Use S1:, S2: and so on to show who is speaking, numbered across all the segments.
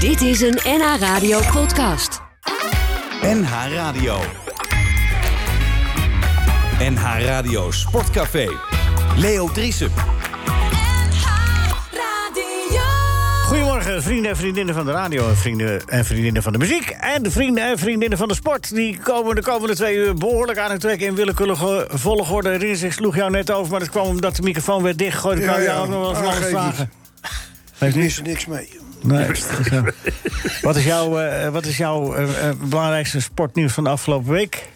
S1: Dit is een NH Radio podcast.
S2: NH Radio. NH Radio Sportcafé. Leo Driesen.
S3: Goedemorgen, vrienden en vriendinnen van de radio, en vrienden en vriendinnen van de muziek... en de vrienden en vriendinnen van de sport. Die komen de komende twee uur behoorlijk aan het trekken in willekeurige volgorde. Rins, ik sloeg jou net over, maar dat kwam omdat de microfoon werd dichtgegooid. Ik
S4: Ja,
S3: Oh, kan
S4: ja.
S3: jou ook nog wel van
S4: Ah,
S3: alles
S4: geef niet.
S3: vragen.
S4: Ik
S3: Geeft niet?
S4: mis er niks mee.
S3: Nee, ja. Wat is jouw, eh, wat is jouw eh, eh, belangrijkste sportnieuws van de afgelopen week?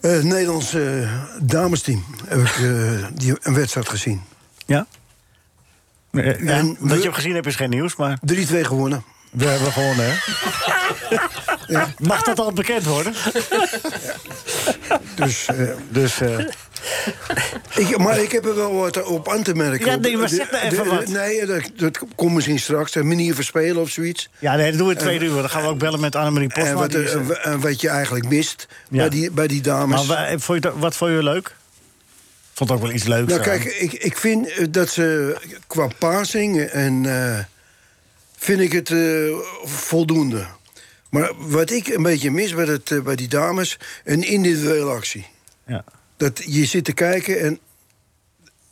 S4: Eh, het Nederlandse eh, damesteam heb ik eh, die, een wedstrijd gezien. 3-2
S3: Ja? Eh, ja,
S4: En we-
S3: dat je hem gezien hebt is geen nieuws, maar
S4: gewonnen.
S3: we hebben gewonnen, hè? Mag dat al bekend worden?
S4: Dus, eh,
S3: Dus... eh,
S4: ik, maar ik heb er wel eh, wat op aan te merken.
S3: Ja, nee, maar
S4: De-
S3: zeg nou
S4: de-
S3: even wat.
S4: Nee, dat, dat komt misschien straks. Een manier van spelen of zoiets.
S3: Ja, nee, dat doen we in twee uur. Dan gaan we ook bellen met Annemarie
S4: En
S3: Postma.
S4: wat,
S3: die
S4: er-
S3: is er.
S4: en wat je eigenlijk mist
S3: Ja.
S4: bij, die, bij die
S3: Maar
S4: dames.
S3: wa- eh, vond je dat- wat vond je leuk? Vond ook wel iets leuks.
S4: Nou,
S3: eraan.
S4: kijk, ik, ik vind eh, dat ze qua passing en eh, vind ik het eh, voldoende. Maar wat ik een beetje mis bij, het, eh, bij die dames, een individuele actie.
S3: Ja.
S4: Dat je zit te kijken en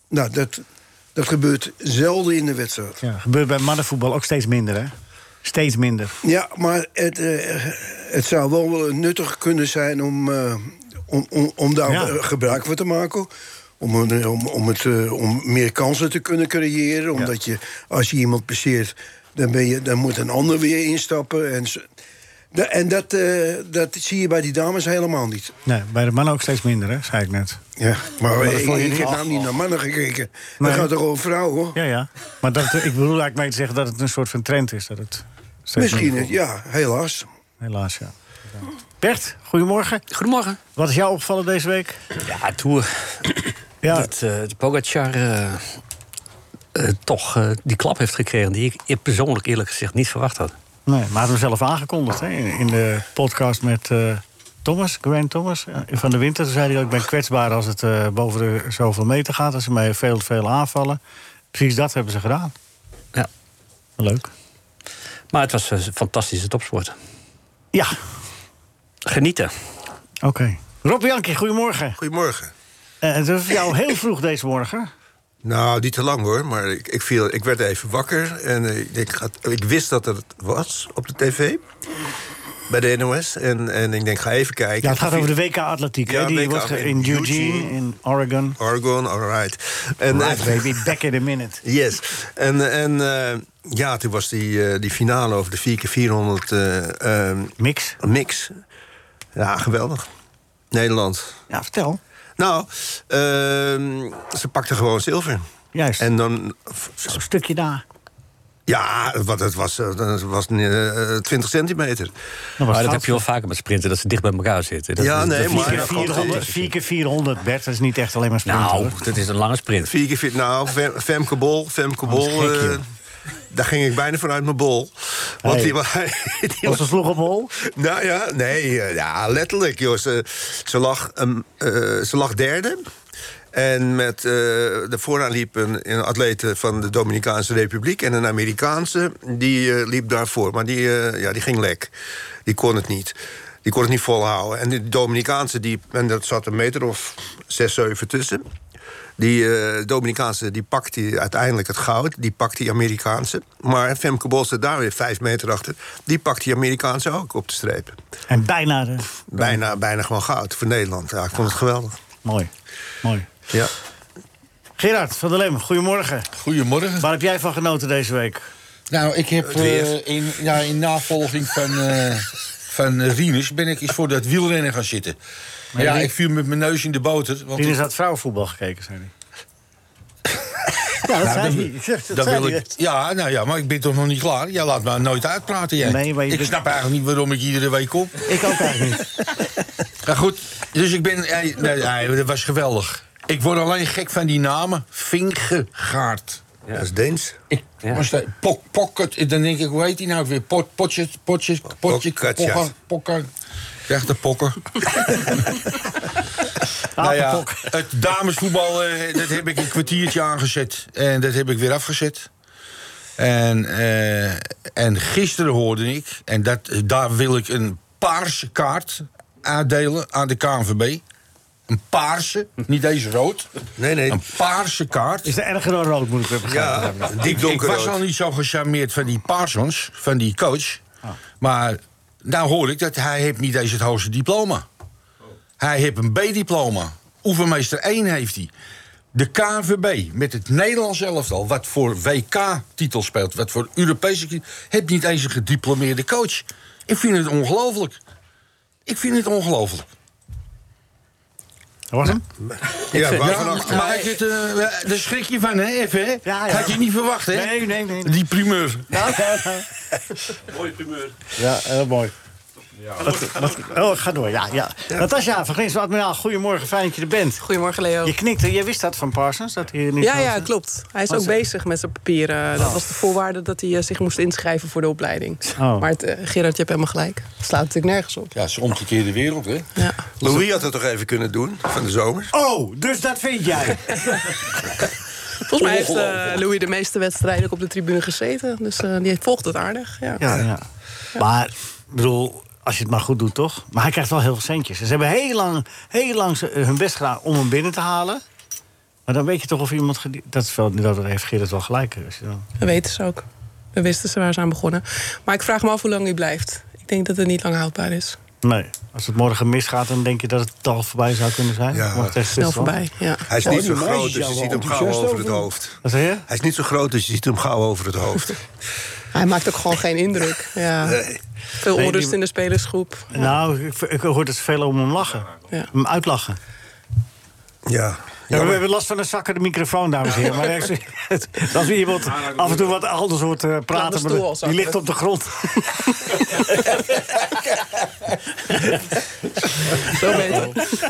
S4: nou, dat, dat gebeurt zelden in de wedstrijd. Ja,
S3: Ja, gebeurt bij mannenvoetbal ook steeds minder, hè? Steeds minder.
S4: maar het, eh, het zou wel wel nuttig kunnen zijn om, eh, om, om, om daar
S3: Ja.
S4: eh, gebruik van te maken. Om, een- om, om, het, eh, om meer kansen te kunnen creëren. Omdat je, als je iemand passeert, dan, ben je, dan moet een ander weer instappen. En, zo- Da- en dat, eh, dat zie je bij die dames helemaal niet.
S3: Nee, bij de mannen ook steeds minder, hè? Zei ik net.
S4: Ja, maar,
S3: dat
S4: ik,
S3: vond je
S4: ik
S3: niet?
S4: heb nou niet naar mannen gekeken.
S3: Nee.
S4: Dat gaat toch over vrouwen?
S3: Ja, ja. Maar dat, ik bedoel eigenlijk mee te zeggen dat het een soort van trend is. Dat het steeds
S4: Misschien,
S3: minder
S4: het, ja,
S3: wordt.
S4: helaas.
S3: Helaas, ja. Bert, goedemorgen.
S5: Goedemorgen.
S3: Wat is jou opgevallen deze week?
S5: Ja, Tour.
S3: Ja,
S5: Dat eh, de Pogacar eh, eh, toch eh, die klap heeft gekregen... die ik eer- persoonlijk eerlijk gezegd niet verwacht had.
S3: nee, maar hadden we zelf aangekondigd hè? in in de podcast met eh, Thomas, Grant Thomas eh, van de Winter. Toen zei hij ook: Ik ben kwetsbaar als het eh, boven de zoveel meter gaat. Als ze mij veel te veel aanvallen. Precies dat hebben ze gedaan.
S5: Ja.
S3: Leuk.
S5: Maar het was eh, een fantastische topsport.
S3: Ja,
S5: Genieten.
S3: oké. Rob Jankie, goedemorgen.
S6: Goedemorgen.
S3: Eh, het was voor jou heel vroeg deze morgen.
S6: Nou, niet te lang hoor, maar ik, ik, viel, ik werd even wakker. En eh, ik, denk, gaat- ik wist dat het was op de tv. Bij de NOS. En, en ik denk, ga even kijken.
S3: Ja, het gaat over de WK Atletiek. hè?
S6: Ja,
S3: Die
S6: WK
S3: wordt ge-
S6: in
S3: in Eugene,
S6: Eugene.
S3: in Oregon.
S6: Oregon, alright. En,
S3: Right,
S6: eh,
S3: baby, back in a minute.
S6: Yes. En, en eh, ja, toen was die, eh, die finale over de 4x400 eh, ehm,
S3: Mix.
S6: mix. Ja, geweldig. Nederland.
S3: Ja, vertel.
S6: Nou, ehm, ze pakte gewoon zilver.
S3: Juist.
S6: En dan
S3: Zo'n stukje daar.
S6: Ja, wat het was, eh, het was eh, 20 centimeter.
S3: Dat was
S5: Maar dat
S3: fout.
S5: heb je wel vaker met sprinten, dat ze dicht bij elkaar zitten. Dat
S6: Ja,
S5: is- dat
S6: nee,
S5: is-
S6: maar-
S3: Vier keer 400, vier keer 400, Bert. Dat is niet echt alleen maar sprinten.
S5: Nou,
S3: hoor.
S5: dat is een lange sprint.
S6: Vier keer vier, nou, Fem- Femke Bol, Femke
S3: dat is
S6: Bol.
S3: gek,
S6: eh,
S3: joh.
S6: daar ging ik bijna vanuit mijn bol. Want
S3: Hey.
S6: die, wa- die
S3: Was
S6: was...
S3: ze sloeg op hol?
S6: Nou ja, nee, eh, ja, letterlijk, joh. Ze, ze, lag, ehm, eh, ze lag derde. En met, eh de vooraan liep een, een atleet eh, van de Dominicaanse Republiek... en een Amerikaanse, die eh, liep daarvoor. Maar die, eh, ja, die ging lek. Die kon het niet. Die kon het niet volhouden. En de Dominicaanse, die, en dat zat een meter of zes, zeven tussen... Die eh, Dominicaanse die pakt die uiteindelijk het goud. Die pakt die Amerikaanse. Maar Femke Bol zit daar weer vijf meter achter. Die pakt die Amerikaanse ook op de streep.
S3: En bijna de...
S6: Bijna, bijna gewoon goud voor Nederland. Ja, ik vond het geweldig.
S3: Mooi. Mooi.
S6: Ja.
S3: Gerard van der Lem, goedemorgen.
S7: Goedemorgen.
S3: Waar heb jij van genoten deze week?
S7: Nou, ik heb
S6: weer.
S7: eh, in, ja, in navolging van, eh, van eh, Rinus ben ik eens voor dat wielrennen gaan zitten. Maar ja,
S3: Rien-
S7: ik viel met mijn neus in de boter. Want
S3: Rinus
S7: ik-
S3: had vrouwenvoetbal gekeken, zei hij. Ja, dat zei hij. Dat
S7: Nou, dat
S3: zei
S7: wil
S3: hij.
S7: ik, ja, nou ja, maar ik ben toch nog niet klaar. Jij laat me nooit uitpraten, jij.
S3: Nee, maar je
S7: ik
S3: bent-
S7: snap eigenlijk niet waarom ik iedere week kom.
S3: Ik ook eigenlijk niet.
S7: Maar goed, dus ik ben... eh, nee, nee, dat was geweldig. Ik word alleen gek van die namen. Vingegaard.
S6: Dat is Deens.
S7: Ik was daar- pok, pocket, dan denk ik, hoe heet die nou weer? Pot, potjes, potjes, potje,
S6: Pokkatja.
S7: pokker, pokker. De echte pokker. nou ja,
S3: Apenpok.
S7: het damesvoetbal, eh, dat heb ik een kwartiertje aangezet. En dat heb ik weer afgezet. En, eh, en gisteren hoorde ik, en dat, daar wil ik een paarse kaart uitdelen aan de KNVB. Een paarse, niet deze rood.
S6: Nee, nee.
S7: Een paarse kaart.
S3: Is er erger dan rood, moet ik weer begrijpen.
S6: Ja,
S7: Ik,
S6: dik
S7: ik was
S6: donkerrood.
S7: al niet zo gecharmeerd van die Parsons, van die coach. Maar nou hoor ik dat hij heeft niet eens het hoogste diploma. Hij heeft een B-diploma. Oefenmeester 1 heeft hij. De KNVB met het Nederlands elftal, wat voor WK-titel speelt, wat voor Europese titel, heeft niet eens een gediplomeerde coach. Ik vind het ongelooflijk. Ik vind het ongelooflijk.
S3: Dat was hem?
S6: Ja, waarvan
S7: Ja,
S6: achter?
S7: maar ik het, eh, daar schrik je van, hè? Even, hè?
S3: Ja, ja.
S7: Had je niet verwacht, hè?
S3: Nee, nee, nee.
S7: Die primeur.
S3: Mooi primeur. Ja, heel mooi. Wat- wat- oh, ga door, ja. ja. Natasja van Grins, admiraal, goedemorgen, fijn dat je er bent.
S8: Goedemorgen, Leo.
S3: Je knikte, jij wist dat van Parsons, dat hij hier niet
S8: Ja,
S3: was,
S8: ja,
S3: hè?
S8: klopt. Hij is
S3: Wat Oh.
S8: ook
S3: zei-
S8: bezig met zijn papieren. Dat was de voorwaarde dat hij eh, zich moest inschrijven voor de opleiding.
S3: Oh.
S8: Maar het, eh, Gerard, je hebt helemaal gelijk. Het slaat natuurlijk nergens op.
S7: Ja, het is de omgekeerde wereld, hè?
S8: Ja.
S6: Louis had het toch even kunnen doen van de zomer?
S3: Oh, dus dat vind jij.
S8: Volgens mij heeft eh, Louis de meeste wedstrijden ook op de tribune gezeten. Dus eh, die volgt het aardig. Ja.
S3: Ja, ja. Maar, ik bedoel, als je het maar goed doet, toch? Maar hij krijgt wel heel veel centjes. Ze hebben heel lang, heel lang ze- eh, hun best gedaan om hem binnen te halen. Maar dan weet je toch of iemand... gedie- Dat, is wel, dat heeft Gerrit wel gelijk. Dus, ja.
S8: Dat weten ze ook. We wisten ze waar ze aan begonnen. Maar ik vraag me af hoe lang hij blijft. Ik denk dat het niet lang houdbaar is.
S3: Nee, als het morgen misgaat, dan denk je dat het al voorbij zou kunnen zijn.
S6: Ja,
S3: Morgen tegen
S8: Snel
S3: Oh, Zwitserland.
S8: voorbij. Ja.
S6: Hij is niet zo groot, dus je
S9: wel
S6: ziet hem gauw
S9: enthousiast
S6: over het
S9: over.
S6: hoofd.
S3: Wat zeg je?
S6: Hij is niet zo groot, dus je ziet hem gauw over het hoofd.
S8: Hij maakt ook gewoon geen indruk. Ja. Veel
S3: Nee, die-
S8: onrust in de spelersgroep.
S3: Nou, ik, ik hoor dat ze veel om hem lachen.
S8: Ja.
S3: Hem uitlachen.
S6: Ja.
S3: Ja, we
S6: Jammer.
S3: hebben last van een zakkende microfoon, dames en heren. Maar echt, als we iemand af en toe wat anders hoort eh,
S8: Laat de
S3: praten...
S8: stoel
S3: maar
S8: al
S3: die
S8: zakken.
S3: ligt op de grond.
S8: Zo beter.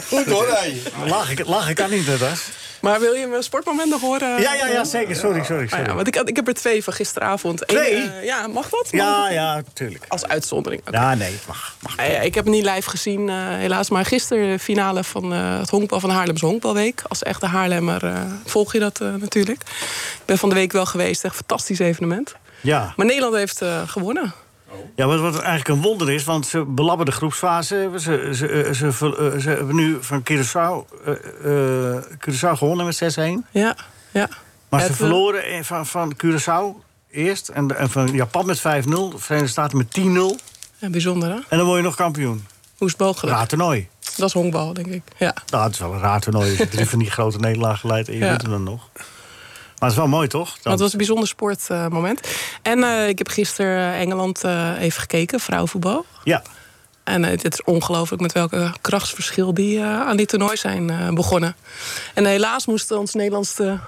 S7: Goed hoor, hij.
S3: lachen, lachen kan niet, dat is.
S8: Maar wil je mijn sportmoment nog horen?
S3: Ja, ja, ja, zeker. Sorry, sorry.
S8: Ah ja,
S3: sorry.
S8: want ik, had- ik heb er twee van gisteravond. Eén,
S3: Twee?
S8: eh, ja, mag dat? Mag
S3: Ja,
S8: dat?
S3: ja, tuurlijk.
S8: Als uitzondering. oké.
S3: Ja, nee, mag. mag.
S8: Ah ja, ik heb het niet live gezien, eh, helaas. Maar gisteren de finale van eh, het honkbal van Haarlemse Honkbalweek. Als echte Haarlemmer eh, volg je dat eh, natuurlijk. Ik ben van de week wel geweest. Echt een fantastisch evenement.
S3: Ja.
S8: Maar Nederland heeft eh, gewonnen.
S3: Ja, wat, wat eigenlijk een wonder is, want ze belabben de groepsfase. Ze, ze, eh, ze, ver- eh, ze hebben nu van Curaçao, eh eh, Curaçao gewonnen met 6-1.
S8: Ja, ja.
S3: Maar
S8: Het,
S3: ze
S8: eh,
S3: verloren eh, van, van Curaçao eerst. En, en van Japan met 5-0. De Verenigde Staten met 10-0.
S8: ja, bijzonder, hè?
S3: En dan word je nog kampioen.
S8: Hoe is het mogelijk?
S3: Raar toernooi.
S8: Dat is honkbal, denk ik. Ja.
S3: Nou, het is wel een raar toernooi. Als je drie van die grote nederlagen leidt en je
S8: Ja.
S3: doet hem dan nog. Maar het is wel mooi, toch? Dan-
S8: Dat was een bijzonder sportmoment. en eh, ik heb gisteren Engeland eh, even gekeken, vrouwenvoetbal.
S3: Ja.
S8: En eh, het is ongelooflijk met welke krachtsverschil die eh, aan dit toernooi zijn eh, begonnen. En eh, helaas moest ons Nederlandse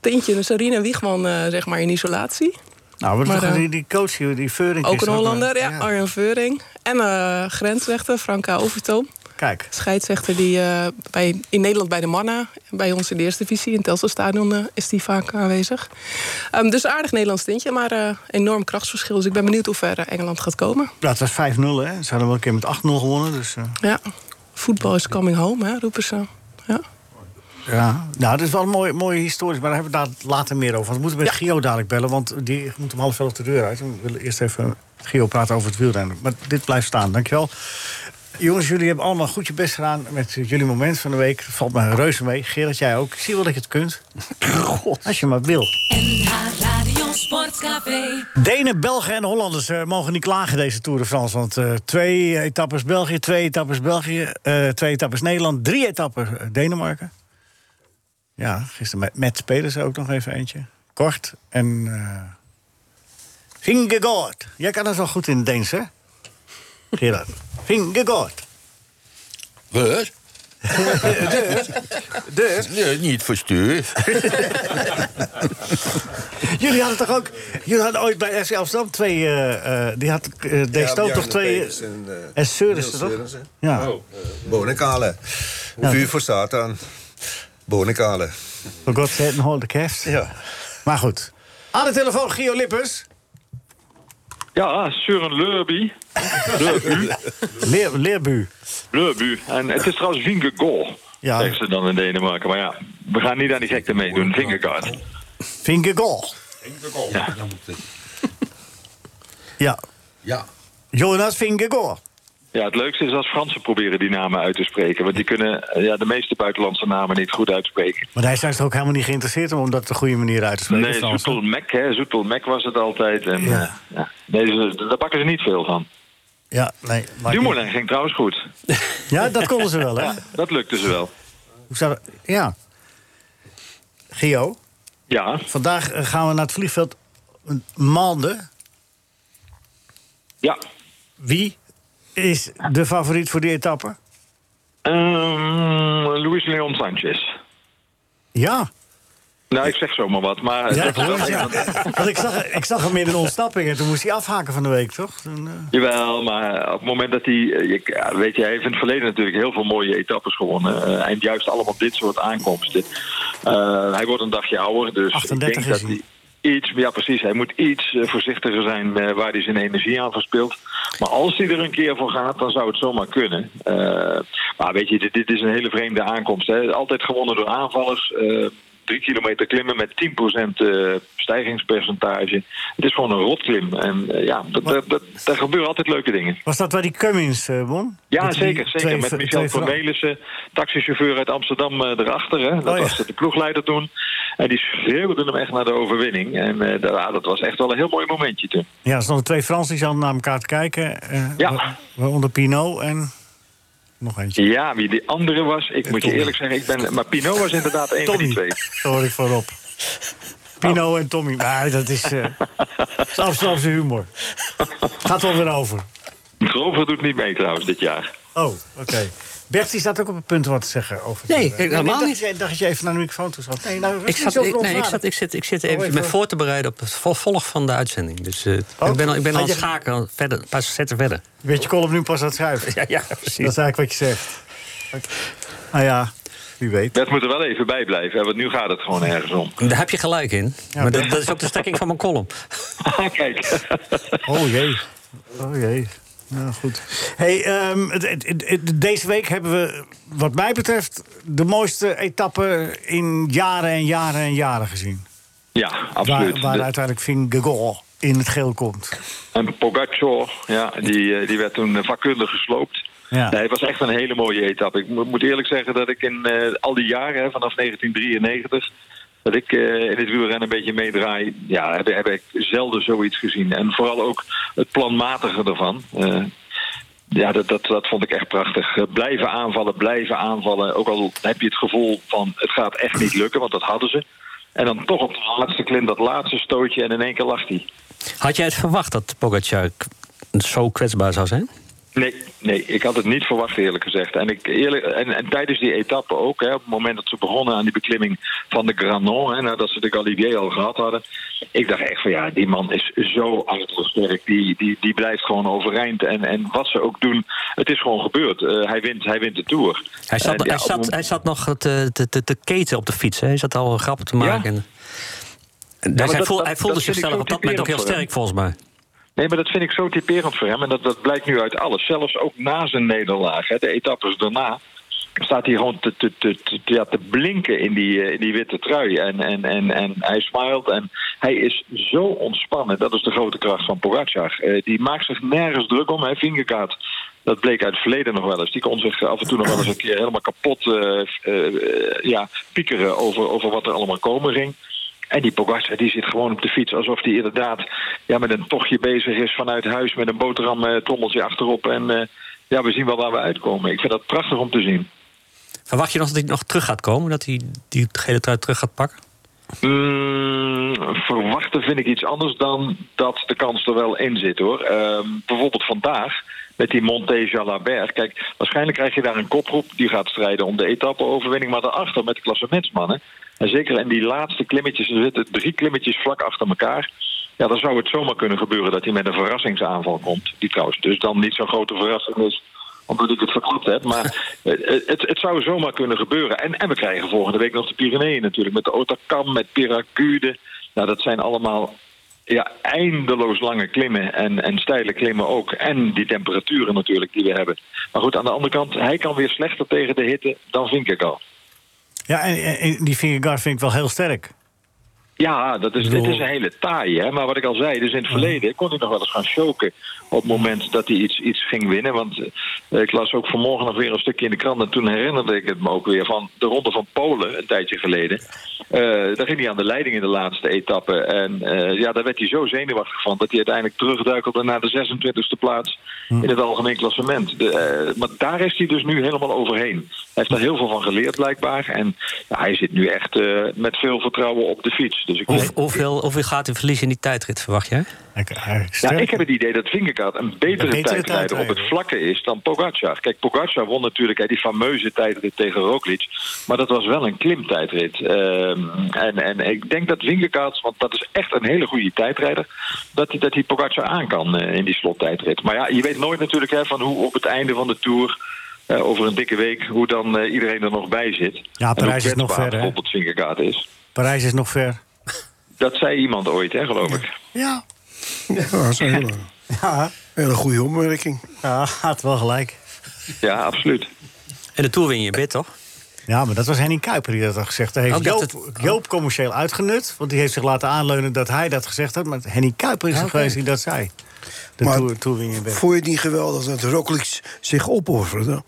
S8: tintje, Sarine Wiegman, eh, zeg maar in isolatie.
S3: Nou, wat
S8: Maar,
S3: toch-
S8: eh,
S3: die, die coach hier, die Feuring.
S8: Ook
S3: is
S8: een
S3: dat, eh,
S8: Hollander, ja, Arjen Veuring. En eh grensrechter Franka Overtoom.
S3: Kijk.
S8: Scheidsrechter die eh, bij, in Nederland bij de mannen, bij ons in de eerste divisie, in het Telselstadion eh, is die vaak aanwezig. Ehm, dus aardig Nederlands tintje, maar eh, enorm krachtsverschil. Dus ik ben benieuwd hoe ver eh, Engeland gaat komen.
S3: Ja, het was 5-0, hè? Ze hadden wel een keer met 8-0 gewonnen. Dus, eh,
S8: Ja, voetbal is coming home, hè, roepen ze. Ja.
S3: ja. Nou, dat is wel een mooie, mooie historisch. Maar daar hebben we daar later meer over. Want we moeten met
S8: Ja.
S3: Gio dadelijk bellen. Want die moet om half elf de deur uit. We willen eerst even met Gio praten over het wielrennen. Maar dit blijft staan. Dankjewel. Jongens, jullie hebben allemaal goed je best gedaan met jullie moment van de week. Valt me reuze mee. Gerard, jij ook. Ik zie wel dat je het kunt. God. Als je maar wil.
S1: NH Radio Sportcafé.
S3: Denen, Belgen en Hollanders eh, mogen niet klagen deze Tour de France. Want eh, twee etappes België, twee etappes België, eh, twee etappes Nederland, drie etappes eh, Denemarken. Ja, gisteren met, met spelers ook nog even eentje. Kort en. eh Vingegaard. Jij kan dat wel goed in het Deens, hè? Gerard. Vingegaard.
S7: Wat?
S3: Dus.
S7: Nee, niet verstuurd.
S3: Jullie hadden toch ook. Jullie hadden ooit bij FC Amsterdam twee. eh, eh, die had. eh De Stoop toch twee. eh,
S6: En, uh,
S3: En Seurissen, toch? Ja,
S6: Oh.
S7: Oh, eh,
S6: Bonenkale. Vuur voor Satan. Bonenkale.
S3: for God's sake, hold the calves.
S6: Ja.
S3: Maar goed. Aan de telefoon Gio Lippers.
S10: Ja, ah, Suren Lurby. Lurbu.
S3: Leer, leerbu.
S10: Lurbu. En het is trouwens Vingegaard,
S3: Ja.
S10: zeggen ze dan in Denemarken. Maar ja, we gaan niet aan die gekte meedoen. Vingegaard.
S3: Vingegaard.
S7: Ja. Dan moet het.
S3: Ja,
S7: Ja.
S3: Jonas Vingegaard.
S10: Ja, het leukste is als Fransen proberen die namen uit te spreken. Want die kunnen eh, ja, de meeste buitenlandse namen niet goed uitspreken.
S3: Maar hij is er ook helemaal niet geïnteresseerd om, om dat op de goede manier uit te spreken.
S10: Nee,
S3: Frans.
S10: Zoetel Mac, hè. Zoetel Mac was het altijd. En,
S3: Ja.
S10: ja. ja. Nee, ze- daar pakken ze niet veel van.
S3: Ja, nee. maar-
S10: Dumoulin ging trouwens goed.
S3: Ja, dat konden ze wel, hè?
S10: Dat lukte ze wel.
S3: Hoe zou dat- Ja. Gio,
S10: Ja,
S3: vandaag eh, gaan we naar het vliegveld Malden.
S10: ja.
S3: Wie is de favoriet voor die etappe?
S10: Ehm, Luis Leon Sanchez.
S3: Ja.
S10: Nou, ik zeg zomaar wat, maar... het
S3: ja,
S10: wordt wel
S3: ja.
S10: iemand-
S3: Want ik zag, ik zag hem in een ontsnapping en toen moest hij afhaken van de week, toch? Toen, eh,
S10: Jawel, maar op het moment dat hij... eh, je- ja, Weet je, hij heeft in het verleden natuurlijk heel veel mooie etappes gewonnen. eh, en juist allemaal dit soort aankomsten. Eh, hij wordt een dagje ouder, dus
S3: 38
S10: ik denk
S3: is
S10: dat
S3: hij.
S10: hij... Iets, ja precies, hij moet iets eh, voorzichtiger zijn eh, waar hij zijn energie aan verspilt. Maar als hij er een keer voor gaat, dan zou het zomaar kunnen. Eh, maar weet je, dit, dit is een hele vreemde aankomst. Hè. Altijd gewonnen door aanvallers. eh, drie kilometer klimmen met 10% eh, stijgingspercentage. Het is gewoon een rotklim. En eh, ja, dat, dat, dat, daar gebeuren altijd leuke dingen.
S3: was dat waar die Cummins eh, won?
S10: Ja,
S3: Met die
S10: zeker. zeker.
S3: twee-
S10: Met Michel
S3: twee Fran-
S10: Cornelissen, taxichauffeur uit Amsterdam eh, erachter. Hè. Dat
S3: Oh, ja.
S10: was de ploegleider toen. En die schreeuwde hem echt naar de overwinning. En eh, da- ah, dat was echt wel een heel mooi momentje toen.
S3: Ja, er stonden twee Fransen die zaten naar elkaar te kijken. eh,
S10: Ja.
S3: wa- Waaronder Pinot en nog eentje.
S10: Ja, wie die andere was, ik moet je
S3: Tommy.
S10: eerlijk zeggen, ik ben, maar Pinot was inderdaad een van die
S3: Tommy,
S10: twee.
S3: sorry voorop.
S10: Oh.
S3: Pinot en Tommy, maar dat is, eh dat is Amsterdamse humor. Gaat wel weer over.
S10: Grover doet niet mee trouwens dit jaar.
S3: Oh, oké. Bert, die staat ook op het punt wat te zeggen over...
S5: Nee,
S3: ik
S5: helemaal
S3: dacht,
S5: niet.
S3: Ik dacht dat je even naar de microfoon toe zat. Nee, nou,
S5: Ik zat, ik, nee, ik, zat, ik, zit, ik zit
S3: Oh,
S5: even
S3: even.
S5: me voor te bereiden op het vervolg van de uitzending. Dus eh,
S3: Oh.
S5: ik ben al, ik ben al
S3: Ah,
S5: aan
S3: je-
S5: het schaken, al verder, een paar zetten verder.
S3: Weet je column nu pas aan het schuiven?
S5: Ja, ja
S3: Dat
S5: precies.
S3: is eigenlijk wat je zegt. Oké. Nou ja, wie weet.
S10: Dat moet er wel even bij blijven, hè, want nu gaat het gewoon ergens om.
S5: Daar heb je gelijk in. maar dat, dat is ook de strekking van mijn column.
S10: Kijk.
S3: Oh jee. Oh jee. Nou goed. Hey, ehm, het- het- het- het- deze week hebben we, wat mij betreft, de mooiste etappe in jaren en jaren en jaren gezien.
S10: Ja,
S3: Waar,
S10: absoluut.
S3: waar
S10: De-
S3: uiteindelijk Vingegaard in het geel komt.
S10: En Pogacar, ja, die, eh, die werd toen eh, vakkundig gesloopt.
S3: Ja.
S10: Nee, het was echt een hele mooie etappe. Ik mo- moet eerlijk zeggen dat ik in eh, al die jaren, hè, vanaf 1993... dat ik eh, in het wielrennen een beetje meedraai... ja, heb, heb ik zelden zoiets gezien. En vooral ook het planmatige ervan... Eh, ja, dat, dat, dat vond ik echt prachtig. Eh, Blijven aanvallen, blijven aanvallen. Ook al heb je het gevoel van het gaat echt niet lukken, want dat hadden ze. En dan toch op de laatste klim dat laatste stootje en in één keer lag hij.
S5: Had jij het verwacht dat Pogacar k- zo kwetsbaar zou zijn?
S10: Nee, nee, ik had het niet verwacht eerlijk gezegd. En, ik, eerlijk, en, en tijdens die etappe ook, hè, op het moment dat ze begonnen aan die beklimming van de Granon... Hè, nadat ze de Galibier al gehad hadden... ik dacht echt van ja, die man is zo sterk. Die, die, die blijft gewoon overeind. En, en wat ze ook doen, het is gewoon gebeurd. Eh, hij, wint, hij wint de Tour.
S5: Hij zat,
S10: En Eh, ja,
S5: hij
S10: op het
S5: zat,
S10: moment-
S5: hij zat nog te, te, te, te keten op de fiets. Hè? Hij zat al grappen te maken. En- En, dus
S10: maar
S5: hij,
S10: dat-
S5: voel-
S10: dat-
S5: hij voelde
S10: dat vind ik
S5: zichzelf
S10: zo
S5: op dat moment ook heel
S10: typerend voor hem.
S5: sterk, volgens mij.
S10: Nee, maar dat vind ik zo typerend voor hem. En dat, dat blijkt nu uit alles. Zelfs ook na zijn nederlaag, hè, de etappes daarna... staat hij gewoon te, te, te, te, ja, te blinken in die, eh, in die witte trui. En, en, en, en hij smilt en hij is zo ontspannen. Dat is de grote kracht van Pogacar. Eh, die maakt zich nergens druk om. Hè, Vingegaard, dat bleek uit het verleden nog wel eens. Die kon zich af en toe nog wel eens een keer helemaal kapot eh, eh, eh, ja, piekeren... Over, over wat er allemaal komen ging. En die Pogacar die zit gewoon op de fiets alsof hij inderdaad ja, met een tochtje bezig is vanuit huis met een boterham eh, trommeltje achterop. En eh, ja, we zien wel waar we uitkomen. Ik vind dat prachtig om te zien.
S5: Verwacht je nog dat hij nog terug gaat komen? Dat hij die gele trui terug gaat pakken?
S10: Mm, verwachten vind ik iets anders dan dat de kans er wel in zit hoor. Ehm, bijvoorbeeld vandaag met die Monte Jalabert. Kijk, waarschijnlijk krijg je daar een kopgroep die gaat strijden om de etappe-overwinning. Maar daarachter met de klassementsmannen. En zeker in die laatste klimmetjes, er zitten drie klimmetjes vlak achter elkaar. Ja, dan zou het zomaar kunnen gebeuren dat hij met een verrassingsaanval komt. Die trouwens dus dan niet zo'n grote verrassing is omdat ik het verklapt heb. Maar eh, het, het zou zomaar kunnen gebeuren. En, en we krijgen volgende week nog de Pyreneeën natuurlijk. Met de Otakam, met Piracude. Nou, dat zijn allemaal ja, eindeloos lange klimmen. En, en steile klimmen ook. En die temperaturen natuurlijk die we hebben. Maar goed, aan de andere kant, hij kan weer slechter tegen de hitte dan Vinkegaal.
S3: Ja, en, en- en die Vingegaard vind ik wel heel sterk.
S10: Ja, dat is, dit is een hele taai, hè? maar wat ik al zei, dus in het verleden kon hij nog wel eens gaan choken op het moment dat hij iets, iets ging winnen. Want eh, ik las ook vanmorgen nog weer een stukje in de krant en toen herinnerde ik het me ook weer van de Ronde van Polen een tijdje geleden. Eh, daar ging hij aan de leiding in de laatste etappe en eh, ja, daar werd hij zo zenuwachtig van dat hij uiteindelijk terugduikelde naar de 26e plaats in het algemeen klassement. De, eh, maar daar is hij dus nu helemaal overheen. Hij heeft daar heel veel van geleerd blijkbaar en ja, hij zit nu echt eh, met veel vertrouwen op de fiets. Dus ik
S5: Hoe, hoeveel, hoeveel gaat hij verliezen in die tijdrit, verwacht jij?
S3: Hij- hij-
S10: ja,
S3: sterk.
S10: ik heb het idee dat Vingegaard een betere,
S3: Een betere
S10: tijdrijder op
S3: tijdrijder.
S10: het vlakke is dan Pogacar. Kijk, Pogacar won natuurlijk hè, die fameuze tijdrit tegen Roglic. Maar dat was wel een klimtijdrit. Ehm, en, en ik denk dat Vingegaard, want dat is echt een hele goede tijdrijder... dat hij dat hij Pogacar aan kan eh, in die slottijdrit. Maar ja, je weet nooit natuurlijk hè, van hoe op het einde van de Tour... eh, over een dikke week, hoe dan eh, iedereen er nog bij zit.
S3: Ja,
S10: En hoe
S3: Parijs is nog
S10: kwetsbaar
S3: ver, hè?
S10: bijvoorbeeld Vingegaard is.
S3: Parijs is nog ver.
S10: Dat zei iemand ooit, hè, geloof ik.
S3: Ja.
S4: Ja, dat is een hele,
S3: Ja,
S4: hele goede opmerking.
S3: ja had wel gelijk.
S10: Ja, absoluut.
S5: En de Tour win je bid, toch?
S3: Ja, maar dat was Henning Kuiper die dat had gezegd. Daar heeft
S5: Oh, dat
S3: Joop,
S5: het-
S3: Joop commercieel uitgenut. Want die heeft zich laten aanleunen dat hij dat gezegd had. Maar Henning Kuiper is er geweest die dat zei. De
S4: Maar
S3: tour, touring in bed.
S4: Vond je het niet geweldig dat Roglic zich opofferde?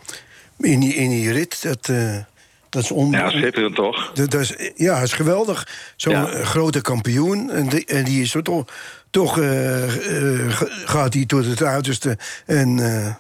S4: In die, in die rit, dat, eh, dat is on...
S10: Ja, schitterend toch?
S4: Dat, dat is, ja, dat is geweldig. Zo'n
S10: Ja.
S4: eh, grote kampioen. En die, en die is er toch, toch eh, eh, ge- gaat hij tot het uiterste. En eh,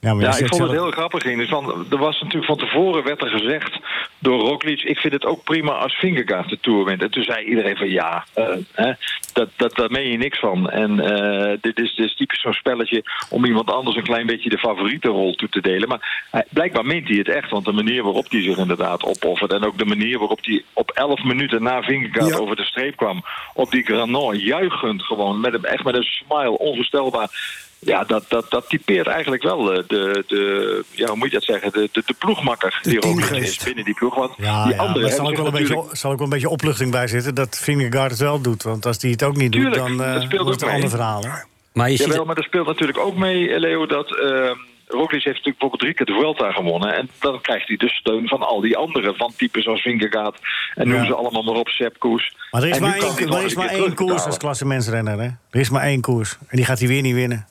S3: maar je
S10: Ja, ik
S3: zegt
S10: vond het
S3: zelf-
S10: heel grappig, Ines. Want er was natuurlijk van tevoren werd er gezegd door Roglic... ik vind het ook prima als Vingegaard de Tour wint. En toen zei iedereen van ja, eh, hè, dat, dat, daar meen je niks van. En eh, dit is dus typisch zo'n spelletje... om iemand anders een klein beetje de favoriete rol toe te delen. Maar hij- blijkbaar meent hij het echt. Want de manier waarop hij zich inderdaad opoffert... en ook de manier waarop hij op 11 minuten na Vingegaard
S4: Ja.
S10: over de streep kwam... op die Granon, juichend gewoon, met een, echt met een smile, onvoorstelbaar... Ja, dat, dat, dat typeert eigenlijk wel eh, de, de, ja, hoe moet je dat zeggen, de, de, de ploegmakker die Roglic is
S4: teamgeest.
S10: binnen die ploeg. Want
S3: Ja,
S10: die
S3: ja,
S10: anderen
S3: maar
S10: hebben
S3: zal ik,
S10: zich
S3: wel een beetje,
S10: natuurlijk-
S3: zal ik wel een beetje opluchting bij zitten dat Vingegaard het wel doet. Want als hij het ook niet doet,
S10: Tuurlijk,
S3: dan eh,
S10: dat speelt
S3: wordt het
S10: ook
S3: een ander
S10: mee.
S3: verhaal. hè?
S5: Maar je ziet
S10: Jawel, maar dat speelt natuurlijk ook mee, eh, Leo, dat uh, Roglic heeft natuurlijk bijvoorbeeld drie keer de Vuelta gewonnen. En dan krijgt hij de steun van al die anderen, van types als Vingegaard en noem
S3: Ja.
S10: ze allemaal maar op, Sepp Koes.
S3: Maar er is
S10: En nu
S3: maar
S10: kan hij
S3: één,
S10: nog
S3: er is
S10: een
S3: maar
S10: keer
S3: één koers
S10: terugbetalen.
S3: als klassementsrenner. Hè? Er is maar één koers. En die gaat hij weer niet winnen.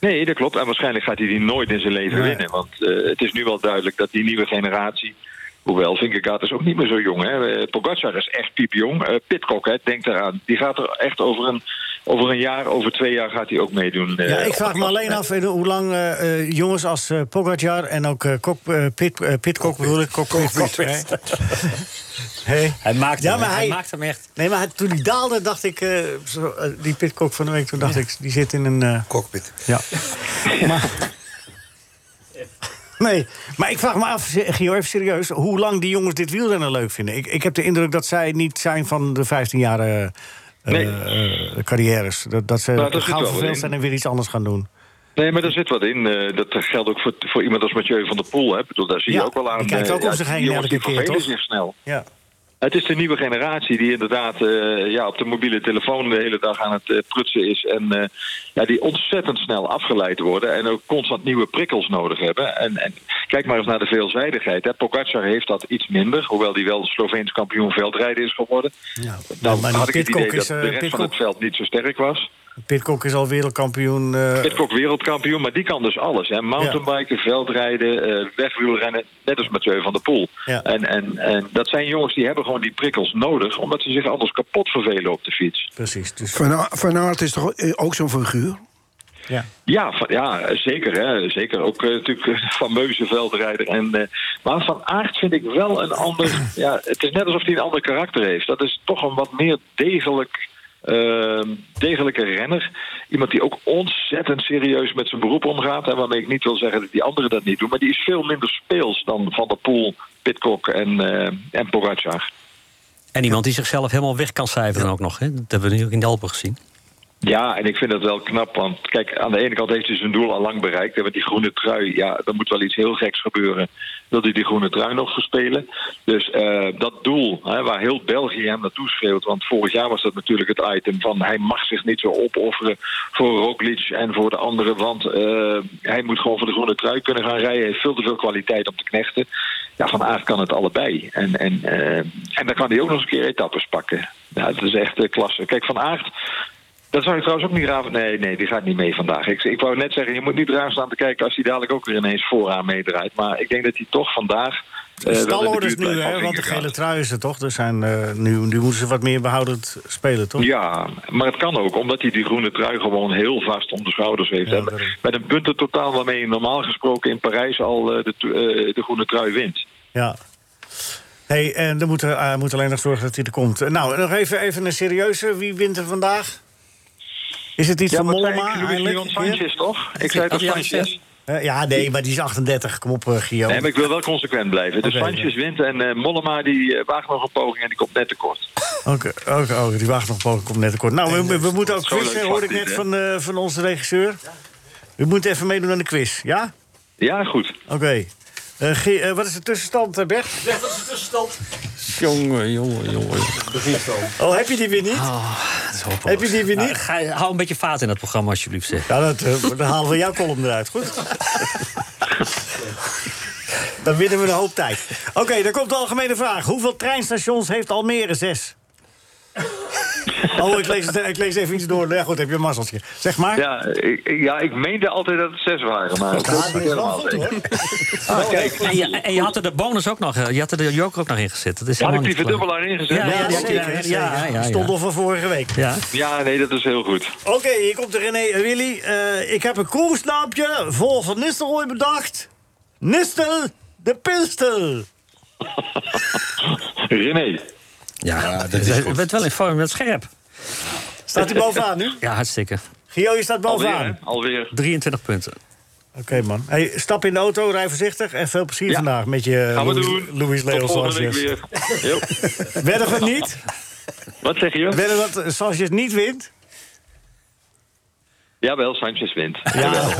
S10: Nee, dat klopt. En waarschijnlijk gaat hij die nooit in zijn leven
S3: Nee.
S10: winnen. Want eh, het is nu wel duidelijk dat die nieuwe generatie... Hoewel, Vinkegaard is ook niet meer zo jong. Hè. Eh, Pogacar is echt piepjong. Eh Pitcock, hè, denk daaraan. Die gaat er echt over een, over een jaar, over twee jaar gaat hij ook meedoen. eh,
S3: Ja, ik
S10: op
S3: vraag
S10: de
S3: me alleen
S10: klassement.
S3: af eh, hoe lang eh, eh, jongens als eh, Pogacar en ook eh Kok, eh, Pit, eh, Pitcock bedoel ik. Kok, Pitcock, hè? Hé.
S5: Hij maakt,
S3: Ja,
S5: hem,
S3: maar
S5: hij,
S3: hij-
S5: maakt hem echt.
S3: Nee, maar toen die daalde, dacht ik... eh, zo, eh, die Pitcock van de week, toen dacht ik, die zit in een... eh,
S6: Cockpit.
S3: Ja. maar... Nee, maar ik vraag me af, Gio, even serieus... hoe lang die jongens dit wielrennen leuk vinden. Ik, ik heb de indruk dat zij niet zijn van de 15 jaar eh, eh,
S10: Nee.
S3: eh, carrières. Dat, dat ze
S10: Nou, dat zit
S3: gauw
S10: wel in.
S3: verveeld zijn en weer iets anders gaan doen.
S10: Nee, maar daar zit wat in. Eh, dat geldt ook voor, voor iemand als Mathieu van der Poel. Hè. Ik bedoel, daar zie
S3: Ja,
S10: je ook wel aan.
S3: die kijkt
S10: eh,
S3: ook om
S10: ja,
S3: zich
S10: die
S3: heen
S10: jongens
S3: elke
S10: die
S3: keer,
S10: vervelen
S3: toch?
S10: zich snel.
S3: Ja.
S10: Het is de nieuwe generatie die inderdaad eh, ja, op de mobiele telefoon de hele dag aan het eh, prutsen is. En eh, ja, die ontzettend snel afgeleid worden en ook constant nieuwe prikkels nodig hebben. En, en kijk maar eens naar de veelzijdigheid. Hè. Pogacar heeft dat iets minder, hoewel die wel Sloveens kampioen veldrijden is geworden.
S3: Ja.
S10: Nou
S3: maar die
S10: had ik het
S3: Pidcock
S10: idee dat
S3: is, eh,
S10: de rest
S3: Pidcock-
S10: van het veld niet zo sterk was.
S3: Pitcock is al wereldkampioen. eh,
S10: Pitcock wereldkampioen, maar die kan dus alles. Hè? Mountainbiken, veldrijden, eh, wegwielrennen, net als Mathieu van der Poel.
S3: Ja.
S10: En, en, en dat zijn jongens die hebben gewoon die prikkels nodig... omdat ze zich anders kapot vervelen op de fiets.
S3: precies. Dus,
S4: Van, A- van Aert is toch eh, ook zo'n figuur?
S3: ja.
S10: Ja, van- ja zeker. Hè? Zeker ook eh, natuurlijk een fameuze veldrijder. En, eh, maar Van Aert vind ik wel een ander... ja, het is net alsof hij een ander karakter heeft. Dat is toch een wat meer degelijk... eh, degelijke renner. Iemand die ook ontzettend serieus met zijn beroep omgaat. En waarmee ik niet wil zeggen dat die anderen dat niet doen. Maar die is veel minder speels dan Van der Poel, Pitcock en, eh, en Pogacar.
S5: En iemand die zichzelf helemaal weg kan cijferen ook nog. Hè? Dat hebben we nu ook in de Alpen gezien.
S10: Ja, en ik vind dat wel knap. Want kijk, aan de ene kant heeft hij zijn doel al lang bereikt. hè, Want die groene trui, ja, er moet wel iets heel geks gebeuren. Wil hij die groene trui nog verspelen? Dus eh, dat doel, hè, waar heel België hem naartoe schreeuwt. Want vorig jaar was dat natuurlijk het item van hij mag zich niet zo opofferen voor Roglic en voor de anderen. Want eh, hij moet gewoon voor de groene trui kunnen gaan rijden. Hij heeft veel te veel kwaliteit om te knechten. Ja, van Aert kan het allebei. En, en, eh, en dan kan hij ook nog eens een keer etappes pakken. Nou, dat is echt eh, klasse. Kijk, Van Aert... Dat zou ik trouwens ook niet raar... Nee, nee, die gaat niet mee vandaag. Ik, ik wou net zeggen, je moet niet raar staan te kijken... als hij dadelijk ook weer ineens vooraan meedraait. Maar ik denk dat hij toch vandaag... eh, wel in de
S3: Stalorders
S10: buurt
S3: nu,
S10: blijft
S3: hè?
S10: van
S3: Want de
S10: Vingegaard.
S3: gele trui is er toch? Dus zijn, eh, nu, nu moeten ze wat meer behoudend spelen, toch?
S10: Ja, maar het kan ook, omdat hij die groene trui gewoon heel vast om de schouders heeft.
S3: Ja,
S10: En
S3: daarom.
S10: met een punten totaal waarmee je normaal gesproken in Parijs al eh, de, t- eh, de groene trui wint.
S3: Ja. Hey, en dan moet, er, eh, moet alleen nog zorgen dat hij er komt. Eh, Nou, nog even, even een serieuze. Wie wint er vandaag? Is het iets van
S10: wat zei
S3: Mollema
S10: ik? Luis Leon
S3: eigenlijk?
S10: Sanchez, toch? Ik zei toch
S5: Ja,
S10: Sanchez?
S3: Eh, ja, nee, maar die is 38. Kom op, eh Guillaume.
S10: Nee, maar ik wil wel consequent blijven. Dus
S3: Oké,
S10: Sanchez wint en eh, Mollema die eh, waagt nog een poging en die komt net tekort.
S3: Oké, oké, oké, die wacht nog een komt net tekort. Nou, we- we,
S5: eh,
S3: we moeten ook
S10: Zo leuk
S3: quizzen,
S10: vak
S3: hoorde ik
S10: dit,
S3: net
S10: hè?
S3: van, eh, van onze regisseur. U moet even meedoen aan de quiz, ja?
S10: Ja, goed.
S3: Oké. Eh, Gie- eh, wat is de tussenstand, eh, Bert?
S5: Jongen, jongen, jongen.
S3: Oh, heb je die weer niet? Heb je die weer niet?
S5: Nou, ga, hou een beetje vaat in dat programma, alsjeblieft. Zeg.
S3: Ja, dat, eh, dan halen we jouw column eruit, goed? dan winnen we een hoop tijd. Oké, dan komt de algemene vraag. Hoeveel treinstations heeft Almere? Zes. Oh, ik lees, het, ik lees even iets door. Ja, goed, heb je een mazzeltje. Zeg maar.
S10: Ja, ik, ja, ik meende altijd dat het zes waren, maar dat is
S3: dat
S10: niet
S3: is wel
S10: helemaal
S3: goed,
S10: zeker.
S3: hoor.
S10: Ah,
S5: Oh, En je, en je had er de bonus ook nog, eh, je had er de joker ook nog in gezet. Dat is
S10: Had ik
S5: helemaal
S10: die
S5: niet klaar.
S10: verdubbelaar ingezet?
S5: Ja,
S3: Ja,
S5: ja,
S3: zeker.
S5: ja,
S3: zeker.
S5: ja, ja, ja.
S3: Stond al van vorige week.
S5: Ja.
S10: Ja, nee, dat is heel goed.
S3: Oké, hier komt de René en Willy. Eh, ik heb een koersnaampje vol van Nistelrooy bedacht. Nistel de Pinstel.
S10: René,
S5: Ja, je bent wel in vorm, je bent scherp.
S3: Staat hij bovenaan nu?
S5: Ja, hartstikke.
S3: Gio, je staat
S10: alweer.
S3: bovenaan.
S10: hè? alweer.
S5: 23 punten.
S3: Oké, man. Hey, stap in de auto, rij voorzichtig en veel plezier
S10: Ja.
S3: vandaag met je
S10: Gaan we
S3: Louis,
S10: doen.
S3: Louis Leo
S10: Tot volgende week
S3: Sanchez.
S10: weer. Jo.
S3: Wedden we het niet?
S10: Wat zeg je?
S3: Wedden we dat Sanchez niet wint?
S10: Jawel, Sanchez wint.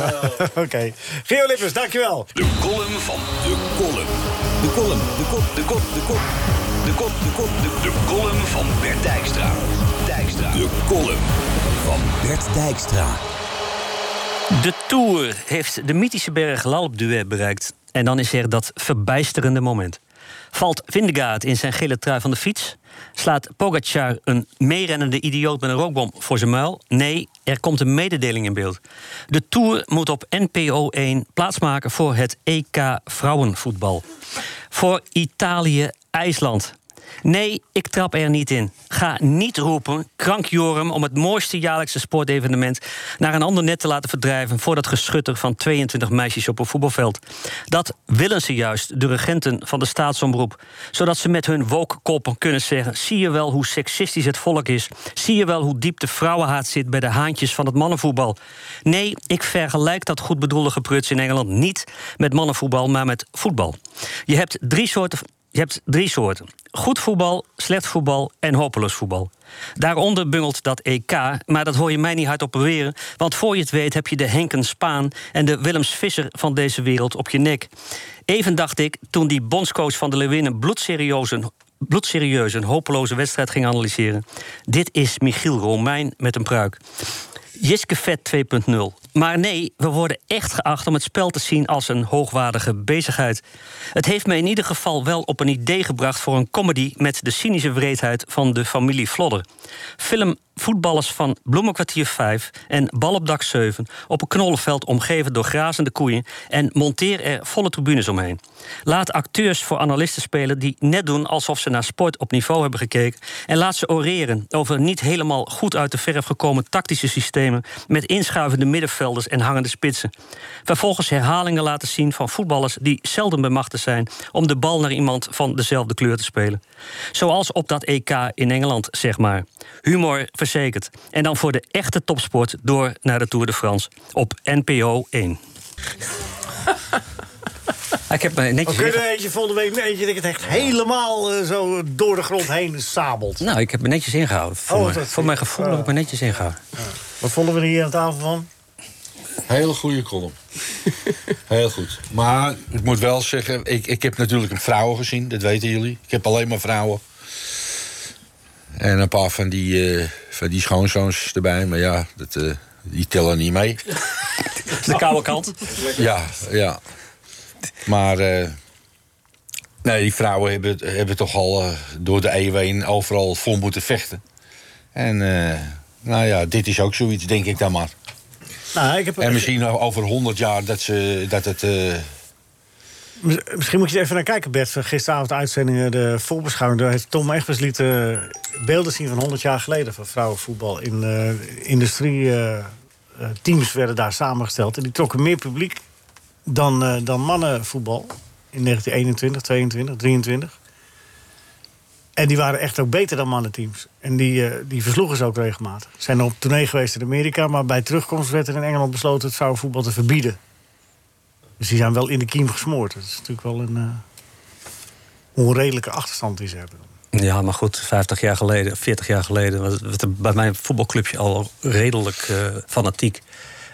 S3: Oké. Gio Lippers, dankjewel.
S2: De column van de column. De column, de kop, de kop, de kop. De kop, de kop, de De column van Bert Dijkstra. Dijkstra. De column van Bert Dijkstra.
S5: De Tour heeft de mythische berg L'Alpe bereikt. En dan is er dat verbijsterende moment. Valt Vindegaard in zijn gele trui van de fiets? Slaat Pogacar een meerennende idioot met een rookbom voor zijn muil? Nee, er komt een mededeling in beeld. De Tour moet op NPO 1 plaatsmaken voor het EK vrouwenvoetbal. Voor Italië-IJsland. Nee, ik trap er niet in. Ga niet roepen, krankjorum, om het mooiste jaarlijkse sportevenement naar een ander net te laten verdrijven voor dat geschutter van 22 meisjes op een voetbalveld. Dat willen ze juist, de regenten van de staatsomroep. Zodat ze met hun wokkoppen kunnen zeggen: zie je wel hoe seksistisch het volk is? Zie je wel hoe diep de vrouwenhaat zit bij de haantjes van het mannenvoetbal? Nee, ik vergelijk dat goed bedoelde gepruts in Engeland niet met mannenvoetbal, maar met voetbal. Je hebt drie soorten. Je hebt drie soorten. Goed voetbal, slecht voetbal en hopeloos voetbal. Daaronder bungelt dat EK, maar dat hoor je mij niet hardop beweren... want voor je het weet heb je de Henken Spaan... en de Willems Visser van deze wereld op je nek. Even dacht ik, toen die bondscoach van de Leeuwinnen... bloedserieus een, bloedserieus een hopeloze wedstrijd ging analyseren... dit is Michiel Romein met een pruik. Jiske Vet 2.0. Maar nee, we worden echt geacht om het spel te zien als een hoogwaardige bezigheid. Het heeft me in ieder geval wel op een idee gebracht voor een comedy met de cynische wreedheid van de familie Vlodder. Film Voetballers van Bloemenkwartier 5 en Bal op dak 7 op een knollenveld omgeven door grazende koeien en monteer er volle tribunes omheen. Laat acteurs voor analisten spelen die net doen alsof ze naar sport op niveau hebben gekeken en laat ze oreren over niet helemaal goed uit de verf gekomen tactische systemen met inschuivende middenvelders en hangende spitsen. Vervolgens herhalingen laten zien van voetballers die zelden bemachtigd zijn om de bal naar iemand van dezelfde kleur te spelen. Zoals op dat EK in Engeland, zeg maar. Humor verzekerd. En dan voor de echte topsport door naar de Tour de France op NPO 1. Ik heb mij
S3: We
S5: netjes
S3: kunnen
S5: inge-
S3: er eentje volgende week eentje dat ik het echt helemaal eh, zo door de grond heen sabelt.
S5: nou, ik heb me netjes ingehouden. Voor,
S3: Oh,
S5: mijn,
S3: dat-
S5: voor mijn gevoel heb ik me netjes ingehouden.
S3: Wat vonden we er hier aan tafel van?
S7: Hele goede column. Heel goed. Maar ik moet wel zeggen, ik, ik heb natuurlijk een vrouwen gezien, dat weten jullie. Ik heb alleen maar vrouwen. En een paar van die, eh, van die schoonzoons erbij, maar ja, dat, eh, die tellen niet mee.
S5: De koude kant.
S7: Ja, ja. Maar eh, Nee, die vrouwen hebben, hebben toch al eh, door de EUW heen overal voor moeten vechten. En eh, nou ja, dit is ook zoiets, denk ik dan maar.
S3: Nou, ik heb,
S7: En misschien over 100 jaar dat, ze, dat het... eh,
S3: Mis- Misschien moet je er even naar kijken, Bert. Gisteravond de uitzendingen, de voorbeschouwing. Daar heeft Tom Egbers liet eh, beelden zien van 100 jaar geleden van vrouwenvoetbal. In eh, industrieteams werden daar samengesteld. En die trokken meer publiek dan, eh, dan mannenvoetbal. In 1921, 22, 23. En die waren echt ook beter dan mannenteams. En die, eh, die versloegen ze ook regelmatig. Ze zijn op tournee geweest in Amerika, maar bij terugkomst werd er in Engeland besloten het vrouwenvoetbal te verbieden. Dus die zijn wel in de kiem gesmoord. Dat is natuurlijk wel een eh, onredelijke achterstand die ze hebben.
S5: Ja, maar goed, 50 jaar geleden, 40 jaar geleden... was het bij mijn voetbalclubje al redelijk eh, fanatiek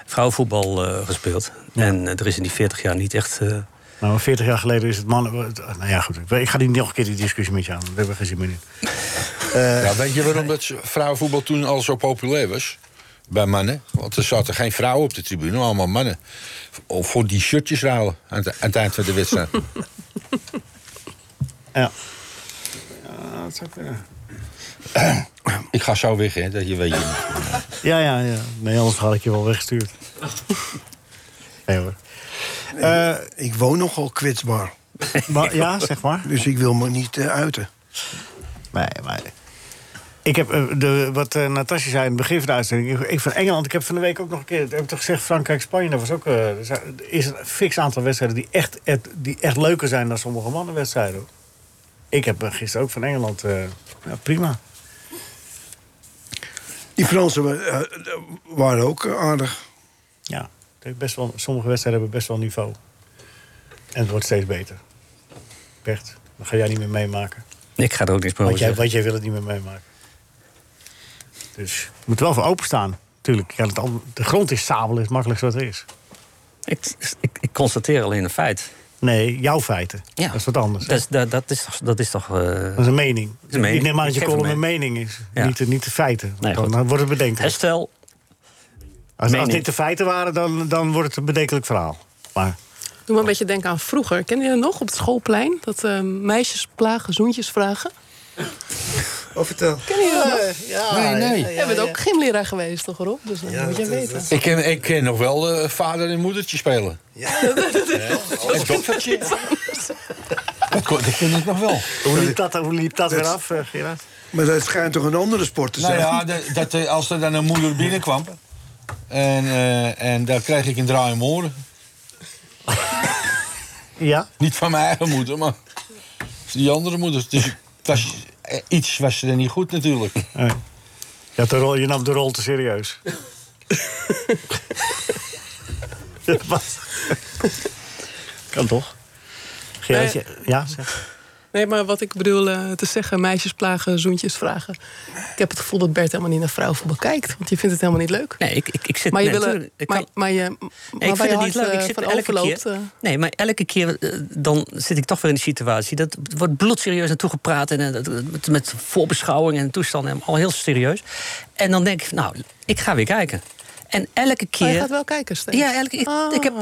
S5: vrouwenvoetbal eh, gespeeld. En eh, er is in die 40 jaar niet echt... eh,
S3: Nou, 40 jaar geleden is het mannen... het- Nou ja, goed. ik- Ik ga die nog een keer die discussie met je aan. We hebben geen zin meer in.
S7: ja, weet je waarom dat vrouwenvoetbal toen al zo populair was? Bij mannen. Want er zaten geen vrouwen op de tribune, allemaal mannen. Of voor die shirtjes ruilen aan het, aan het eind van de wedstrijd.
S3: Ja. Ja, dat zou kunnen.
S7: ik ga zo weg, hè, dat je weet. je-
S3: Ja, ja, ja. Nee, anders had ik je wel weggestuurd. Nee hoor. Eh,
S4: Ik woon nogal kwetsbaar,
S3: maar, ja, zeg maar.
S4: dus ik wil me niet eh, uiten.
S3: Nee, maar... Ik heb, eh, de, wat eh, Natasja zei in het begin van de uitzending... Ik, ik van Engeland, ik heb van de week ook nog een keer... dat heb ik toch gezegd, Frankrijk-Spanje... dat was ook, eh, er zijn- er is een fix aantal wedstrijden... Die echt, et- die echt leuker zijn dan sommige mannenwedstrijden. hoor. Ik heb eh, gisteren ook van Engeland... eh, ja, prima.
S4: Die Fransen wa- eh, waren ook eh, aardig.
S3: Ja, ik denk best wel, sommige wedstrijden hebben best wel niveau. En het wordt steeds beter. Bert, dat ga jij niet meer meemaken.
S5: eh, ik ga er ook niks meer
S3: Want
S5: over
S3: jij,
S5: zeggen.
S3: want jij wil het niet meer meemaken. Dus je moet er wel voor openstaan. Tuurlijk, ja, het al- de grond is sabel, is het makkelijkste wat er is.
S5: Ik, ik, ik constateer alleen een feit.
S3: Nee, jouw feiten.
S5: Ja.
S3: Dat is wat anders.
S5: Dat is, dat, dat is toch... Dat is toch eh,
S3: dat is een mening.
S5: een mening.
S3: Ik neem aan dat je
S5: Ik geef
S3: column
S5: een
S3: een mening is.
S5: Ja.
S3: Niet, de, niet de feiten.
S5: Nee,
S3: dan
S5: goed.
S3: dan wordt het bedenkelijk.
S5: herstel,
S3: Als, als
S5: mening.
S3: dit de feiten waren, dan, dan wordt het een bedenkelijk verhaal. Maar
S8: Doe me een beetje denken aan vroeger. Ken je dat nog op het schoolplein? Dat eh, meisjes plagen, zoentjes vragen.
S6: Oh, vertel.
S8: Ken je dat nog?
S7: Nee, nee.
S8: Jij bent ook gymleraar geweest, toch Rob? Dus dat moet jij weten.
S7: Ik ken, ik ken nog wel eh, vader en moedertje spelen. Ja. En doffertje. Dat kon, dat ken ik nog wel.
S3: hoe liep dat, hoe liep dat weer
S4: dat-
S3: af, eh, Gerard?
S4: Maar dat schijnt toch een andere sport te
S7: Nou
S4: zijn?
S7: ja, de- dat, eh, als er dan een moeder binnenkwam... en, eh, en daar kreeg ik een draai om oren.
S3: Ja?
S7: Niet van mijn eigen moeder, maar van die andere moeder. Dus het was, eh, iets was er niet goed natuurlijk.
S3: Ja, de rol, je nam de rol te serieus. Wat? kan toch? Gerard,
S8: Nee.
S3: je-
S5: Eh,
S3: ja, zeg.
S8: Nee, maar wat ik bedoel eh, te zeggen, meisjes plagen, zoentjes vragen. Ik heb het gevoel dat Bert helemaal niet naar vrouwenvoetbal kijkt. Want je vindt het helemaal niet leuk.
S5: Nee, ik, ik, ik zit...
S8: Maar je
S5: nee,
S8: wil...
S5: natuurlijk, ik
S8: maar,
S5: kan-
S8: maar je,
S5: Nee,
S8: maar waar
S5: ik vind
S8: je
S5: het niet
S8: hart,
S5: leuk. Ik
S8: eh,
S5: zit
S8: van
S5: elke
S8: overloopt,
S5: keer,
S8: eh,
S5: nee, maar elke keer eh, dan zit ik toch weer in de situatie. Dat er wordt bloedserieus naartoe gepraat. En, eh, dat- met, met voorbeschouwing en toestanden. en Al heel serieus. En dan denk ik, nou, ik ga weer kijken. En elke keer...
S8: Maar Oh, je gaat wel kijken steeds.
S5: Ja, elke ik,
S8: Ah.
S5: ik heb...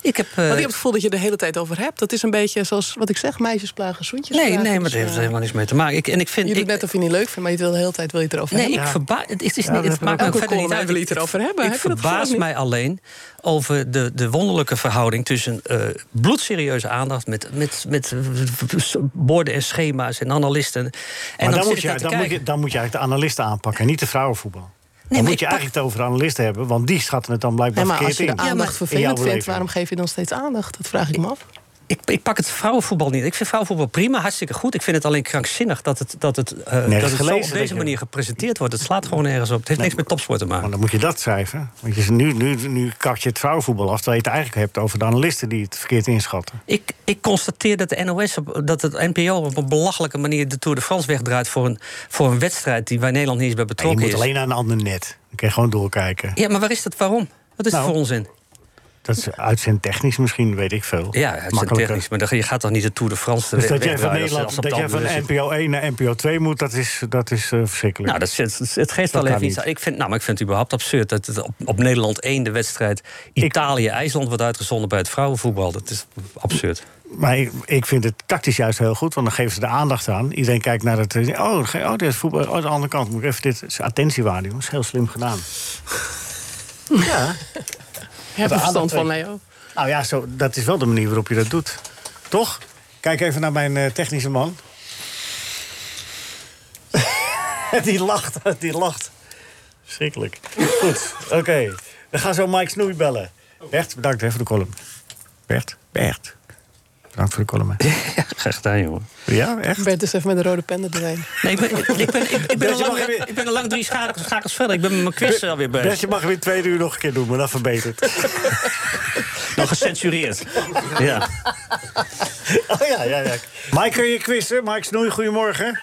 S5: Ik heb eh,
S8: Want je hebt het gevoel dat je er de hele tijd over hebt. Dat is een beetje zoals wat ik zeg, meisjes plagen, zoentjes
S5: nee,
S8: vragen.
S5: nee, maar dat
S8: Dus,
S5: heeft er
S8: eh,
S5: helemaal niks mee te maken. Ik, en ik vind...
S8: Je doet
S5: ik-
S8: net of je het niet leuk vindt, maar je wil de hele tijd wil je het erover
S5: Nee,
S8: hebben.
S5: ik verbaas. Het, is, het, is
S3: Ja,
S5: niet-
S3: dat
S5: het
S3: heb
S5: maakt
S3: ik
S5: me
S8: ook.
S5: ook verder
S8: Elke
S5: niet uit.
S8: column wil het
S5: Ik-
S8: erover hebben.
S5: Ik
S8: Heb je dat gevoel
S5: verbaas
S8: niet?
S5: mij alleen over de, de wonderlijke verhouding tussen eh, bloedserieuze aandacht met, met, met eh, borden en schema's en analisten. En
S3: Maar dan,
S5: zit
S3: moet
S5: ik
S3: je,
S5: daar te
S3: dan, moet je,
S5: kijken.
S3: dan moet je eigenlijk de analisten aanpakken, niet de vrouwenvoetbal. dan
S5: maar
S3: moet
S5: ik
S3: je
S5: pak-
S3: eigenlijk het over de analisten hebben, want die schatten het dan blijkbaar
S8: Nee, maar als
S3: verkeerd
S8: je de
S3: in.
S5: Ja, maar-
S8: aandacht
S5: in
S3: jouw
S8: vervelend vindt,
S3: beleving.
S8: waarom geef je dan steeds aandacht? Dat vraag ik me af.
S5: Ik, ik pak het vrouwenvoetbal niet. Ik vind vrouwenvoetbal prima, hartstikke goed. Ik vind het alleen krankzinnig dat het, dat het, eh, dat het zo
S3: gelezen,
S5: op
S3: denk
S5: deze
S3: je.
S5: manier gepresenteerd wordt. Het slaat gewoon nergens op. Het heeft niks met topsport te
S3: Maar
S5: maken.
S3: dan moet je dat schrijven. Want je, nu, nu, nu kak je het vrouwenvoetbal af, terwijl je het eigenlijk hebt over de analisten die het verkeerd inschatten.
S5: Ik, ik constateer dat de NOS, op- dat het NPO op een belachelijke manier de Tour de France wegdraait voor een, voor een wedstrijd die waar Nederland niet eens bij
S3: En je
S5: betrokken
S3: moet
S5: is.
S3: alleen naar een ander net. Dan kun je gewoon doorkijken.
S5: Ja, maar waar is dat waarom? Wat is
S3: Nou,
S5: dat voor onzin?
S3: Dat is uitzendtechnisch misschien, weet ik veel.
S5: Ja, het is een
S3: Makkelijker.
S5: technisch, maar dan- je gaat toch niet de Tour de France
S3: Dus
S5: weg-
S3: dat jij van
S5: wegdraaien als- als
S3: Nederland,
S5: op
S3: dat jij van
S5: tandwielen zit.
S3: NPO 1 naar NPO 2 moet, dat is, dat is eh, verschrikkelijk.
S5: Nou, dat, is- het, het geeft wel
S3: Dat
S5: even
S3: kan
S5: iets.
S3: niet.
S5: Ik vind, nou, maar ik vind het überhaupt absurd dat het op, op Nederland 1 de wedstrijd Italië-IJsland wordt uitgezonden bij het vrouwenvoetbal. Dat is absurd.
S3: Maar ik, ik vind het tactisch juist heel goed, want dan geven ze de aandacht aan. Iedereen kijkt naar het. eh, Oh, ge- oh dit is voetbal. Oh, de andere kant moet ik even dit. is Attentiewaarde, jongens. Heel slim gedaan. ja.
S8: Heb er verstand van,
S3: aandacht-
S8: Leo.
S3: Nou ja, zo, dat is wel de manier waarop je dat doet. Toch? Kijk even naar mijn eh, technische man. die lacht, die lacht. Schrikkelijk. Goed, oké. We gaan zo Mike Snoei bellen. Bert, bedankt hè, voor de column. Bert, Bert. Bedankt voor de column. hè.
S5: Graag gedaan, jongen.
S3: Ja, echt?
S8: Bert is dus even met de rode pen er doorheen.
S5: Nee, ik ben, ik ben, ik ben, ik ben, al,
S3: Dus mag
S5: lang,
S3: weer-
S5: ik ben al lang drie schakels, schakels verder. Ik ben met mijn quiz alweer
S3: Bert,
S5: bezig.
S3: je mag weer twee uur nog een keer doen, maar dan verbeterd.
S5: Nog gecensureerd. Ja.
S3: oh ja, ja, ja. Mike, kun je quizzen? Mike Snoei, goedemorgen.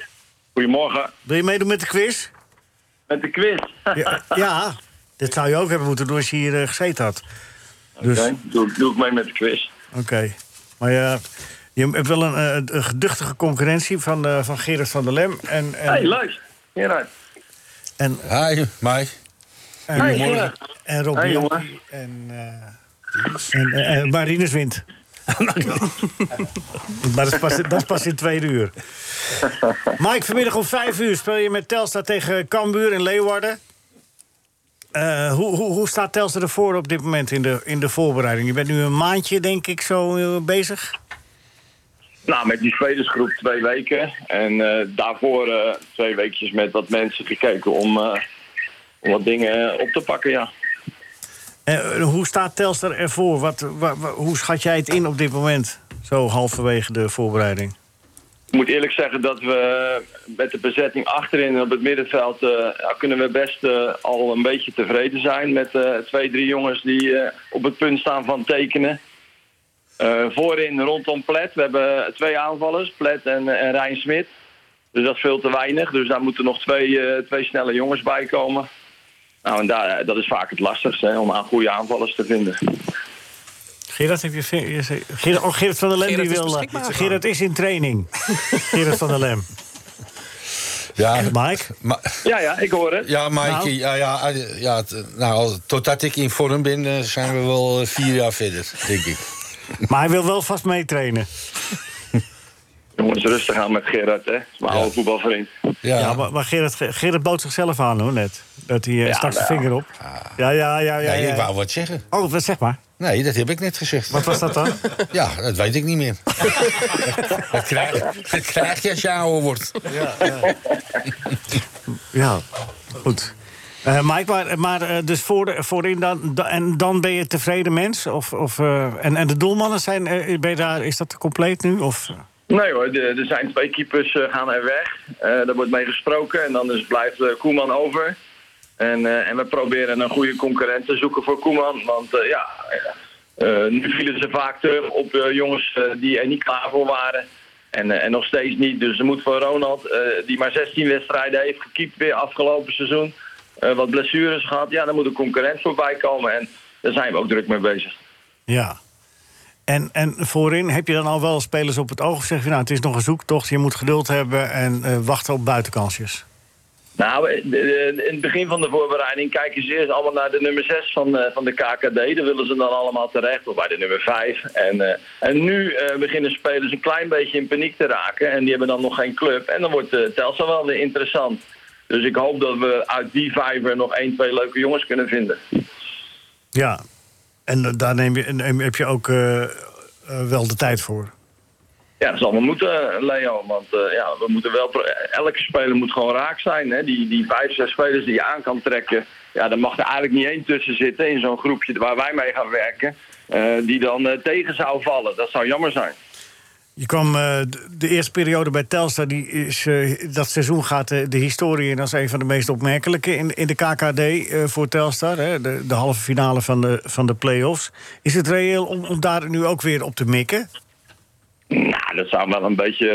S9: Goedemorgen.
S3: Wil je meedoen met de quiz?
S9: Met de quiz.
S3: Ja, ja. dit zou je ook hebben moeten doen als je hier eh, gezeten had. Dus,
S9: Oké,
S3: oké.
S9: doe, doe ik mee met de quiz.
S3: Maar ja, je hebt wel een, eh, een geduchtige concurrentie van, eh, van Gerard van der Lem. En, en,
S9: hey, leuk. Gerard.
S3: en,
S7: Hi, Mike.
S3: en,
S9: Hey, Gerard.
S3: en Rob
S9: Hey,
S3: Bianchi
S9: jongen.
S3: en, eh, en, eh, eh, Marinus wint. maar dat is, pas, dat is pas in tweede uur. Mike, vanmiddag om vijf uur speel je met Telstra tegen Cambuur in Leeuwarden. Eh, hoe, hoe, hoe staat Telstra ervoor op dit moment in de, in de voorbereiding? Je bent nu een maandje, denk ik, zo eh, bezig.
S9: Nou, met die spelersgroep twee weken. En eh, daarvoor eh, twee weekjes met wat mensen gekeken om, eh, om wat dingen op te pakken, ja.
S3: Eh, hoe staat Telstra ervoor? Wat, wa- wa- hoe schat jij het in op dit moment? Zo halverwege de voorbereiding.
S9: Ik moet eerlijk zeggen dat we met de bezetting achterin op het middenveld... eh, ja, kunnen we best eh, al een beetje tevreden zijn met eh, twee, drie jongens die eh, op het punt staan van tekenen. Eh, voorin rondom Plet. We hebben twee aanvallers, Plet en, en Rijn Smit. Dus dat is veel te weinig. Dus daar moeten nog twee, eh, twee snelle jongens bij komen. Nou, en daar, dat is vaak het lastigste, hè, om aan goede aanvallers te vinden.
S3: Gerard, heb je vin- je zei- Gerard, oh, Gerard van der Lem
S8: Gerard
S3: die
S8: is
S3: wil. eh,
S8: beschikbaar.
S3: Gerard is in training. Gerard van der Lem.
S7: Ja,
S3: Mike?
S7: Ma-
S9: Ja, ja, ik hoor het.
S7: ja Mike,
S3: Nou.
S7: ja, ja, eh, ja, t- nou, totdat ik in vorm ben, eh, zijn we wel eh, vier jaar verder, denk ik.
S3: Maar hij wil wel vast meetrainen.
S9: Jongens, rustig aan met Gerard, hè. Mijn oude voetbalvriend.
S7: Ja,
S3: Ja, maar, maar Gerard, Gerard bood zichzelf aan hoor net. Dat hij eh, stak zijn
S9: nou.
S3: vinger op. Ja, ja, ja, ja.
S7: nee,
S3: ja.
S7: ik Ah. wou wat zeggen.
S3: Oh, wat zeg maar.
S7: Nee, dat heb ik net gezegd.
S3: Wat was dat dan?
S7: Ja, dat weet ik niet meer. dat, krijg, dat krijg je als je ouder wordt.
S3: ja, goed. Eh, Mike, maar, maar eh, dus voor de, voorin dan, da- en dan ben je tevreden mens? Of, of, eh, en, en de doelmannen zijn, eh, ben je daar, is dat compleet nu? Of,
S9: Nee hoor, de- er zijn twee keepers eh, gaan er weg. Eh, daar wordt mee gesproken en dan is, blijft eh, Koeman over. En, eh, en we proberen een goede concurrent te zoeken voor Koeman. Want eh, ja, eh, nu vielen ze vaak terug op eh, jongens eh, die er niet klaar voor waren. En, eh, en nog steeds niet. Dus er moet voor Ronald, eh, die maar 16 wedstrijden heeft gekiept weer afgelopen seizoen. eh, wat blessures gehad. Ja, daar moet een concurrent voorbij komen. En daar zijn we ook druk mee bezig.
S3: Ja. En, en voorin heb je dan al wel spelers op het oog? Of zeg je, nou, het is nog een zoektocht, je moet geduld hebben en eh, wachten op buitenkansjes?
S9: Nou, eh, eh, in het begin van de voorbereiding kijken ze eerst allemaal naar de nummer 6 van, eh, van de KKD. Daar willen ze dan allemaal terecht, of bij de nummer 5. En, eh, en nu eh, beginnen spelers een klein beetje in paniek te raken. En die hebben dan nog geen club. En dan wordt eh Telstra wel weer interessant. Dus ik hoop dat we uit die vijver nog één, twee leuke jongens kunnen vinden.
S3: Ja. En eh, daar neem je, neem- heb je ook eh, eh, wel de tijd voor.
S9: Ja, dat zal wel moeten, Leo. Want eh, ja, we moeten wel pro- elke speler moet gewoon raak zijn. Hè? Die, die vijf, zes spelers die je aan kan trekken. Ja, daar mag er eigenlijk niet één tussen zitten in zo'n groepje waar wij mee gaan werken. eh, die dan eh, tegen zou vallen. Dat zou jammer zijn.
S3: Je kwam eh, de- de eerste periode bij Telstra, die is, eh, dat seizoen gaat eh, de historie in als een van de meest opmerkelijke in, in de KKD eh, voor Telstar. Hè, de, de halve finale van de, van de play-offs. Is het reëel om, om daar nu ook weer op te mikken?
S9: Nou, dat zou wel een beetje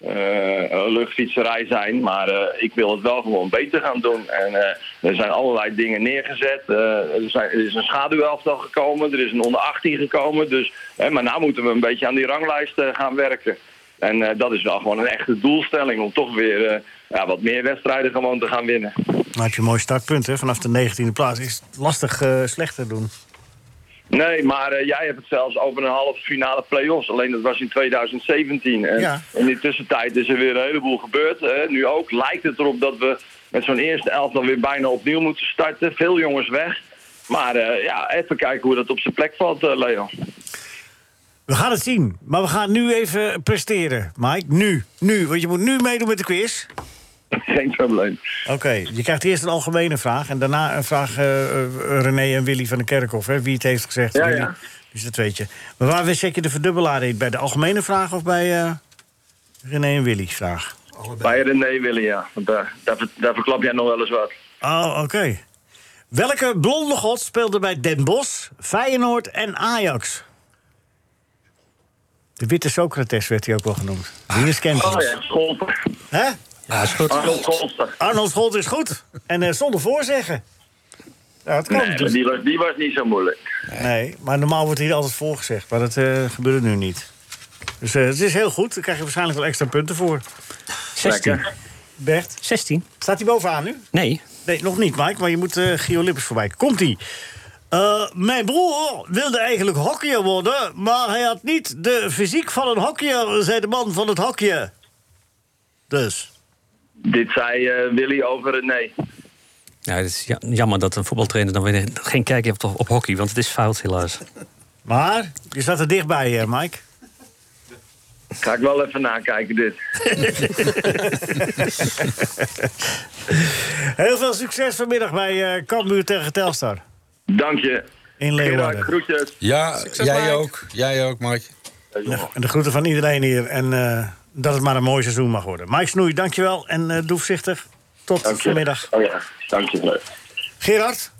S9: eh, eh, luchtfietserij zijn. Maar eh, ik wil het wel gewoon beter gaan doen. En eh, er zijn allerlei dingen neergezet. Eh, er, zijn, er is een schaduwelftal gekomen. Er is een onder 18 gekomen. Dus, hè, maar nu moeten we een beetje aan die ranglijst eh, gaan werken. En eh, dat is wel gewoon een echte doelstelling. Om toch weer eh, ja, wat meer wedstrijden gewoon te gaan winnen.
S3: Dan heb je een mooi startpunt hè, vanaf de 19e plaats. Is het lastig eh, slecht te doen.
S9: Nee, maar eh, jij hebt het zelfs over een halve finale play-offs. Alleen dat was in 2017. En
S3: Ja.
S9: in de tussentijd is er weer een heleboel gebeurd. hè. nu ook lijkt het erop dat we met zo'n eerste elftal weer bijna opnieuw moeten starten. Veel jongens weg. Maar eh, ja, even kijken hoe dat op zijn plek valt, eh, Leon.
S3: We gaan het zien, maar we gaan nu even presteren, Mike. Nu, nu, want je moet nu meedoen met de quiz.
S9: Geen probleem.
S3: Oké, je krijgt eerst een algemene vraag en daarna een vraag eh, eh, René en Willy van de Kerkhof. Hè, wie het heeft gezegd.
S9: Ja,
S3: Willy.
S9: ja.
S3: Dus dat weet je. Maar waar zet je de verdubbelaar in? Bij de algemene vraag of bij eh René en Willy vraag?
S9: Bij René willen, ja. Want daar, daar, ver- daar verklap jij nog wel eens wat.
S3: Oh, oké. Welke blonde god speelde bij Den Bosch, Feyenoord en Ajax? De witte Socrates werd hij ook wel genoemd. Die is kent
S9: Oh
S3: hem.
S9: ja, Ah, Scholper.
S3: Hè?
S5: Ja, is goed.
S9: Arnold Scholper.
S3: Arnold Scholt is goed. En eh, zonder voorzeggen. Ja, het kan
S9: Nee, maar
S3: natuurlijk.
S9: die was, die was niet zo moeilijk.
S3: Nee, maar normaal wordt hier altijd voorgezegd. Maar dat eh, gebeurde nu niet. Dus eh, het is heel goed. Daar krijg je waarschijnlijk wel extra punten voor.
S5: 16.
S3: Bert,
S5: 16?
S3: staat hij bovenaan nu?
S5: Nee.
S3: Nee, nog niet, Mike. Maar je moet eh Gio Lippers voorbij. Komt-ie. Eh, mijn broer wilde eigenlijk hockeyer worden... maar hij had niet de fysiek van een hockeyer... zei de man van het hokje. Dus.
S9: Dit zei eh, Willy over René.
S5: Ja, het is ja- jammer dat een voetbaltrainer dan weer geen kijk heeft op, op hockey, want het is fout helaas.
S3: Maar je staat er dichtbij, eh, Mike.
S9: Ga ik wel even nakijken dit.
S3: Heel veel succes vanmiddag bij eh Cambuur tegen Telstar.
S9: Dank je.
S3: In
S9: Gerard,
S3: Leeuwarden.
S9: groetjes.
S7: Ja, jij
S8: Mike.
S7: ook. Jij ook, Mike.
S3: En de groeten van iedereen hier. En eh, dat het maar een mooi seizoen mag worden. Mike Snoei, dankjewel. En eh doe voorzichtig. Tot
S9: Dank je.
S3: vanmiddag.
S9: Oh ja, dank je. leuk.
S3: Gerard,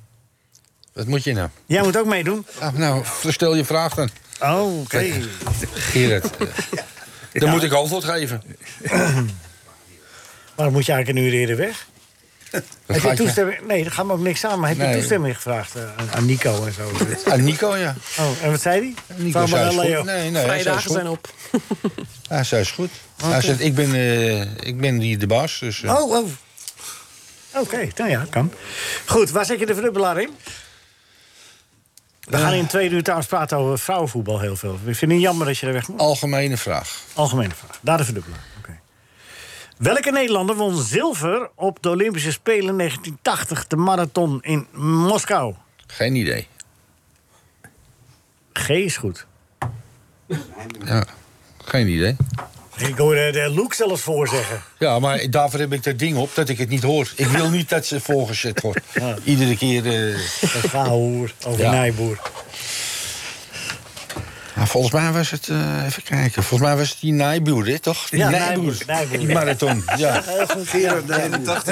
S7: Wat moet je nou?
S3: jij moet ook meedoen.
S7: Ah, nou, stel je vraag dan.
S3: Oh, oké.
S7: Gerrit. eh, Dan moet ik antwoord geven.
S3: Maar moet je eigenlijk een uur eerder weg?
S7: Dat
S3: Heb je
S7: gaat je-
S3: toestemming? Nee, daar gaan we ook niks aan. Maar heb je
S7: Nee.
S3: toestemming gevraagd eh, aan- aan Nico en zo?
S7: Aan Nico, ja.
S3: Oh, en wat zei hij?
S7: Nico
S3: Vraag maar
S7: zei
S3: aan
S7: is
S3: Leo.
S7: goed. Nee, nee, hij zei
S8: Vrijdagen
S7: is goed.
S8: zijn op.
S7: Hij zei is goed. Hij zegt, ik ben, eh, ik ben hier de baas, dus... eh,
S3: Oh, oh. Oké, nou ja, kan. Goed, waar zet je de verdubbelaar in? We
S7: Eh.
S3: gaan in het tweede uur trouwens praten over vrouwenvoetbal heel veel. Ik vind het jammer dat je er weg moet.
S7: Algemene vraag.
S3: Algemene vraag. Daar de verdubbelaar. Oké. Welke Nederlander won zilver op de Olympische Spelen 1980, de marathon in Moskou?
S7: Geen idee.
S3: G is goed.
S7: Ja. Geen idee.
S3: Ik hoorde de Loek zelfs voorzeggen.
S7: Ja, maar daarvoor heb ik dat ding op dat ik het niet hoor. Ik wil niet dat ze volgezet wordt. Iedere keer... eh,
S3: Dat hoer over
S7: Ja.
S3: Nijboer.
S7: Nou, volgens mij was het... eh, even kijken. Volgens mij was het die Nijboer, hè, toch? Die
S3: Ja,
S7: Nijboer.
S3: Nijboer, Nijboer.
S7: Die marathon, ja.
S4: Gerard Nijboer.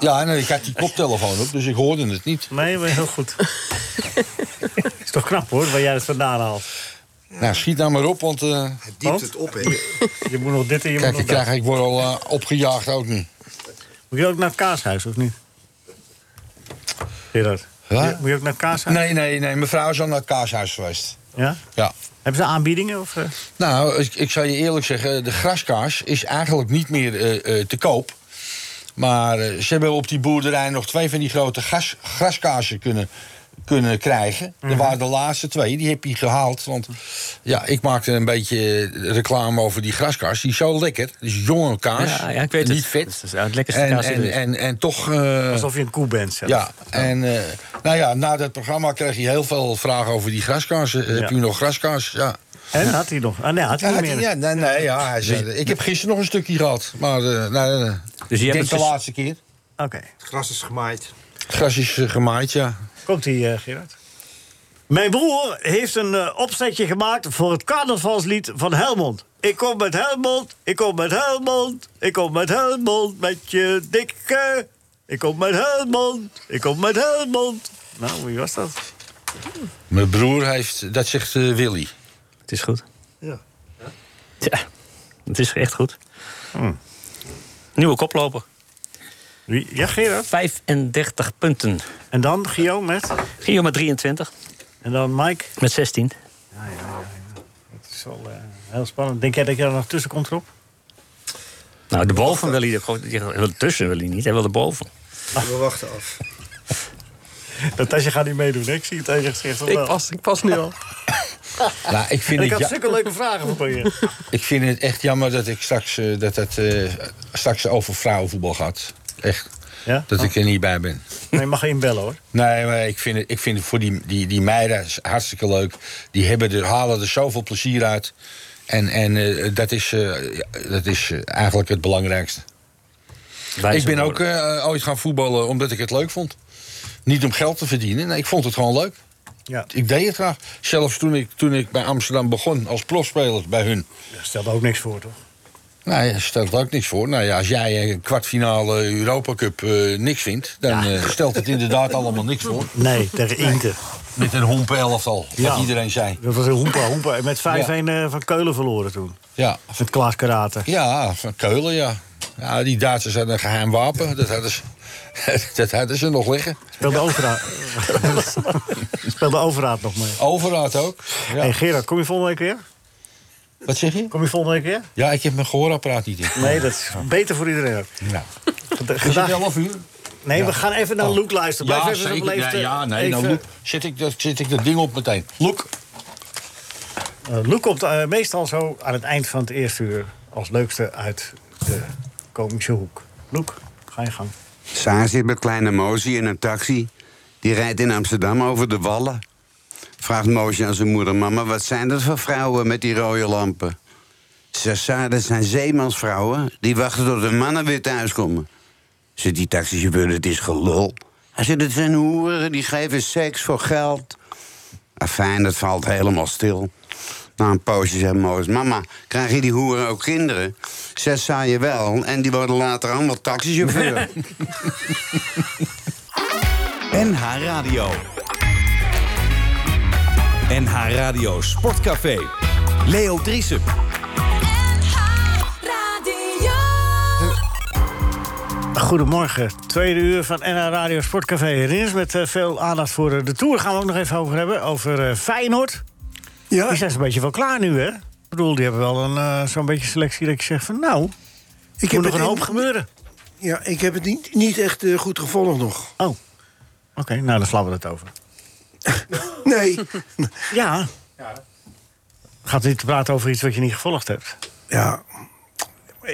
S7: Ja, en ik had die koptelefoon op, dus ik hoorde het niet.
S3: Nee, maar heel goed. is toch knap hoor, waar jij het vandaan haalt.
S7: Nou, schiet nou maar op, want eh,
S6: Het diept het op, hè.
S3: Oh. Je moet nog dit en je
S7: kijk,
S3: moet
S7: ik,
S3: nog dat.
S7: krijg, ik word al eh, opgejaagd ook nu.
S3: Moet je ook naar het kaashuis of niet? Gerard.
S7: Wat?
S3: Moet je ook naar het kaashuis?
S7: Nee, nee, nee. Mevrouw is al naar het kaashuis geweest.
S3: Ja?
S7: Ja.
S3: Hebben ze aanbiedingen? Of, eh?
S7: Nou, ik, ik zal je eerlijk zeggen, de graskaas is eigenlijk niet meer eh, eh, te koop. Maar eh, ze hebben op die boerderij nog twee van die grote gas, graskaasen kunnen, kunnen krijgen.
S5: Mhm.
S7: Dat waren de laatste twee, die heb je gehaald. Want ja, ik maakte een beetje reclame over die graskaas. Die is zo lekker. Die is jonge kaas.
S5: Ja, ja, ik weet het.
S7: niet vet.
S5: Dat is het lekkerste
S7: en,
S5: kaas die er
S7: en,
S5: is.
S7: en, en toch... eh,
S3: Alsof je een koe bent zelf.
S7: ja, en eh, nou ja, na dat programma kreeg je heel veel vragen over die graskaas. Heb je nog graskaas? Ja.
S3: En had hij nog? Ah, nee, had hij
S7: Ja,
S3: niet
S7: had
S3: meer.
S7: hij- ja, nee, nee, ja, hij zei, ik heb gisteren nog een stukje gehad. Maar eh nee, nee, nee.
S5: Dus je
S7: Ik
S5: hebt
S7: denk
S5: het
S7: de
S5: dus-
S7: laatste keer.
S3: Oké.
S6: Het gras is gemaaid.
S7: Het gras is eh, gemaaid, ja.
S3: Komt ie, eh, Gerard? Mijn broer heeft een eh, opzetje gemaakt voor het carnavalslied van Helmond. Ik kom met Helmond, ik kom met Helmond, ik kom met Helmond, met je dikke. Ik kom met Helmond, ik kom met Helmond. Nou, wie was dat?
S7: Mijn broer heeft, dat zegt eh, Willy.
S5: Het is goed.
S3: Ja.
S5: Ja, het is echt goed. Hmm. Nieuwe koploper.
S3: Wie? Ja, Gerard.
S5: 35 punten.
S3: En dan Gio met?
S5: Gio met 23,
S3: En dan Mike.
S5: met 16.
S3: Dat is wel eh, heel spannend. Denk jij dat je er nog tussen komt, Rob?
S5: Nou, de boven wil hij er gewoon. die wil- Tussen wil hij niet, hij wil de boven.
S6: We wachten af.
S3: Dat tasje gaat niet meedoen, hè? ik zie het aan je gezicht. of
S8: Ik
S3: wel?
S8: pas, ik pas nu al.
S7: Nou, ik vind
S3: En ik
S7: het
S3: had
S7: ja-
S3: zulke leuke vragen voor je.
S7: Ik vind het echt jammer dat ik straks, eh, dat het, eh, straks over vrouwenvoetbal gaat. Echt.
S3: Ja? Oh.
S7: Dat ik er niet bij ben.
S3: Nee, je mag je inbellen hoor.
S7: Nee, maar ik vind het, ik vind het voor die, die, die meiden is hartstikke leuk. Die hebben er, halen er zoveel plezier uit. En, en eh, dat is, eh, ja, dat is eh, eigenlijk het belangrijkste. Ik ben ook eh, ooit gaan voetballen omdat ik het leuk vond. Niet om geld te verdienen. Nee, ik vond het gewoon leuk.
S3: Ja.
S7: Ik deed het graag. Zelfs toen ik, toen ik bij Amsterdam begon als profspeler bij hun.
S3: Daar stelde ook niks voor, toch?
S7: Nou, ja, stelt ook niks voor. Nou ja, als jij eh, kwartfinale Europa Cup eh, niks vindt, dan eh, stelt het inderdaad allemaal niks voor.
S3: Nee, tegen Inter.
S7: Met een hompe elftal,
S3: Ja.
S7: wat iedereen zei.
S3: Dat was een hoempa hoempa. Met 5-1 eh, van Keulen verloren toen.
S7: Ja,
S3: Met Klaas Karate.
S7: ja van Keulen, ja. ja. Die Duitsers hadden een geheim wapen. Dat hadden ze, dat hadden ze nog liggen.
S3: Speelde overraad. Speelde overraad nog mee.
S7: Overraad ook. Ja.
S3: Hey Gerard, kom je volgende week weer?
S7: Wat zeg je?
S3: Kom je volgende week weer?
S7: Ja, ik heb mijn gehoorapparaat niet in.
S3: Nee, dat is beter voor iedereen ook.
S7: Ja. Is het
S3: Gedag.
S7: 11 uur?
S3: Nee, we gaan even naar Luke luisteren. Blijf even
S7: zeker.
S3: zo beleefd,
S7: Oh. Ja,
S3: eh,
S7: ja, nee,
S3: even-
S7: nou, Loek, zit, ik, dat- zit ik dat ding op meteen. Loek,
S3: Eh, Lou komt eh, meestal zo aan het eind van het eerste uur als leukste uit de komische hoek. Loek, ga je gang.
S11: Saar zit met kleine Mozi in een taxi. Die rijdt in Amsterdam over de wallen. Vraagt Mozi aan zijn moeder: Mama, wat zijn dat voor vrouwen met die rode lampen? Ze Saar, dat zijn zeemansvrouwen die wachten tot hun mannen weer thuiskomen. Zit die taxichauffeur, het is gelul. Hij zegt: Het zijn hoeren, die geven seks voor geld. Afijn, dat valt helemaal stil. Na een poosje zegt Moos: Mama, krijg je die hoeren ook kinderen? Zes zei je wel, en die worden later allemaal taxichauffeur.
S2: NH Radio. NH Radio Sportcafé. Leo Driesen.
S1: Radio.
S3: Goedemorgen, tweede uur van NH Radio Sportcafé Rins. Met eh, veel aandacht voor eh, de Tour gaan we ook nog even over hebben. Over eh, Feyenoord.
S4: Ja,
S3: Die zijn ze een beetje wel klaar nu, hè? Ik bedoel, die hebben wel een, eh, zo'n beetje selectie dat ik zeg van... nou,
S4: ik
S3: moet
S4: heb,
S3: nog
S4: het
S3: een hoop
S4: in-
S3: gebeuren.
S4: ja, ik heb het niet, niet echt eh, goed gevolgd nog.
S3: Oh, oké, nou dan slaan we dat over.
S4: Nee.
S3: Ja. Gaat het niet praten over iets wat je niet gevolgd hebt?
S4: ja.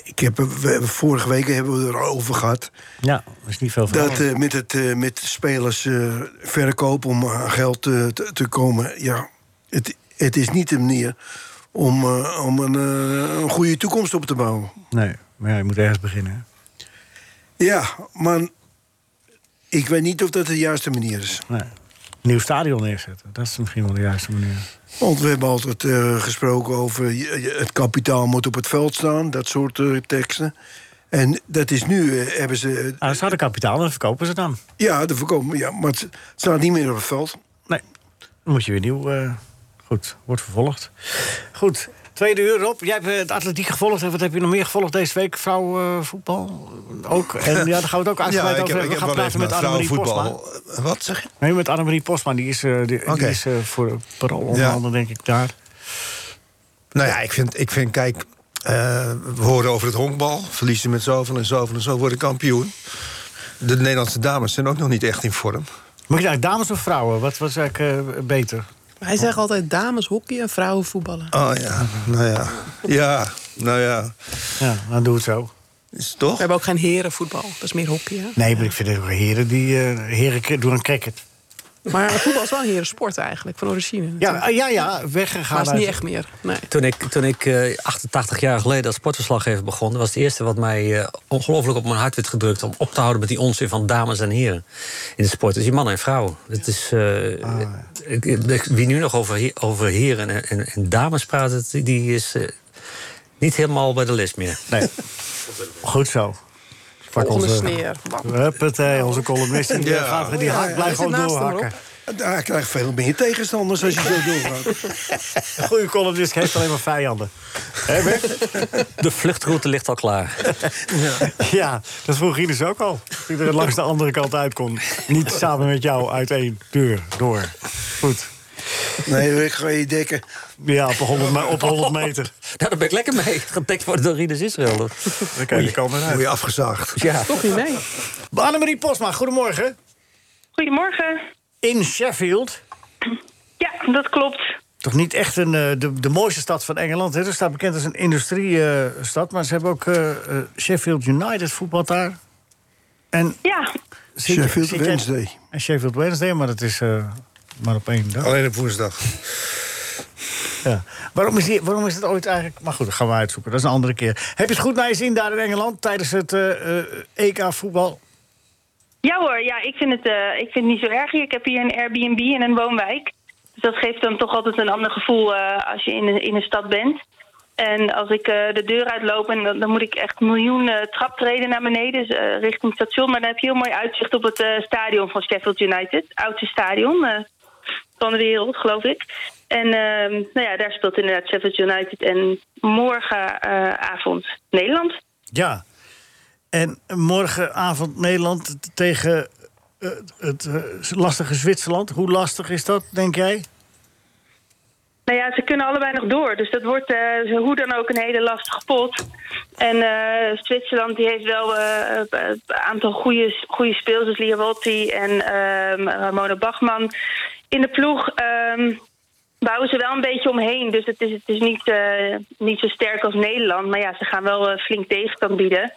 S4: Ik heb, eh, we hebben, vorige week hebben we het erover gehad.
S3: Ja, er is niet veel van.
S4: Dat eh, met het eh, met spelers eh, verkopen om aan geld eh, te, te komen. Ja, het, het is niet de manier om, eh, om een, eh, een goede toekomst op te bouwen.
S3: Nee, maar ja, je moet ergens beginnen. hè?
S4: Ja, maar ik weet niet of dat de juiste manier is.
S3: Nee. Nieuw stadion neerzetten, dat is misschien wel de juiste manier.
S4: Want we hebben altijd eh, gesproken over je- je- het kapitaal moet op het veld staan, dat soort eh, teksten. En dat is nu, eh, hebben ze.
S3: Ah, ze hadden kapitaal, dan verkopen ze het dan.
S4: ja, de voorkomen, ja, maar het staat niet meer op het veld.
S3: Nee, dan moet je weer nieuw. eh, goed, wordt vervolgd. Goed, tweede uur op. Jij hebt eh, het atletiek gevolgd. En wat heb je nog meer gevolgd deze week? Vrouwenvoetbal ook. En ja, daar gaan we het ook uitgebreid over hebben. We gaan praten met Annemarie Postma.
S6: Wat zeg je?
S3: Nee, met Annemarie Postma. Die is, eh, die,
S6: Oké.
S3: die is eh, voor parool onderhandel, denk ik, daar.
S6: Nou ja, ik vind, ik vind kijk, eh, we horen over het honkbal. Verliezen met zoveel en zoveel en zo worden kampioen. De Nederlandse dames zijn ook nog niet echt in vorm.
S3: Moet je nou dames of vrouwen? Wat was eigenlijk eh, beter?
S8: Hij zegt altijd dames hockey en vrouwen voetballen.
S6: Oh ja, nou ja. Ja, nou ja.
S3: Ja, dan doe het zo.
S6: Is het toch?
S8: We hebben ook geen herenvoetbal, dat is meer hockey. Hè?
S3: Nee, maar ik vind het ook heren die eh, heren doen een cricket.
S8: Maar voetbal is wel een herensport eigenlijk, van origine.
S3: Ja,
S8: natuurlijk.
S3: ah, ja, ja,
S8: maar
S3: weggegaan.
S8: het is niet
S3: uit-
S8: echt meer. Nee.
S5: Toen ik, toen ik eh, 88 jaar geleden als sportverslaggever begon... was het eerste wat mij eh, ongelooflijk op mijn hart werd gedrukt... om op te houden met die onzin van dames en heren in de sport. Dus die mannen en vrouwen. Het is,
S3: Ah,
S5: eh, ik- ik- wie nu nog over, he- over heren en, en, en dames praat, het- die is eh, niet helemaal bij de les meer.
S3: Nee. Goed zo. Ik Pak
S8: Volgende
S3: onze,
S8: sneer. Bam.
S3: Huppatee, onze columnist. Die,
S6: Ja.
S3: gaat, die haakt
S8: hij
S3: blijft
S8: zit
S3: gewoon
S8: naast hem,
S3: doorhakken.
S4: Daar krijg je veel meer tegenstanders als je zo doorgaat.
S3: Een goede columnist heeft alleen maar vijanden. Hè, Bert?
S5: De vluchtroute ligt al klaar.
S3: Ja, dat vroeg Ines ook al. Dat ik er langs de andere kant uit kon. Niet samen met jou uit één deur door. Goed.
S4: Nee, ik ga je dekken.
S3: Ja, op 100, me- op 100 meter.
S5: Nou, daar ben ik lekker mee. Getekt worden door Rinus Israël.
S3: Dan kan je komen
S6: Word
S3: eruit.
S6: je afgezaagd.
S5: Ja.
S8: Toch niet mee.
S3: Annemarie Posma, goedemorgen.
S12: Goedemorgen.
S3: in Sheffield.
S13: Ja, dat klopt.
S3: Toch niet echt een, eh, de, de mooiste stad van Engeland. Hè? Dat staat bekend als een industriestad. maar ze hebben ook eh, eh, Sheffield United voetbal daar. En
S13: ja.
S4: Sheffield Wednesday.
S3: En Sheffield Wednesday, maar dat is eh, maar op één dag.
S14: Alleen op woensdag.
S3: Ja. Waarom, is die, waarom is het ooit eigenlijk... Maar goed, dat gaan we uitzoeken. Dat is een andere keer. Heb je het goed naar je zin daar in Engeland... tijdens het eh, eh, EK voetbal?
S13: Ja hoor, ja, ik, vind het, eh, ik vind het niet zo erg hier. Ik heb hier een Airbnb in een woonwijk. Dus dat geeft dan toch altijd een ander gevoel eh, als je in een, in een stad bent. En als ik eh, de deur uitloop, en dan, dan moet ik echt miljoenen traptreden naar beneden dus, eh, richting het station. Maar dan heb je heel mooi uitzicht op het eh, stadion van Sheffield United. Oudste stadion eh, van de wereld, geloof ik. En ehm, nou ja, daar speelt inderdaad Sheffield United. En eh, morgenavond Nederland.
S3: Ja. En morgenavond Nederland t- tegen eh, het eh, lastige Zwitserland. Hoe lastig is dat, denk jij?
S13: Nou ja, ze kunnen allebei nog door. Dus dat wordt eh, hoe dan ook een hele lastige pot. En eh, Zwitserland die heeft wel eh, een aantal goede, goede speelsters. Liavotti en ehm, Ramona Bachman. In de ploeg ehm, bouwen ze wel een beetje omheen. Dus het is, het is niet, eh, niet zo sterk als Nederland. Maar ja, ze gaan wel eh, flink tegenstand bieden.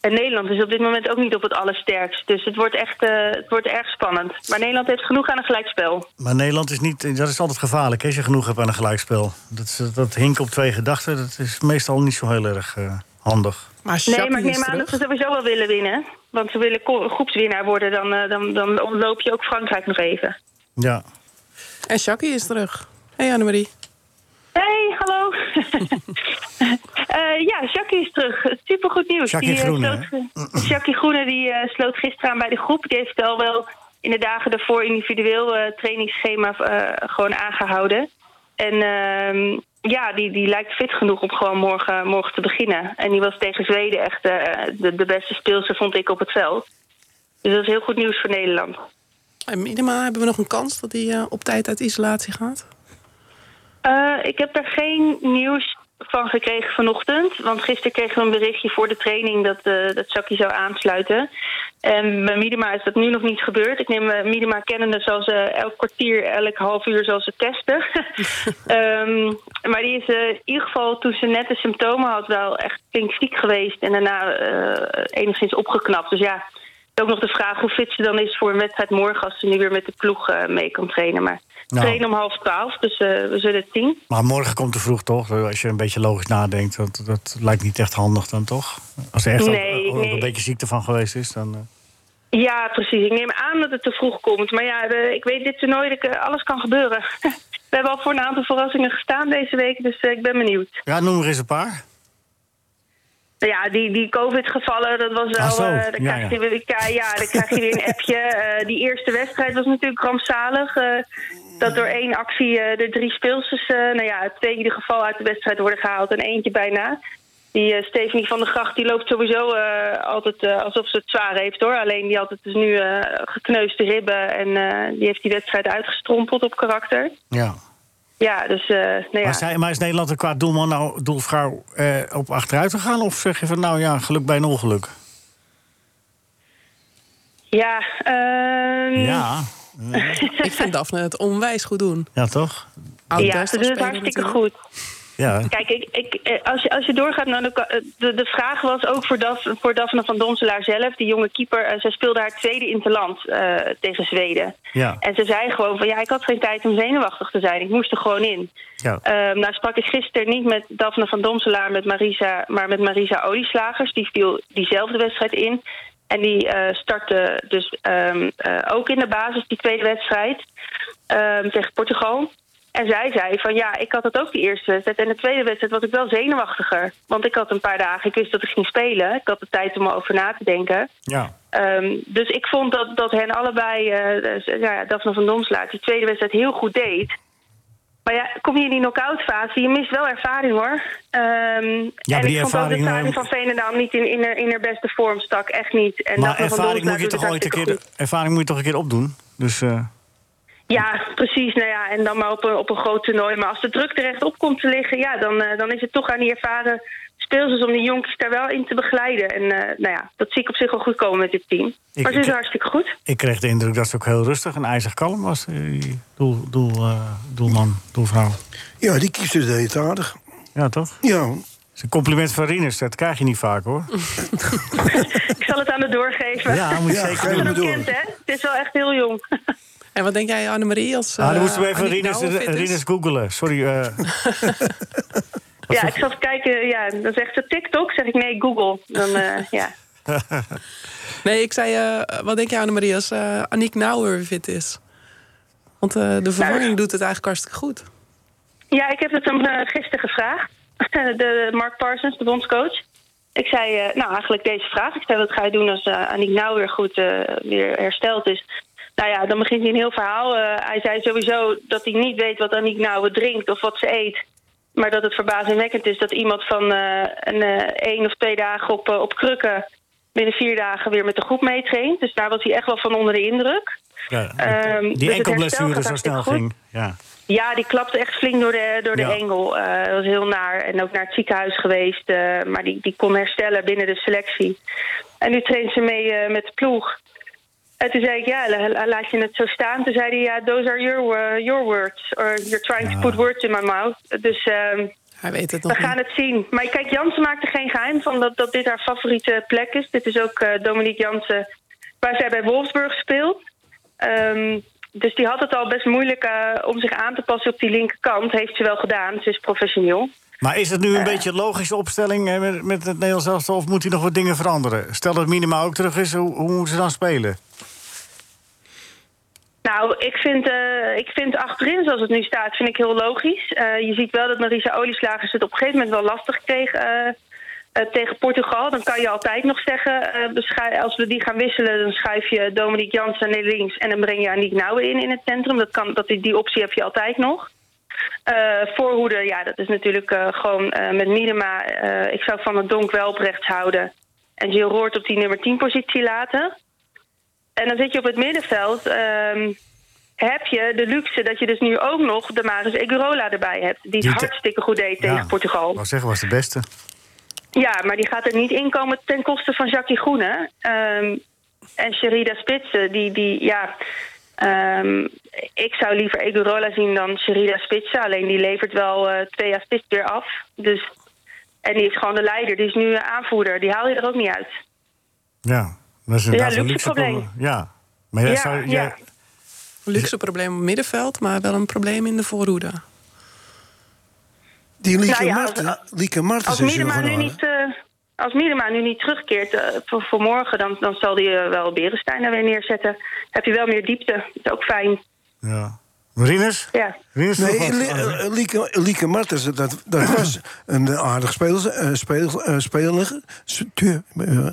S13: En Nederland is op dit moment ook niet op het allersterkst. Dus het wordt echt eh, het wordt erg spannend. Maar Nederland heeft genoeg aan een gelijkspel.
S3: Maar Nederland is niet... Dat is altijd gevaarlijk, hè, als je genoeg hebt aan een gelijkspel. Dat, is- dat hinken op twee gedachten, dat is meestal niet zo heel erg eh, handig.
S13: nee, maar ik neem aan dat ze sowieso wel willen winnen. Want ze willen ko- groepswinnaar worden, dan, eh, dan, dan ontloop je ook Frankrijk nog even.
S3: Ja.
S8: En Jackie is terug. Hey Annemarie.
S13: Hey, hallo. Eh, ja, Jackie is terug. Supergoed nieuws.
S8: Jackie
S13: eh,
S8: Groene,
S13: sloot, Jackie Groene die, eh, sloot gisteren aan bij de groep. Die heeft al wel in de dagen daarvoor individueel eh, trainingsschema eh, gewoon aangehouden. En ehm, ja, die, die lijkt fit genoeg om gewoon morgen, morgen te beginnen. En die was tegen Zweden echt eh, de, de beste speelster, vond ik, op het veld. Dus dat is heel goed nieuws voor Nederland.
S8: En Minima, hebben we nog een kans dat hij eh, op tijd uit isolatie gaat?
S13: Eh, ik heb daar geen nieuws van gekregen vanochtend. Want gisteren kregen we een berichtje voor de training dat, eh dat Saki zou aansluiten. En bij Miedema is dat nu nog niet gebeurd. Ik neem eh, Miedema kennende zoals ze elk kwartier, elk half uur zal ze testen. Ehm, maar die is eh, in ieder geval toen ze net de symptomen had wel echt flink ziek geweest. En daarna eh, enigszins opgeknapt. Dus ja, ook nog de vraag hoe fit ze dan is voor een wedstrijd morgen... als ze nu weer met de ploeg eh, mee kan trainen. Maar
S3: Nou.
S13: trainen om half twaalf, dus eh, we zullen het zien.
S3: Maar morgen komt te vroeg, toch? Als je een beetje logisch nadenkt, dat, dat lijkt niet echt handig dan, toch? Als er echt ook-
S13: Nee,
S3: ook, ook
S13: nee.
S3: een beetje ziekte van geweest is, dan... eh,
S13: Ja, precies. Ik neem aan dat het te vroeg komt. Maar ja, de- ik weet dit toernooi, dat, eh, alles kan gebeuren. We hebben al voor een aantal verrassingen gestaan deze week, dus eh, ik ben benieuwd.
S3: Ja, noem er eens een paar.
S13: Nou ja, die, die COVID-gevallen, dat was
S3: Ah, zo.
S13: wel... eh, dan,
S3: Ja,
S13: krijg
S3: ja.
S13: Je, weer- ja, ja, dan krijg je weer een appje. Eh, die eerste wedstrijd was natuurlijk rampzalig. eh, dat door één actie eh, de drie speelsters, eh, nou ja, twee in ieder geval uit de wedstrijd worden gehaald en eentje bijna. Die eh, Stephanie van der Gracht die loopt sowieso eh, altijd eh, alsof ze het zwaar heeft hoor. Alleen die had het dus nu eh gekneusde ribben en eh, die heeft die wedstrijd uitgestrompeld op karakter.
S3: Ja.
S13: Ja, dus eh, nou ja.
S3: Maar, zijn, maar is Nederland er qua doelman nou, doelvrouw eh, op achteruit gegaan? Of zeg je van, nou ja, geluk bij een ongeluk?
S13: Ja, ehm,
S3: Ja.
S8: ik vind Daphne het onwijs goed doen.
S3: Ja, toch?
S13: ja, ze doen het hartstikke goed.
S3: Ja.
S13: Kijk, ik, ik, eh, als, je, als je doorgaat naar de, ka- eh, de, de vraag was ook voor, Daf, voor Daphne van Donselaar zelf, die jonge keeper. eh, zij speelde haar tweede interland eh tegen Zweden.
S15: Ja.
S13: En ze zei gewoon van ja, ik had geen tijd om zenuwachtig te zijn. Ik moest er gewoon in.
S3: Ja.
S13: Ehm, nou sprak ik gisteren niet met Daphne van Domselaar, met Marisa, maar met Marisa Olieslagers. Die viel diezelfde wedstrijd in. En die eh, startte dus ehm, eh, ook in de basis die tweede wedstrijd ehm, tegen Portugal. En zij zei van ja, ik had dat ook de eerste wedstrijd. En de tweede wedstrijd was ik wel zenuwachtiger. Want ik had een paar dagen, ik wist dat ik ging spelen. Ik had de tijd om erover na te denken.
S3: Ja.
S13: Ehm, dus ik vond dat, dat hen allebei, eh, eh, nou ja, Daphne van Domslaat, die tweede wedstrijd heel goed deed. Maar ja, kom je in die knock-out fase, je mist wel ervaring hoor. Ehm,
S3: Ja, maar
S13: en
S3: die
S13: ik vond ook
S3: ervaring,
S13: de ervaring
S3: ehm,
S13: van Veenendaal niet in, in, haar, in haar beste vorm stak, echt niet. En
S3: maar
S13: Daphne van
S3: ervaring moet,
S13: Domslaat
S3: je
S13: doet
S3: toch
S13: het
S3: ooit een keer,
S13: hartstikke
S3: ervaring moet je toch een keer opdoen? Dus eh,
S13: goed. Ja, precies. Nou ja, en dan maar op een, op een groot toernooi. Maar als de druk er echt op komt te liggen, ja, dan, eh, dan is het toch aan die ervaren speels is om die jonkies daar wel in te begeleiden. En eh, nou ja, dat zie ik op zich wel goed komen met dit team.
S3: Ik-
S13: maar ze is
S3: ik-
S13: hartstikke goed.
S3: Ik kreeg de indruk dat ze ook heel rustig en ijzig kalm was. eh, die Doel, doel, eh, doelman, doelvrouw.
S4: Ja, die kiepste deed het aardig.
S3: Ja, toch?
S4: Ja.
S3: Dat is een compliment van Rinus, dat krijg je niet vaak hoor.
S13: Ik zal het aan het doorgeven.
S3: Ja, moet je Ja, zeker geef doen. hem
S13: Het is
S3: door.
S13: een kind, hè? Het is wel echt heel jong.
S8: En wat denk jij, Annemarie? Als,
S3: ah, dan
S8: eh,
S3: moesten we even
S8: Annie
S13: nou,
S3: Rinus,
S8: Knauwen fit is?
S3: Rinus googelen. Sorry. eh,
S13: Ja, ik zat te kijken. Ja, dan zegt ze TikTok. Zeg ik nee, Google. Dan, eh, ja.
S8: Nee, ik zei, eh, wat denk jij, Annemarie, als eh Annick Nauwer weer fit is? Want eh, de vervanging doet het eigenlijk hartstikke goed.
S13: Ja, ik heb het hem eh, gisteren gevraagd. De Mark Parsons, de bondscoach. Ik zei, eh, nou eigenlijk deze vraag. Ik zei, wat ga je doen als eh Annick nou weer goed eh, weer hersteld is? Nou ja, dan begint hij een heel verhaal. Eh, hij zei sowieso dat hij niet weet wat Annick nou drinkt of wat ze eet. Maar dat het verbazingwekkend is dat iemand van eh, een eh, één of twee dagen op, eh, op krukken... binnen vier dagen weer met de groep meetraint. Dus daar was hij echt wel van onder de indruk.
S3: ja,
S13: Ehm, dus
S3: Ah, die
S13: het herstel
S3: enkelblessure
S13: gaat
S3: zo snel
S13: hartstikke goed.
S3: ging. Ja.
S13: Ja, die klapte echt flink door de, door de
S3: Ja.
S13: engel. Eh, dat was heel naar. En ook naar het ziekenhuis geweest. eh, maar die, die kon herstellen binnen de selectie. En nu traint ze mee eh, met de ploeg. En toen zei ik, ja, la- la- laat je het zo staan. Toen zei hij, ja, those are your, wo- your words. Or you're trying to put words in my mouth. Dus
S8: Hij weet het
S13: we gaan het zien. Maar kijk, Jansen maakt er geen geheim van dat, dat dit haar favoriete plek is. Dit is ook eh, Dominique Jansen, waar zij bij Wolfsburg speelt. Ehm, dus die had het al best moeilijk eh, om zich aan te passen op die linkerkant. Heeft ze wel gedaan, ze is professioneel. Eh,
S3: Maar is het nu een beetje een logische opstelling eh, met, met het Nederlands elftal... of moet hij nog wat dingen veranderen? Stel dat Minima ook terug is, hoe, hoe moeten ze dan spelen?
S13: Nou, ik vind, eh, ik vind achterin, zoals het nu staat, vind ik heel logisch. Eh, je ziet wel dat Marisa Olieslagers het op een gegeven moment wel lastig kreeg eh, eh, tegen Portugal. Dan kan je altijd nog zeggen, eh, we schij- als we die gaan wisselen... dan schuif je Dominique Jansen naar links en dan breng je Aniek Nouwen in in het centrum. Dat kan, dat, die, die optie heb je altijd nog. Eh, voorhoede, ja, dat is natuurlijk eh, gewoon eh, met Miedema. eh, ik zou Van het Donk wel op rechts houden. En Jill Roort op die nummer 10 positie laten. En dan zit je op het middenveld. ehm, heb je de luxe dat je dus nu ook nog de Maris Egurola erbij hebt. Die het
S3: Die te-
S13: hartstikke goed deed tegen Portugal.
S3: Wou zeggen, was de beste.
S13: Ja, maar die gaat er niet inkomen ten koste van Jackie Groene. Ehm, en Sherida Spitsen, die, die ja... ehm, ik zou liever Egurola zien dan Sherida Spitsen. Alleen die levert wel eh, twee assists weer af. Dus, en die is gewoon de leider. Die is nu eh, aanvoerder. Die haal je er ook niet uit.
S3: Ja, dat is
S13: Ja,
S3: inderdaad een
S13: luxe
S3: luxe
S13: probleem.
S3: probleem. Ja, maar jij
S13: Ja,
S3: zou...
S13: ja.
S3: jij-
S8: Luxe probleem op middenveld, maar wel een probleem in de voorhoede.
S4: Die
S13: Lieke Nou ja, als- Marten-
S4: Lieke
S13: Als Miedema nu niet... eh, als Miedema nu niet terugkeert eh, voor, voor morgen, dan, dan zal die eh, wel Berenstein er weer neerzetten. Heb je wel meer diepte. Dat is ook fijn.
S3: Ja. Rinus?
S13: Ja.
S3: Rinus nog
S4: Nee,
S3: wat?
S4: Li- eh, Lieke, Lieke Martens, dat, dat was een aardig speler. eh, speel- eh, speler s- tu- eh,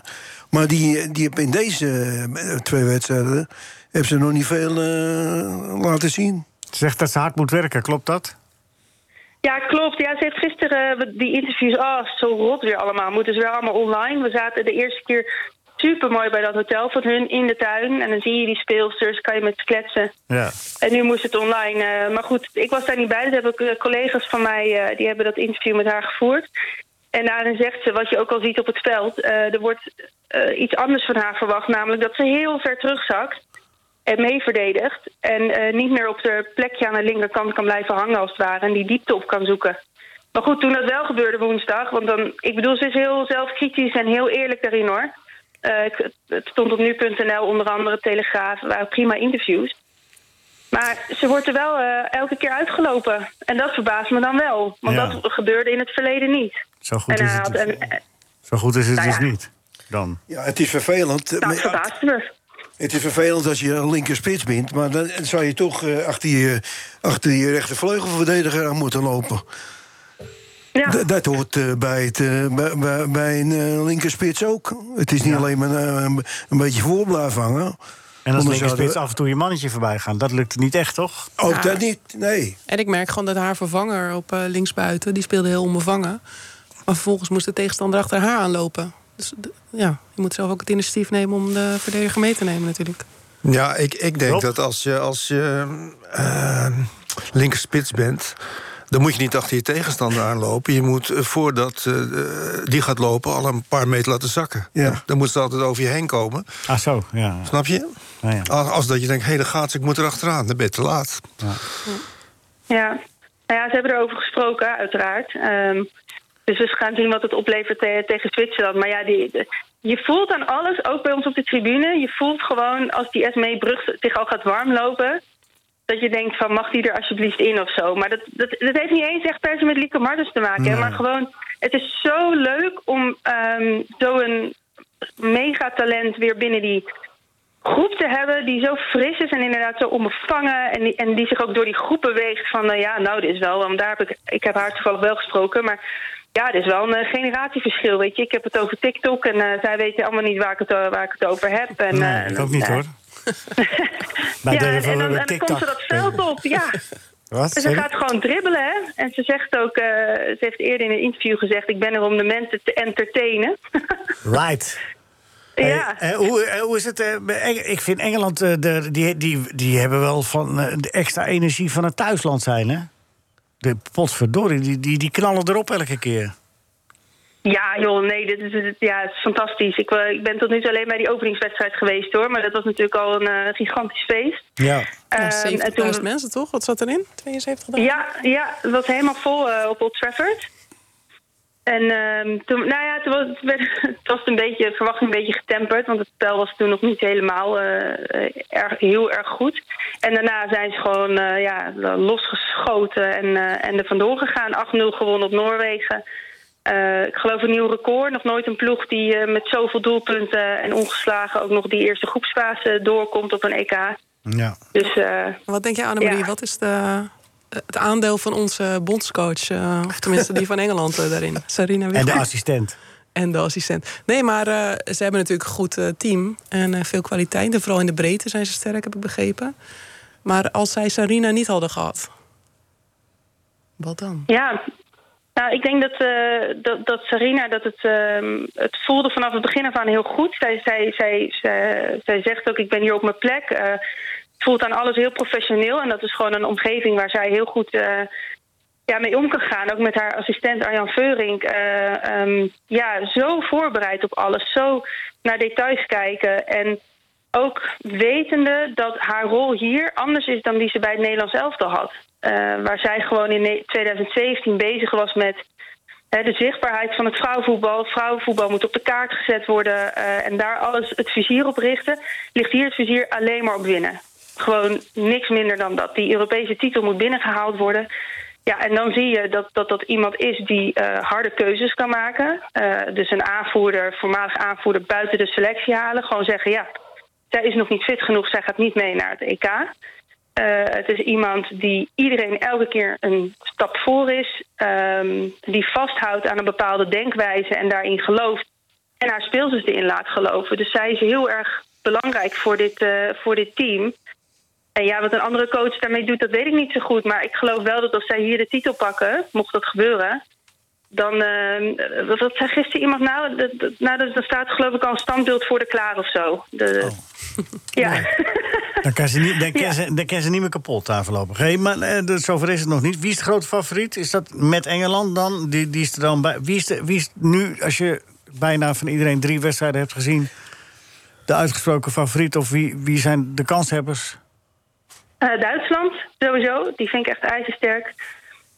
S4: maar die, die heb in deze eh, twee wedstrijden... heeft ze nog niet veel eh, laten zien.
S3: Zegt dat ze hard moet werken, klopt dat?
S13: Ja, klopt. Ja, ze heeft gisteren eh, die interviews... Oh, zo rot weer allemaal. Moeten ze weer allemaal online. We zaten de eerste keer supermooi bij dat hotel van hun in de tuin. En dan zie je die speelsters, kan je met ze kletsen.
S3: Ja.
S13: En nu moest het online. eh, maar goed, ik was daar niet bij. Dat hebben ook, eh, collega's van mij, eh, die hebben dat interview met haar gevoerd. En daarin zegt ze, wat je ook al ziet op het veld... eh, er wordt eh, iets anders van haar verwacht. Namelijk dat ze heel ver terugzakt en mee verdedigt... en eh, niet meer op de plekje aan de linkerkant kan blijven hangen als het ware... en die diepte op kan zoeken. Maar goed, toen dat wel gebeurde woensdag... want dan, ik bedoel, ze is heel zelfkritisch en heel eerlijk daarin, hoor. Eh, ik- het stond op nu.nl, onder andere Telegraaf, er waren prima interviews... Maar ze wordt er wel eh, elke keer uitgelopen. En dat verbaast me dan wel. Want
S3: Ja.
S13: dat gebeurde in het verleden niet.
S3: Zo goed
S13: en
S3: is
S13: hij
S3: het
S13: had
S3: dus.
S13: een, eh,
S3: Zo goed is het
S13: Nou
S3: dus
S13: ja.
S3: niet. Dan.
S4: Ja, het is vervelend.
S13: nou,
S4: Maar
S13: het verbaasde me.
S4: Het is vervelend als je linker spits bent, maar dan zou je toch eh, achter, je, achter je rechtervleugelverdediger aan moeten lopen. D- dat hoort eh, bij, het, eh, bij, bij, bij een eh, linkerspits ook. Het is niet alleen maar eh, een, een beetje voor blijven hangen.
S3: En als
S4: Anders
S3: linker spits
S4: zouden-
S3: af en toe je mannetje voorbij gaan, dat lukt niet echt, toch?
S4: Ook
S13: Ah.
S4: dat niet, nee.
S8: En ik merk gewoon dat haar vervanger op eh, linksbuiten, die speelde heel onbevangen. Maar vervolgens moest de tegenstander achter haar aanlopen. Dus d- ja, je moet zelf ook het initiatief nemen om de verdediger mee te nemen natuurlijk.
S6: Ja, ik, ik denk dat als je, als je eh, linkerspits ehm, bent... Dan moet je niet achter je tegenstander aanlopen. Je moet eh, voordat eh, die gaat lopen al een paar meter laten zakken.
S3: Ja.
S6: Dan moet ze altijd over je heen komen.
S3: Ah, zo, ja.
S6: Snap je?
S3: Nou ja.
S6: Als, als dat je denkt, hé, hey, daar gaat ze, ik moet er achteraan. Dan ben je te laat.
S13: Ja. Nou ja, ze hebben erover gesproken, uiteraard. Ehm, dus we gaan zien wat het oplevert te- tegen Zwitserland. Maar ja, die, de- je voelt aan alles, ook bij ons op de tribune. Je voelt gewoon als die SME Brug zich al gaat warmlopen... dat je denkt van, mag die er alsjeblieft in of zo? Maar dat, dat, dat heeft niet eens echt per se met Lieke Martens te maken. hè.
S15: Nee.
S13: Maar gewoon, het is zo leuk om ehm, zo'n megatalent weer binnen die groep te hebben die zo fris is en inderdaad zo onbevangen. En die, en die zich ook door die groep beweegt van, nou ja, nou, dit is wel, want daar heb ik, ik heb haar toevallig wel gesproken, maar ja, er is wel een eh, generatieverschil, weet je. Ik heb het over TikTok en eh, zij weten allemaal niet waar ik het, eh, waar ik het over heb. En,
S3: Nee,
S13: eh,
S3: ik ook niet
S13: ja.
S3: hoor. Wij
S13: ja, en,
S3: durven
S13: en
S3: wel
S13: dan,
S3: weer
S13: en dan komt ze
S3: TikTok.
S13: dat veld op, ja.
S3: Wat?
S13: En ze
S3: Sorry?
S13: gaat gewoon dribbelen, hè. En ze zegt ook, eh, ze heeft eerder in een interview gezegd... ik ben er om de mensen te entertainen.
S3: Right.
S13: Ja.
S3: Eh, eh, hoe, eh, hoe is het? eh, bij Eng- ik vind Engeland, eh, de, die, die, die hebben wel van eh, de extra energie van het thuisland zijn, hè? De potverdorie, die, die, die knallen erop elke keer.
S13: Ja, joh, nee, dit is, dit- ja, het is fantastisch. Ik, eh, ik ben tot nu toe alleen bij die openingswedstrijd geweest, hoor. Maar dat was natuurlijk al een eh, gigantisch feest.
S3: Ja.
S13: Ehm,
S8: Ja,
S13: en
S8: 70.000
S13: toen-
S8: mensen toch? Wat zat erin? 72.000?
S13: Ja, ja, het was helemaal vol eh, op Old Trafford. En ehm, toen, nou ja, toen was, het werd- het was een beetje, de verwachting een beetje getemperd. Want het spel was toen nog niet helemaal eh, eh, erg, heel erg goed. En daarna zijn ze gewoon eh, ja, losgeschoten en, eh en er vandoor gegaan. 8-0 gewonnen op Noorwegen. Eh, ik geloof een nieuw record. Nog nooit een ploeg die eh, met zoveel doelpunten en ongeslagen ook nog die eerste groepsfase doorkomt op een EK.
S3: Ja.
S13: Dus, eh,
S8: Wat denk jij, Annemarie? Wat is de, het aandeel van onze bondscoach? eh, of tenminste die van Engeland eh, daarin? Sarina
S3: En de
S8: Wiegman.
S3: assistent.
S8: En de assistent. Nee, maar eh, ze hebben natuurlijk een goed eh, team. En eh, veel kwaliteit. En vooral in de breedte zijn ze sterk, heb ik begrepen. Maar als zij Sarina niet hadden gehad... Wat dan?
S13: Ja, nou, ik denk dat, eh, dat, dat Sarina dat het, ehm, het voelde vanaf het begin af aan heel goed. Zij, zij, zij, zij, zij zegt ook, ik ben hier op mijn plek. Eh, het voelt aan alles heel professioneel. En dat is gewoon een omgeving waar zij heel goed eh, ja, mee om kan gaan. Ook met haar assistent Arjan Veurink. Eh, ehm, ja, zo voorbereid op alles. Zo naar details kijken. En ook wetende dat haar rol hier anders is dan die ze bij het Nederlands elftal had. Eh, waar zij gewoon in ne- 2017 bezig was met hè, de zichtbaarheid van het vrouwenvoetbal. Het vrouwenvoetbal moet op de kaart gezet worden eh, en daar alles het vizier op richten. Ligt hier het vizier alleen maar op winnen. Gewoon niks minder dan dat. Die Europese titel moet binnengehaald worden. Ja, en dan zie je dat dat, dat iemand is die eh, harde keuzes kan maken. Eh, dus een aanvoerder, voormalig aanvoerder, buiten de selectie halen. Gewoon zeggen, ja, zij is nog niet fit genoeg, zij gaat niet mee naar het EK. Eh, het is iemand die iedereen elke keer een stap voor is, ehm, die vasthoudt aan een bepaalde denkwijze en daarin gelooft en haar speelzus erin laat geloven. Dus zij is heel erg belangrijk voor dit, eh, voor dit team. En ja, wat een andere coach daarmee doet, dat weet ik niet zo goed. Maar ik geloof wel dat als zij hier de titel pakken, mocht dat gebeuren, dan, eh, wat, wat zei gisteren iemand nou? Dat, dat, nou, dat, dat staat geloof ik al een standbeeld voor de klaar of zo. De, Ja.
S3: Dan kan ze niet, dan kan ze, dan kan ze niet meer kapot daar voorlopig. Hey, maar eh, dus zover is het nog niet. Wie is de grote favoriet? Is dat met Engeland dan? Die, die is er dan bij. Wie is, de, wie is nu, als je bijna van iedereen drie wedstrijden hebt gezien, de uitgesproken favoriet? Of wie, wie zijn de kanshebbers?
S13: Eh, Duitsland sowieso, die vind ik echt ijzersterk.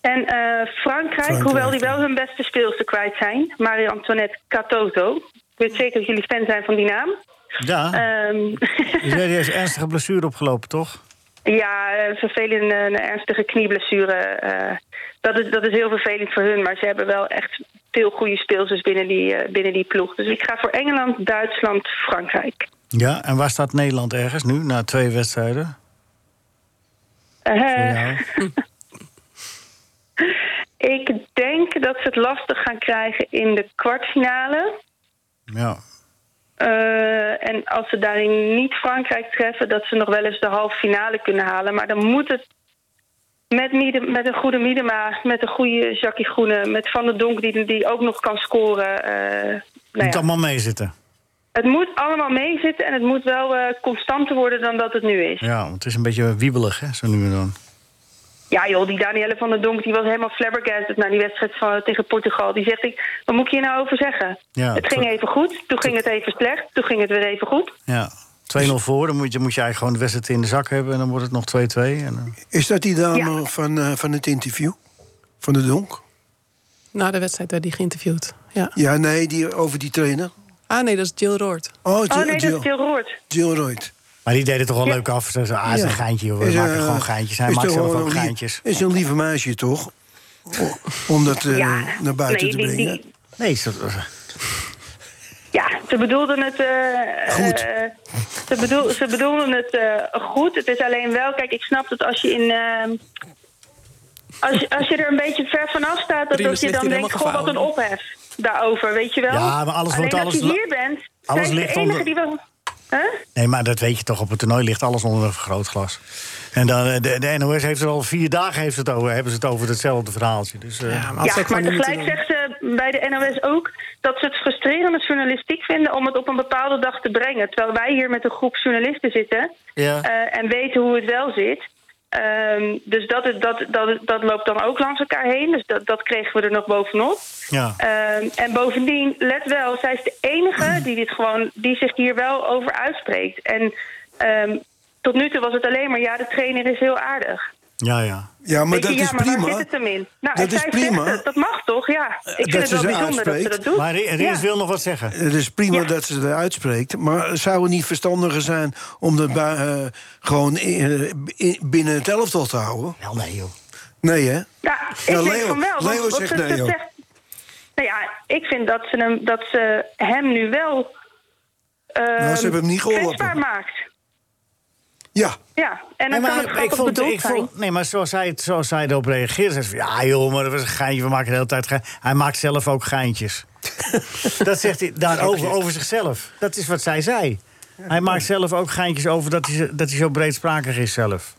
S13: En eh, Frankrijk,
S3: Frankrijk,
S13: hoewel die wel hun beste speelster kwijt zijn. Marie-Antoinette Catoto. Ik weet zeker dat jullie fan zijn van die naam.
S3: Ja.
S13: Ehm,
S3: Die heeft ernstige blessure opgelopen, toch?
S13: ja, eh, vervelende een ernstige knieblessure. eh, dat, is, dat is heel vervelend voor hun. Maar ze hebben wel echt veel goede speelsters binnen die, eh, binnen die ploeg. Dus ik ga voor Engeland, Duitsland, Frankrijk.
S3: Ja, en waar staat Nederland ergens nu na twee wedstrijden?
S13: Eh,
S3: Ja.
S13: ik denk dat ze het lastig gaan krijgen in de kwartfinale.
S3: ja.
S13: Eh, en als ze daarin niet Frankrijk treffen, dat ze nog wel eens de halve finale kunnen halen. Maar dan moet het met, Miede- met een goede Miedema, met een goede Jackie Groene, met Van der Donk die, die ook nog kan scoren. eh, nou
S3: Moet
S13: ja.
S3: allemaal meezitten.
S13: Het moet allemaal meezitten en het moet wel eh, constanter worden dan dat het nu is.
S3: Ja, want het is een beetje wiebelig, hè, zo nu en dan.
S13: Ja joh, die Danielle van der Donk die was helemaal flabbergasted na die wedstrijd van, tegen Portugal. Die zegt, ik, wat moet ik hier nou over zeggen?
S3: Ja,
S13: het ging
S3: tot-
S13: even goed, toen ging het even slecht, toen ging het weer even goed.
S3: Ja. 2-0 voor, dan moet je, moet je eigenlijk gewoon de wedstrijd in de zak hebben... en dan wordt het nog 2-2. En, dan-
S4: Is dat die dame
S13: Ja.
S4: van, eh, van het interview? Van de Donk?
S8: Na de wedstrijd werd hij geïnterviewd. Ja.
S4: Ja, nee, die, over die trainer.
S8: Ah nee, dat is Jill Roord.
S4: Oh, Jill-
S13: nee, dat is
S4: Jill.
S13: Jill Roord.
S4: Jill Royd.
S3: Maar die deed het toch wel
S13: Ja.
S3: leuk af. Ze zei, ah, het is een
S4: Ja.
S3: geintje, joh. we
S4: Is,
S3: maken
S4: eh,
S3: gewoon geintjes. Hij
S4: is
S3: maakt
S4: toch
S3: zelf
S4: wel
S3: ook
S4: een lief-
S3: geintjes.
S4: Is een lieve meisje, toch? O- Om dat eh,
S13: Ja,
S4: naar buiten
S13: nee,
S4: te
S13: die-
S4: brengen.
S13: die-
S3: Nee, is dat-
S13: Ja, ze bedoelden het. eh,
S4: Goed.
S13: eh, ze, bedoel, ze bedoelden het eh, goed. Het is alleen wel, kijk, ik snap dat als je in. eh, als, je- als je er een beetje ver vanaf staat, dat,
S8: Rinus
S13: dat je
S8: ligt
S13: dan
S8: hier
S13: denkt:
S8: helemaal
S13: Goh, wat een ophef daarover, weet je wel?
S3: Ja, maar alles
S13: alleen
S3: wordt-
S13: als je
S3: alles-
S13: hier bent, zijn
S3: alles
S13: ze
S3: ligt
S13: de enige
S3: onder-
S13: die wel. Huh?
S3: Nee, maar dat weet je toch. Op het toernooi ligt alles onder een vergrootglas. En dan, eh, de, de NOS heeft er al vier dagen heeft het over, hebben ze het over hetzelfde verhaaltje. Dus, eh,
S8: Ja, maar,
S13: Ja,
S8: als ik
S13: maar eh,
S8: niet
S13: tegelijk zegt ze bij de NOS ook dat ze het frustrerende journalistiek vinden om het op een bepaalde dag te brengen. Terwijl wij hier met een groep journalisten zitten
S3: Ja.
S13: eh, en weten hoe het wel zit. Ehm, dus dat, is- dat, dat, dat loopt dan ook langs elkaar heen. Dus dat, dat kregen we er nog bovenop.
S3: ja.
S13: Ehm, en bovendien, let wel, zij is de enige die, dit gewoon, die zich hier wel over uitspreekt. En ehm, tot nu toe was het alleen maar, ja, de trainer is heel aardig.
S3: ja, ja.
S4: Ja, maar
S13: Weet
S4: dat
S13: je,
S4: is
S13: ja, maar waar
S4: prima.
S13: zit het hem in? Nou,
S4: Dat
S13: en
S4: is
S13: zij
S4: prima.
S13: zegt het, dat mag toch, ja. Ik vind
S4: dat
S13: het
S4: ze
S13: wel
S4: ze
S13: bijzonder dat ze
S4: uitspreekt.
S13: dat doet.
S3: Maar Ri- Rius
S13: Ja.
S3: wil nog wat zeggen.
S4: Het is prima
S13: Ja.
S4: dat ze het uitspreekt. Maar zou het niet verstandiger zijn om dat bui- eh, gewoon eh, in- binnen het elftal te houden?
S3: Wel nee, joh.
S4: Nee, hè?
S13: Ja, ik
S4: Ja,
S13: denk
S4: Leo-
S13: van wel. want
S4: Leo
S13: wat
S4: zegt
S13: ze-
S4: nee,
S13: ze
S4: joh.
S13: zegt- nou ja, ik vind dat ze hem, dat ze hem nu wel... ehm,
S4: Nou, ze hebben hem niet geholpen.
S13: kwetsbaar maakt.
S4: Ja.
S13: Ja, en dan
S3: Nee,
S13: kan het
S3: maar,
S13: grappig
S3: ik vond,
S13: bedoeld
S3: ik
S13: zijn.
S3: vond, nee, maar zoals hij, het- zoals hij erop reageerde, zei ze van, ja joh, maar dat was een geintje, we maken de hele tijd gein. Hij maakt zelf ook geintjes. dat zegt hij daarover, over zichzelf. Dat is wat zij zei. Hij maakt zelf ook geintjes over dat hij, zo- dat hij zo breedsprakig is zelf.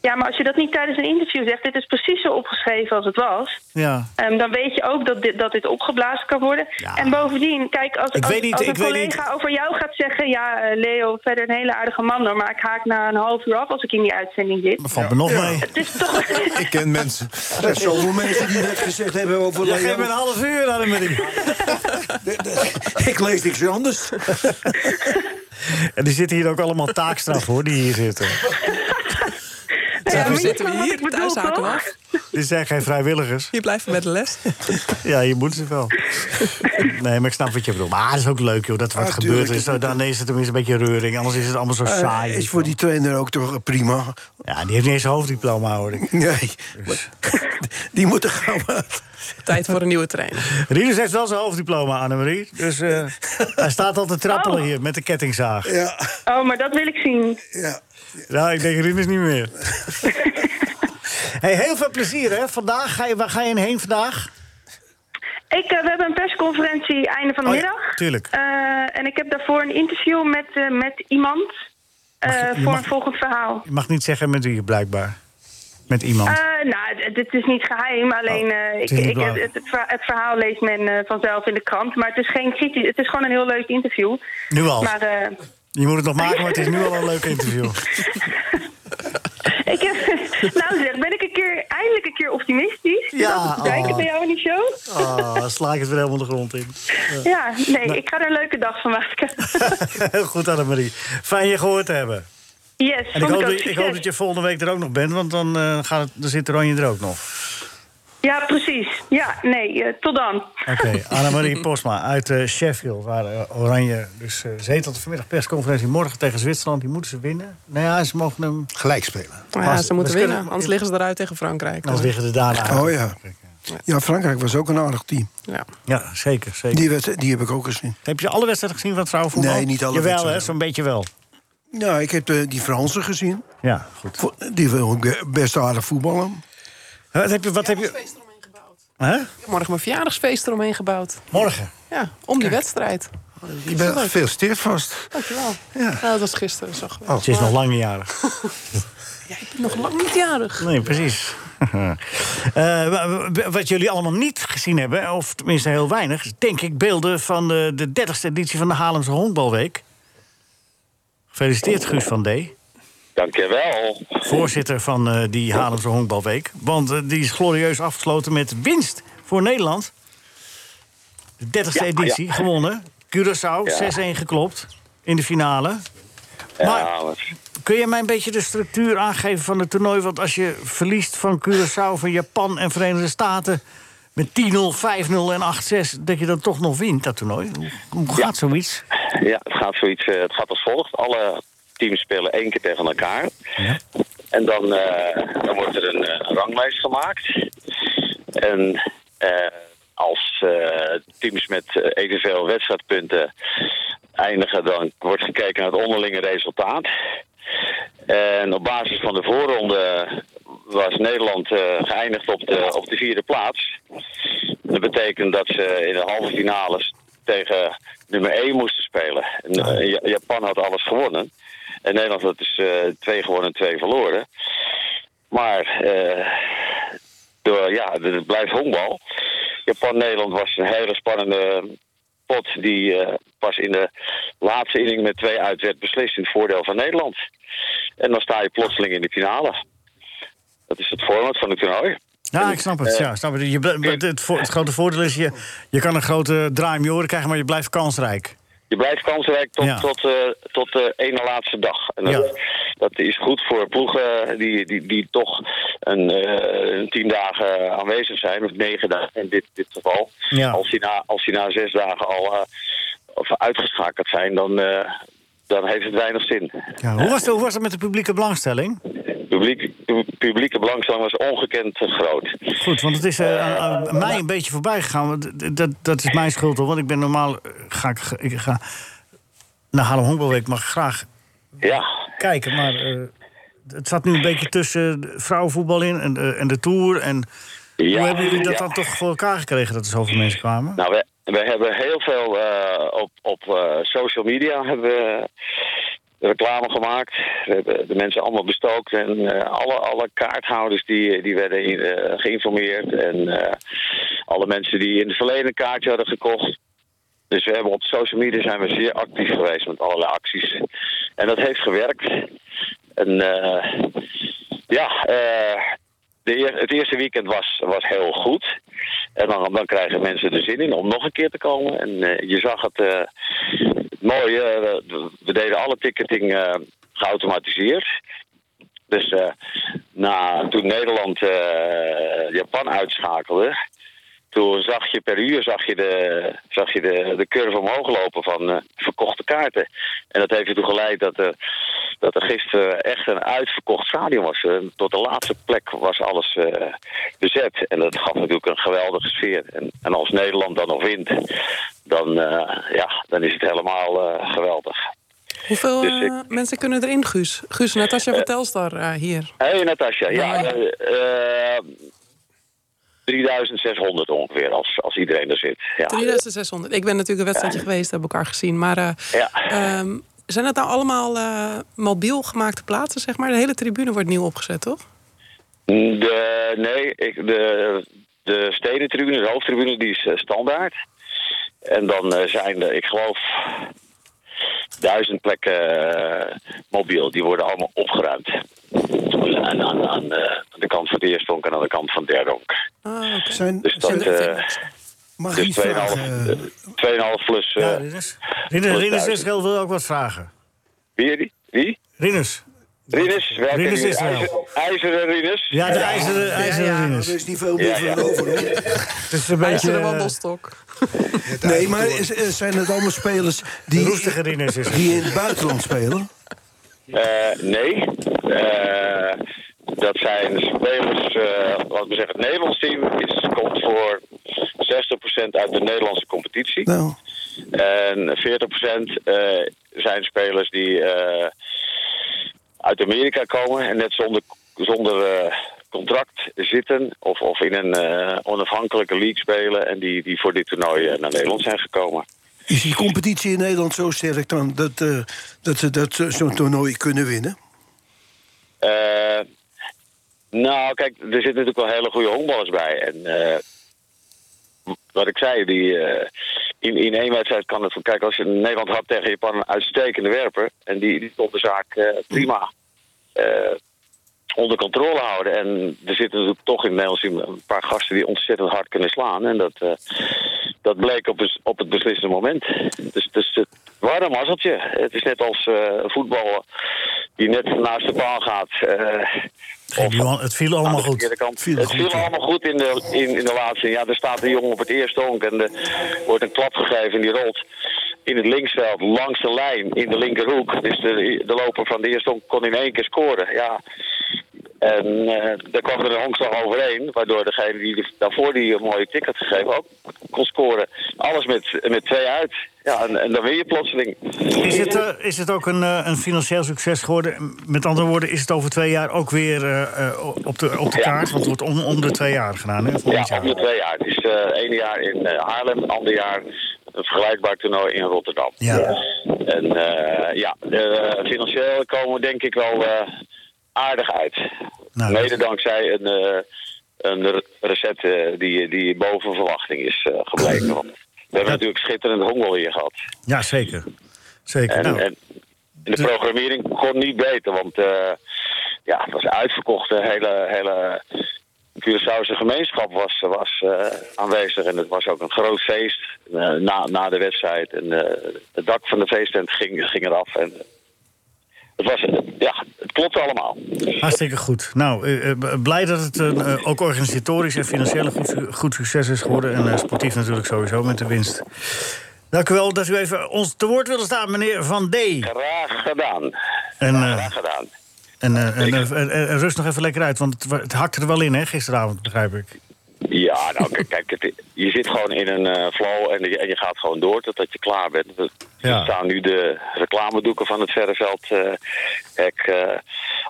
S13: Ja, maar als je dat niet tijdens een interview zegt... dit is precies zo opgeschreven als het was...
S3: Ja.
S13: ehm, dan weet je ook dat dit, dat dit opgeblazen kan worden.
S3: Ja.
S13: En bovendien, kijk, als,
S3: Ik
S13: als,
S3: weet niet,
S13: als een
S3: ik weet
S13: collega over jou gaat zeggen... ja, eh, Leo, verder een hele aardige man, hoor, maar ik haak na een half uur af... als ik in die uitzending zit.
S3: Maar valt me nog mee.
S13: Het is toch...
S6: Ik ken mensen.
S4: Er zijn zoveel mensen die dat gezegd hebben over
S3: Je geeft
S4: Leo.
S3: me een half uur aan hem.
S4: Ik lees niks anders.
S3: En die zitten hier ook allemaal taakstraf, hoor, die hier zitten.
S13: Ja, maar je
S8: zitten we
S13: snapt wat
S8: hier,
S13: ik bedoel,
S8: thuis haken we
S13: toch?
S8: af.
S3: Dit zijn geen vrijwilligers.
S8: Hier blijven we met de les.
S3: Ja, je moet ze wel. Nee, maar ik snap wat je bedoelt. Maar het is ook leuk, joh, dat er wat
S4: Ah,
S3: gebeurt.
S4: tuurlijk.
S3: Is, dan is het tenminste een beetje reuring. Anders Eh, is het allemaal zo saai.
S4: is voor die trainer ook toch eh, prima?
S3: Ja, die heeft niet eens een hoofddiploma, hoor ik. Dus-
S4: Nee. Die moet er gauw uit.
S8: Tijd voor een nieuwe trainer.
S3: Rieders heeft wel zijn hoofddiploma, Annemarie. Dus eh, hij staat al te trappelen
S13: Oh.
S3: hier met de kettingzaag.
S4: Ja,
S13: Oh, maar dat wil ik zien.
S4: ja.
S3: Nou, ik denk Rieders niet meer. Hey, heel veel plezier, hè. Vandaag, ga je, waar ga je heen vandaag?
S13: Ik, eh, we hebben een persconferentie einde van de
S3: Oh ja,
S13: middag.
S3: tuurlijk.
S13: Eh, en ik heb daarvoor een interview met, eh, met iemand eh,
S3: Mag je- je
S13: voor
S3: mag-
S13: een volgend verhaal.
S3: Je mag niet zeggen met wie, blijkbaar. Met iemand.
S13: Eh, nou, d- dit is niet geheim. Alleen
S3: Oh,
S13: eh, ik,
S3: het is niet
S13: ik, het,
S3: belangrijk.
S13: het verha- het verhaal leest men eh, vanzelf in de krant. Maar het is geen kritisch. Het is gewoon een heel leuk interview.
S3: nu al.
S13: Maar eh,
S3: Je moet het nog maken, maar het is nu al een leuk interview.
S13: ik heb, nou zeg, ben ik een keer, eindelijk een keer optimistisch?
S3: Ja,
S13: Dat is kijken
S3: oh.
S13: bij jou in die show?
S3: Oh, dan sla ik het weer helemaal de grond in.
S13: Ja, nee, ik ga er een leuke dag van maken.
S3: Heel goed, Annemarie. Fijn je gehoord te hebben.
S13: Yes,
S3: En ik
S13: vond
S3: hoop,
S13: ook
S3: dat, ik hoop
S13: succes.
S3: dat je volgende week er ook nog bent, want dan, eh, gaat het, dan zit Oranje er ook nog.
S13: Ja, precies. Ja, nee, eh, tot dan.
S3: Oké, Annemarie Posma uit eh, Sheffield, waar eh, Oranje dus eh zetelt. Vanmiddag persconferentie, morgen tegen Zwitserland. Die moeten ze winnen. Nou ja, ze mogen hem...
S6: Gelijk spelen.
S8: Maar ja,
S3: Pas-
S8: ze moeten
S3: we kunnen-
S8: winnen, anders liggen ze eruit tegen Frankrijk.
S3: Dan liggen ze daarna uit.
S4: Oh ja. Ja, Frankrijk was ook een aardig team.
S8: Ja.
S3: Ja, zeker, zeker.
S4: Die, werd, die heb ik ook gezien.
S3: Heb je alle wedstrijden gezien van het vrouwenvoetbal?
S4: Nee, niet alle
S3: Jawel, hè,
S4: wedstrijden.
S3: zo'n beetje wel.
S4: Nou, ik heb eh, die Fransen gezien.
S3: Ja, goed.
S4: Vo- Die wil ook, eh, best aardig voetballen.
S3: Wat heb je... Wat heb je hè?
S8: Ik heb morgen mijn verjaardagsfeest eromheen gebouwd.
S3: Morgen.
S8: Ja, om die wedstrijd.
S6: Je bent gefeliciteerd vast.
S8: Dankjewel. Ja. dat was gisteren. Zo
S6: Oh.
S8: geweest.
S3: Ze is nog lang niet jarig.
S8: Jij bent nog lang niet jarig.
S3: Nee, precies. Eh, wa- wa- wat jullie allemaal niet gezien hebben, of tenminste heel weinig... is, denk ik beelden van de, de 30e editie van de Haarlemse Honkbalweek. Gefeliciteerd, Guus van D.
S10: Dankjewel.
S3: Voorzitter van eh, die Haarlemse Honkbalweek. Want eh, die is glorieus afgesloten met winst voor Nederland. De 30e
S16: Ja,
S3: editie,
S16: ja.
S3: gewonnen. Curaçao,
S16: Ja.
S3: 6-1 geklopt in de finale. Maar kun je mij een beetje de structuur aangeven van het toernooi? Want als je verliest van Curaçao, van Japan en Verenigde Staten... met 10-0, 5-0 en 8-6, dat je dan toch nog wint, dat toernooi. Hoe, hoe gaat zoiets?
S15: Ja, het gaat, zoiets, eh, het gaat als volgt. Alle teams spelen één keer tegen elkaar. En dan, eh, dan wordt er een eh, ranglijst gemaakt. En eh, als eh, teams met eh, evenveel wedstrijdpunten eindigen... dan wordt gekeken naar het onderlinge resultaat. En op basis van de voorronde was Nederland eh, geëindigd op de, op de vierde plaats. Dat betekent dat ze in de halve finales tegen nummer 1 moesten spelen. En, eh, Ja- Japan had alles gewonnen. En Nederland had dus eh, twee gewonnen en twee verloren. Maar eh, door, ja, het blijft honkbal. Japan-Nederland was een hele spannende pot... die eh, pas in de laatste inning met twee uit werd beslist in het voordeel van Nederland. En dan sta je plotseling in de finale. Dat is het format van het toernooi.
S3: Ja, ik snap het. Ja, snap het. Je, bl- het, het vo- het grote voordeel is, je, je kan een grote draai om je oren krijgen... maar je blijft kansrijk.
S15: Je blijft kansrijk tot,
S3: Ja.
S15: tot, eh, tot de ene laatste dag. En dat, dat is goed voor ploegen die, die, die toch een, eh, een tien dagen aanwezig zijn, of negen dagen in dit, dit geval.
S3: Ja.
S15: Als, die na, als die na zes dagen al eh, of uitgeschakeld zijn, dan, eh, dan heeft het weinig zin.
S3: Ja, hoe, was het, hoe was het met de publieke belangstelling?
S15: Publiek, publieke belangstelling was ongekend groot.
S3: Goed, want het is eh, aan- aan mij een beetje voorbij gegaan. want d- d- Dat, dat is mijn schuld, hoor. Want ik ben normaal... eh, Ga ik, ik ga naar Haarlem Honkbalweek, maar graag
S15: Ja,
S3: kijken. Maar eh, het zat nu een beetje tussen de vrouwenvoetbal in en, de- en de Tour. En
S15: Ja,
S3: hoe hebben jullie dat
S15: ja.
S3: dan toch voor elkaar gekregen... dat er zoveel mensen kwamen?
S15: Nou, we, we hebben heel veel eh, op, op eh, social media hebben we reclame gemaakt. We hebben de mensen allemaal bestookt. En eh, alle, alle kaarthouders die, die werden in- eh, geïnformeerd. En eh, alle mensen die in het verleden een kaartje hadden gekocht. Dus we hebben op social media zijn we zeer actief geweest met allerlei acties. En dat heeft gewerkt. En eh, ja, eh, de eer- het eerste weekend was, was heel goed. En dan, dan krijgen mensen er zin in om nog een keer te komen. En eh, je zag het, eh, het mooie, eh, we- we deden alle ticketing eh, geautomatiseerd. Dus eh, na, toen Nederland eh, Japan uitschakelde, toen zag je per uur zag je de, zag je de, de curve omhoog lopen van eh, verkochte kaarten. En dat heeft ertoe geleid dat, er dat er gisteren echt een uitverkocht stadion was. Eh, tot de laatste plek was alles eh, bezet. En dat gaf natuurlijk een geweldige sfeer. En, en als Nederland dan nog wint, dan, eh, ja, dan is het helemaal eh, geweldig.
S8: Hoeveel
S15: Dus ik-
S8: eh, mensen kunnen erin, Guus? Guus, Natasja van Telstar eh, hier.
S15: Hé, hey, Natasja. Ja, eh, eh, 3600 ongeveer, als, als iedereen er zit. Ja.
S8: 3600. Ik ben natuurlijk een wedstrijdje geweest, hebben elkaar gezien. Maar eh, ehm, zijn dat nou allemaal eh, mobiel gemaakte plaatsen, zeg maar? De hele tribune wordt nieuw opgezet, toch?
S15: De, nee, ik, de, de stedentribune, de hoofdtribune, die is eh, standaard. En dan eh, zijn er, ik geloof, duizend plekken eh, mobiel. Die worden allemaal opgeruimd. Aan, aan, aan, eh, aan de kant van de eerste honk en aan de kant van de derde honk.
S4: Zijn,
S15: Dus dat...
S4: zijn-
S15: eh
S4: mag ik
S15: dus
S4: iets
S15: 2,5
S4: vragen? dus-
S15: eh, 2,5 plus... eh,
S3: Rinus,
S15: plus
S3: Rinus
S15: 1000.
S3: Israël wil ook wat vragen.
S15: Wie? Wie?
S3: Rinus.
S15: Rinus? Welke
S3: Rinus
S15: Rinus?
S3: Israël.
S15: IJzer- IJzeren Rinus?
S3: Ja, de ijzeren, ijzeren Rinus.
S4: Er is niet veel meer
S15: Ja,
S4: van
S15: ja.
S4: over. hoor.
S3: Het is een beetje... eh,
S4: Nee, maar is- eh, zijn het allemaal spelers die, die in het buitenland spelen?
S15: Eh, nee. Eh, dat zijn spelers, eh laten we zeggen, het Nederlands team is, komt voor 60% uit de Nederlandse competitie. En 40% eh, zijn spelers die eh, uit Amerika komen en net zonder, zonder eh, contract zitten of, of in een eh, onafhankelijke league spelen en die, die voor dit toernooi eh, naar Nederland zijn gekomen.
S4: Is die competitie in Nederland zo sterk dan dat, eh, dat ze dat ze zo'n toernooi kunnen winnen?
S15: Eh, nou, kijk, er zitten natuurlijk wel hele goede honkballers bij. En eh, wat ik zei, die, eh, in, in één wedstrijd kan het... Kijk, als je Nederland had tegen Japan een uitstekende werper... en die, die kon de zaak eh, prima eh, eh, onder controle houden. En er zitten natuurlijk toch in Nederland een paar gasten die ontzettend hard kunnen slaan. En dat, eh, dat bleek op, het- op het beslissende moment. Dus, dus het waren een mazzeltje. Het is net als eh voetballen die net naast de paal gaat. eh,
S3: Geen nuance, het viel allemaal
S15: aan de
S3: goed.
S15: verkeerde kant.
S3: Viel
S15: het
S3: goed,
S15: viel
S3: ja.
S15: allemaal goed in de, in, in de laatste. Ja, er staat een jongen op het eerste honk en er wordt een klap gegeven en die rolt in het linksveld langs de lijn in de linkerhoek. Dus de, de loper van de eerste honk kon in één keer scoren. Ja. En eh, daar kwam er een honkslag overheen, waardoor degene die de- daarvoor die een mooie tik had gegeven ook kon scoren. Alles met, met twee uit. Ja, en, en dan win je plotseling.
S3: Is het, eh, is het ook een, eh, een financieel succes geworden? Met andere woorden, is het over twee jaar ook weer eh, eh, op, de, op de kaart? Want het wordt om, om de twee jaar gedaan, hè?
S15: Ja,
S3: Volgend
S15: op de twee jaar. Het is eh één jaar in eh, Haarlem, ander jaar een vergelijkbaar toernooi in Rotterdam. En eh, ja, eh, financieel komen we denk ik wel eh, aardig uit. Mede dankzij een, eh, een re- recept eh, die, die boven verwachting is eh, gebleken. Want we hebben natuurlijk schitterend hongerweer gehad.
S3: Ja, zeker. Zeker.
S15: En,
S3: nou,
S15: en de programmering kon niet beter, want eh, ja, het was uitverkocht. De hele, hele Curaçaose gemeenschap was, was eh, aanwezig en het was ook een groot feest eh, na, na de wedstrijd. En eh, het dak van de feesttent ging, ging eraf en eh, het was, ja, het klopte allemaal.
S3: hartstikke goed. Nou, eh, eh, b- blij dat het een, eh, ook organisatorisch en financieel een goed, su- goed succes is geworden. En eh, sportief natuurlijk sowieso met de winst. Dank u wel dat u even ons te woord wilde staan, meneer Van D.
S15: Graag gedaan.
S3: En, eh,
S15: Graag gedaan.
S3: En, eh, en, eh, en- en- en rust nog even lekker uit, want het, wa- het hakte er wel in, hè, gisteravond, begrijp ik.
S15: Ja, nou kijk, kijk het, je zit gewoon in een eh, flow en, je- en je gaat gewoon door totdat je klaar bent. Er
S3: Ja.
S15: staan nu de reclamedoeken van het Verreveld eh, hek eh,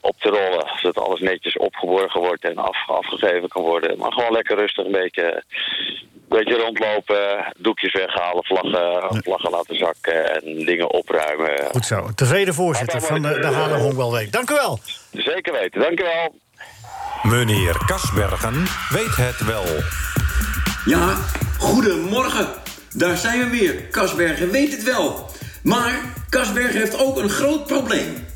S15: op te rollen. Zodat alles netjes opgeborgen wordt en af, afgegeven kan worden. Maar gewoon lekker rustig een beetje, een beetje rondlopen, doekjes weghalen, vlaggen, vlaggen laten zakken en dingen opruimen.
S3: Goed zo. Tevreden voorzitter van de, de Haarlem Honkbalweek. Dank u wel.
S15: Zeker weten, dankjewel.
S17: Meneer Kasbergen weet het wel.
S18: Ja, goedemorgen. Daar zijn we weer. Kasbergen weet het wel. Maar Kasbergen heeft ook een groot probleem.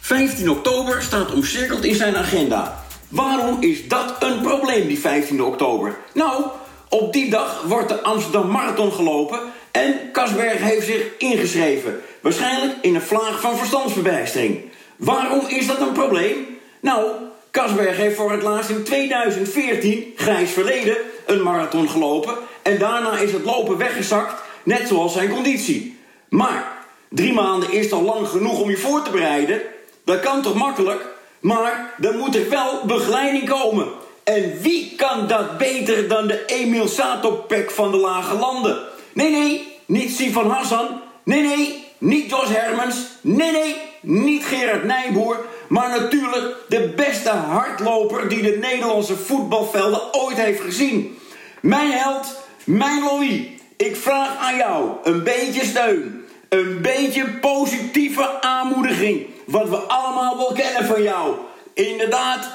S18: 15 oktober staat omcirkeld in zijn agenda. Waarom is dat een probleem, die 15 oktober? Nou, op die dag wordt de Amsterdam Marathon gelopen... en Kasbergen heeft zich ingeschreven. Waarschijnlijk in een vlaag van verstandsverbijstering. Waarom is dat een probleem? Nou, Kasberg heeft voor het laatst in 2014, grijs verleden, een marathon gelopen. En daarna is het lopen weggezakt, net zoals zijn conditie. Maar drie maanden is dan lang genoeg om je voor te bereiden. Dat kan toch makkelijk? Maar dan moet er wel begeleiding komen. En wie kan dat beter dan de Emil Satopek van de Lage Landen? Nee, nee, niet Sivan Hassan. Nee, nee, niet Jos Hermans. Nee, nee, niet Gerard Nijboer. Maar natuurlijk de beste hardloper die de Nederlandse voetbalvelden ooit heeft gezien. Mijn held, mijn Louis. Ik vraag aan jou een beetje steun. Een beetje positieve aanmoediging. Wat we allemaal wel kennen van jou. Inderdaad,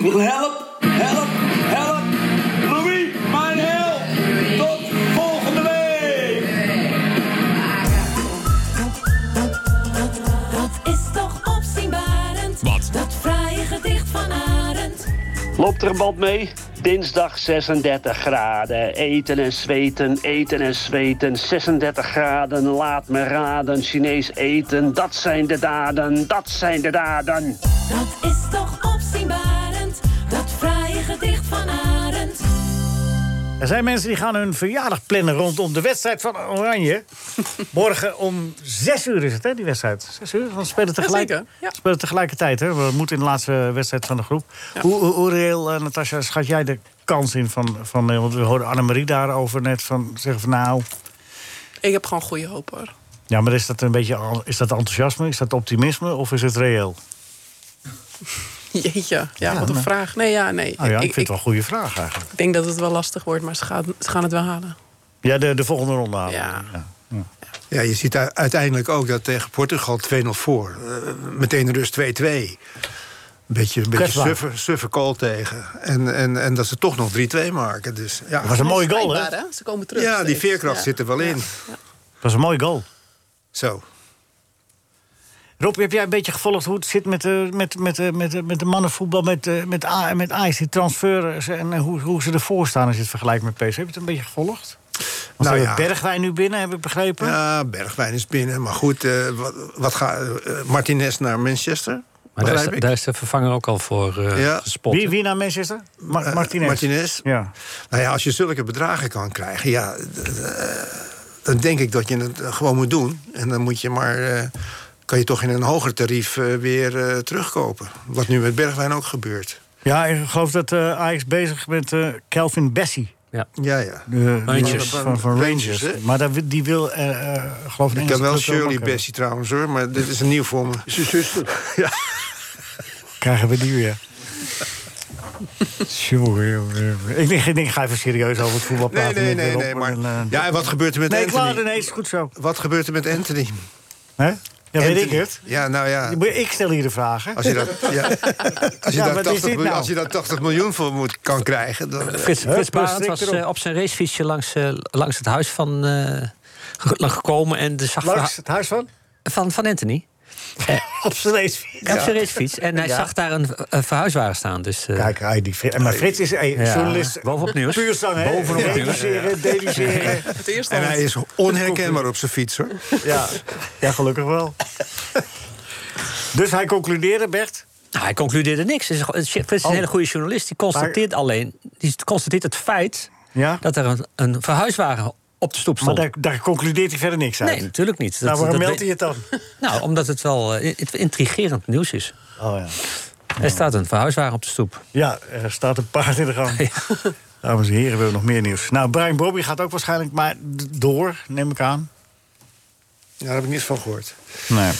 S18: help, help, help. Louis, mijn held. Tot volgende week.
S1: Dat is toch opzienbarend. Wat? Dat fraaie gedicht van Arend.
S19: Loopt er een band mee? Dinsdag 36 graden. Eten en zweten, eten en zweten. 36 graden, laat me raden. Chinees eten, dat zijn de daden, dat zijn de daden.
S1: Dat is toch opzienbarend. Dat fraaie gedicht van Arend.
S3: Er zijn mensen die gaan hun verjaardag plannen rondom de wedstrijd van Oranje. Morgen om zes uur is het, hè, die wedstrijd? Zes uur? Want ze spelen tegelijk,
S8: Jazeker, ja.
S3: ze spelen tegelijkertijd, hè? We moeten in de laatste wedstrijd van de groep. Hoe, hoe, hoe reëel, eh, Natasja, schat jij de kans in van... van eh, want we hoorden Annemarie daarover net van zeggen van... nou,
S8: Ik heb gewoon goede hoop hoor.
S3: ja, maar is dat een beetje al- is dat enthousiasme, is dat optimisme of is het reëel?
S8: Jeetje, ja, wat een
S3: nou.
S8: vraag. Nee, ja, nee.
S3: Nou ja, ik vind het wel een goede vraag eigenlijk.
S8: ik denk dat het wel lastig wordt, maar ze gaan, ze gaan het wel halen.
S3: Ja, de, de volgende ronde halen. Ja.
S20: Ja, je ziet u- uiteindelijk ook dat tegen Portugal 2-0 voor. Eh, meteen rust 2-2. Beetje, een beetje
S3: Kwetsbaar.
S20: suffe, suffe call tegen. En, en, en dat ze toch nog 3-2 maken. Dus, ja.
S3: Dat was een mooie goal, hè?
S8: Blijkbaar, hè? Ze komen terug
S20: Ja, die
S8: steeds.
S20: veerkracht
S8: Ja.
S20: zit er wel in.
S3: Dat was een mooie goal.
S20: Zo.
S3: Rob, heb jij een beetje gevolgd hoe het zit met, eh, met, met, eh, met, eh, met de mannenvoetbal, met, eh, met, A, met Ajax, die transfers en eh, hoe, hoe ze ervoor staan als je het vergelijkt met PSV? Heb je het een beetje gevolgd? Want
S6: Nou
S3: nou,
S6: ja.
S3: Bergwijn nu binnen, heb ik begrepen.
S6: Ja, Bergwijn is binnen. Maar goed, eh, wat, wat gaat eh, Martinez naar Manchester?
S5: Maar daar is,
S6: begrijp
S5: de-
S6: ik?
S5: daar is de vervanger ook al voor eh,
S6: Ja.
S5: gespot. hè?
S3: naar Manchester?
S6: Ma-
S5: Martinez.
S6: Martinez.
S3: Ja.
S6: Nou ja, als je zulke bedragen kan krijgen, ja, d- d- eh, dan denk ik dat je het eh, gewoon moet doen. En dan moet je maar, eh, kan je toch in een hoger tarief eh, weer eh, terugkopen. Wat nu met Bergwijn ook gebeurt.
S3: Ja, ik geloof dat eh Ajax bezig is met eh Calvin Bessie.
S5: Ja,
S6: ja. ja.
S3: De,
S6: Rangers.
S3: Van, van Rangers.
S6: Rangers, hè?
S3: maar dat, wi- die wil, eh eh, geloof ik,
S6: Ik heb wel
S3: Engelse club ook
S6: Shirley
S3: hebben.
S6: Bessie trouwens hoor, maar dit is een nieuw voor me. Is zuster? Ja.
S3: Krijgen we die weer. Jongen, jongen, jongen. Ik denk, ik denk, ga even serieus over het voetbal
S6: Nee,
S3: praten.
S6: nee,
S3: met
S6: nee,
S3: Rob
S6: nee.
S3: en,
S6: Maar,
S3: eh,
S6: ja, en wat gebeurt er met
S3: nee,
S6: Anthony?
S3: klaar, nee, is goed zo.
S6: Wat gebeurt er met Anthony?
S3: Hè? Ja, weet ik
S6: Anthony.
S3: het.
S6: Ja, nou ja.
S3: Maar Ik stel hier de vragen.
S6: Als je, dat, ja, als je,
S3: Ja,
S6: daar, 80
S3: wat is dit
S6: miljoen-
S3: nou?
S6: als je daar 80 miljoen voor moet, kan krijgen... Dan, eh,
S5: Frits, Frits Barend was eh, op zijn racefietsje langs, eh, langs het huis van eh, ge- gekomen en de zag
S3: Langs het huis van?
S5: Van, van Anthony.
S3: op zijn racefiets.
S5: Op zijn racefiets. En hij
S3: Ja.
S5: zag daar een, een verhuiswagen staan. Dus,
S3: Kijk, hij die maar Frits is een journalist.
S5: Bovenop nieuws.
S3: Puur zang, hè?
S5: Bovenop nieuws.
S3: Deduceren, deduceren.
S6: En hij is onherkenbaar op zijn fiets, hoor.
S3: Ja. ja, gelukkig wel. Dus hij concludeerde, Bert?
S5: Nou, hij concludeerde niks. Het is, het is- het is een
S3: Oh.
S5: hele goede journalist. Die constateert alleen die constateert het feit
S3: Ja?
S5: dat er een, een verhuiswagen op de stoep
S3: Maar
S5: stond.
S3: daar, daar concludeert hij verder niks uit.
S5: Nee, natuurlijk niet.
S3: nou, waarom meldt
S5: weet-
S3: hij het dan?
S5: Nou, omdat het wel eh, het intrigerend nieuws is.
S3: Oh ja.
S5: Er staat een verhuiswagen Ah, op de stoep.
S3: Ja, er staat een paard in de gang. Dames en heren, we hebben nog meer nieuws. Nou, Brian Bobby gaat ook waarschijnlijk maar d- door, neem ik aan.
S6: Ja, daar heb ik niets van gehoord.
S3: Nee.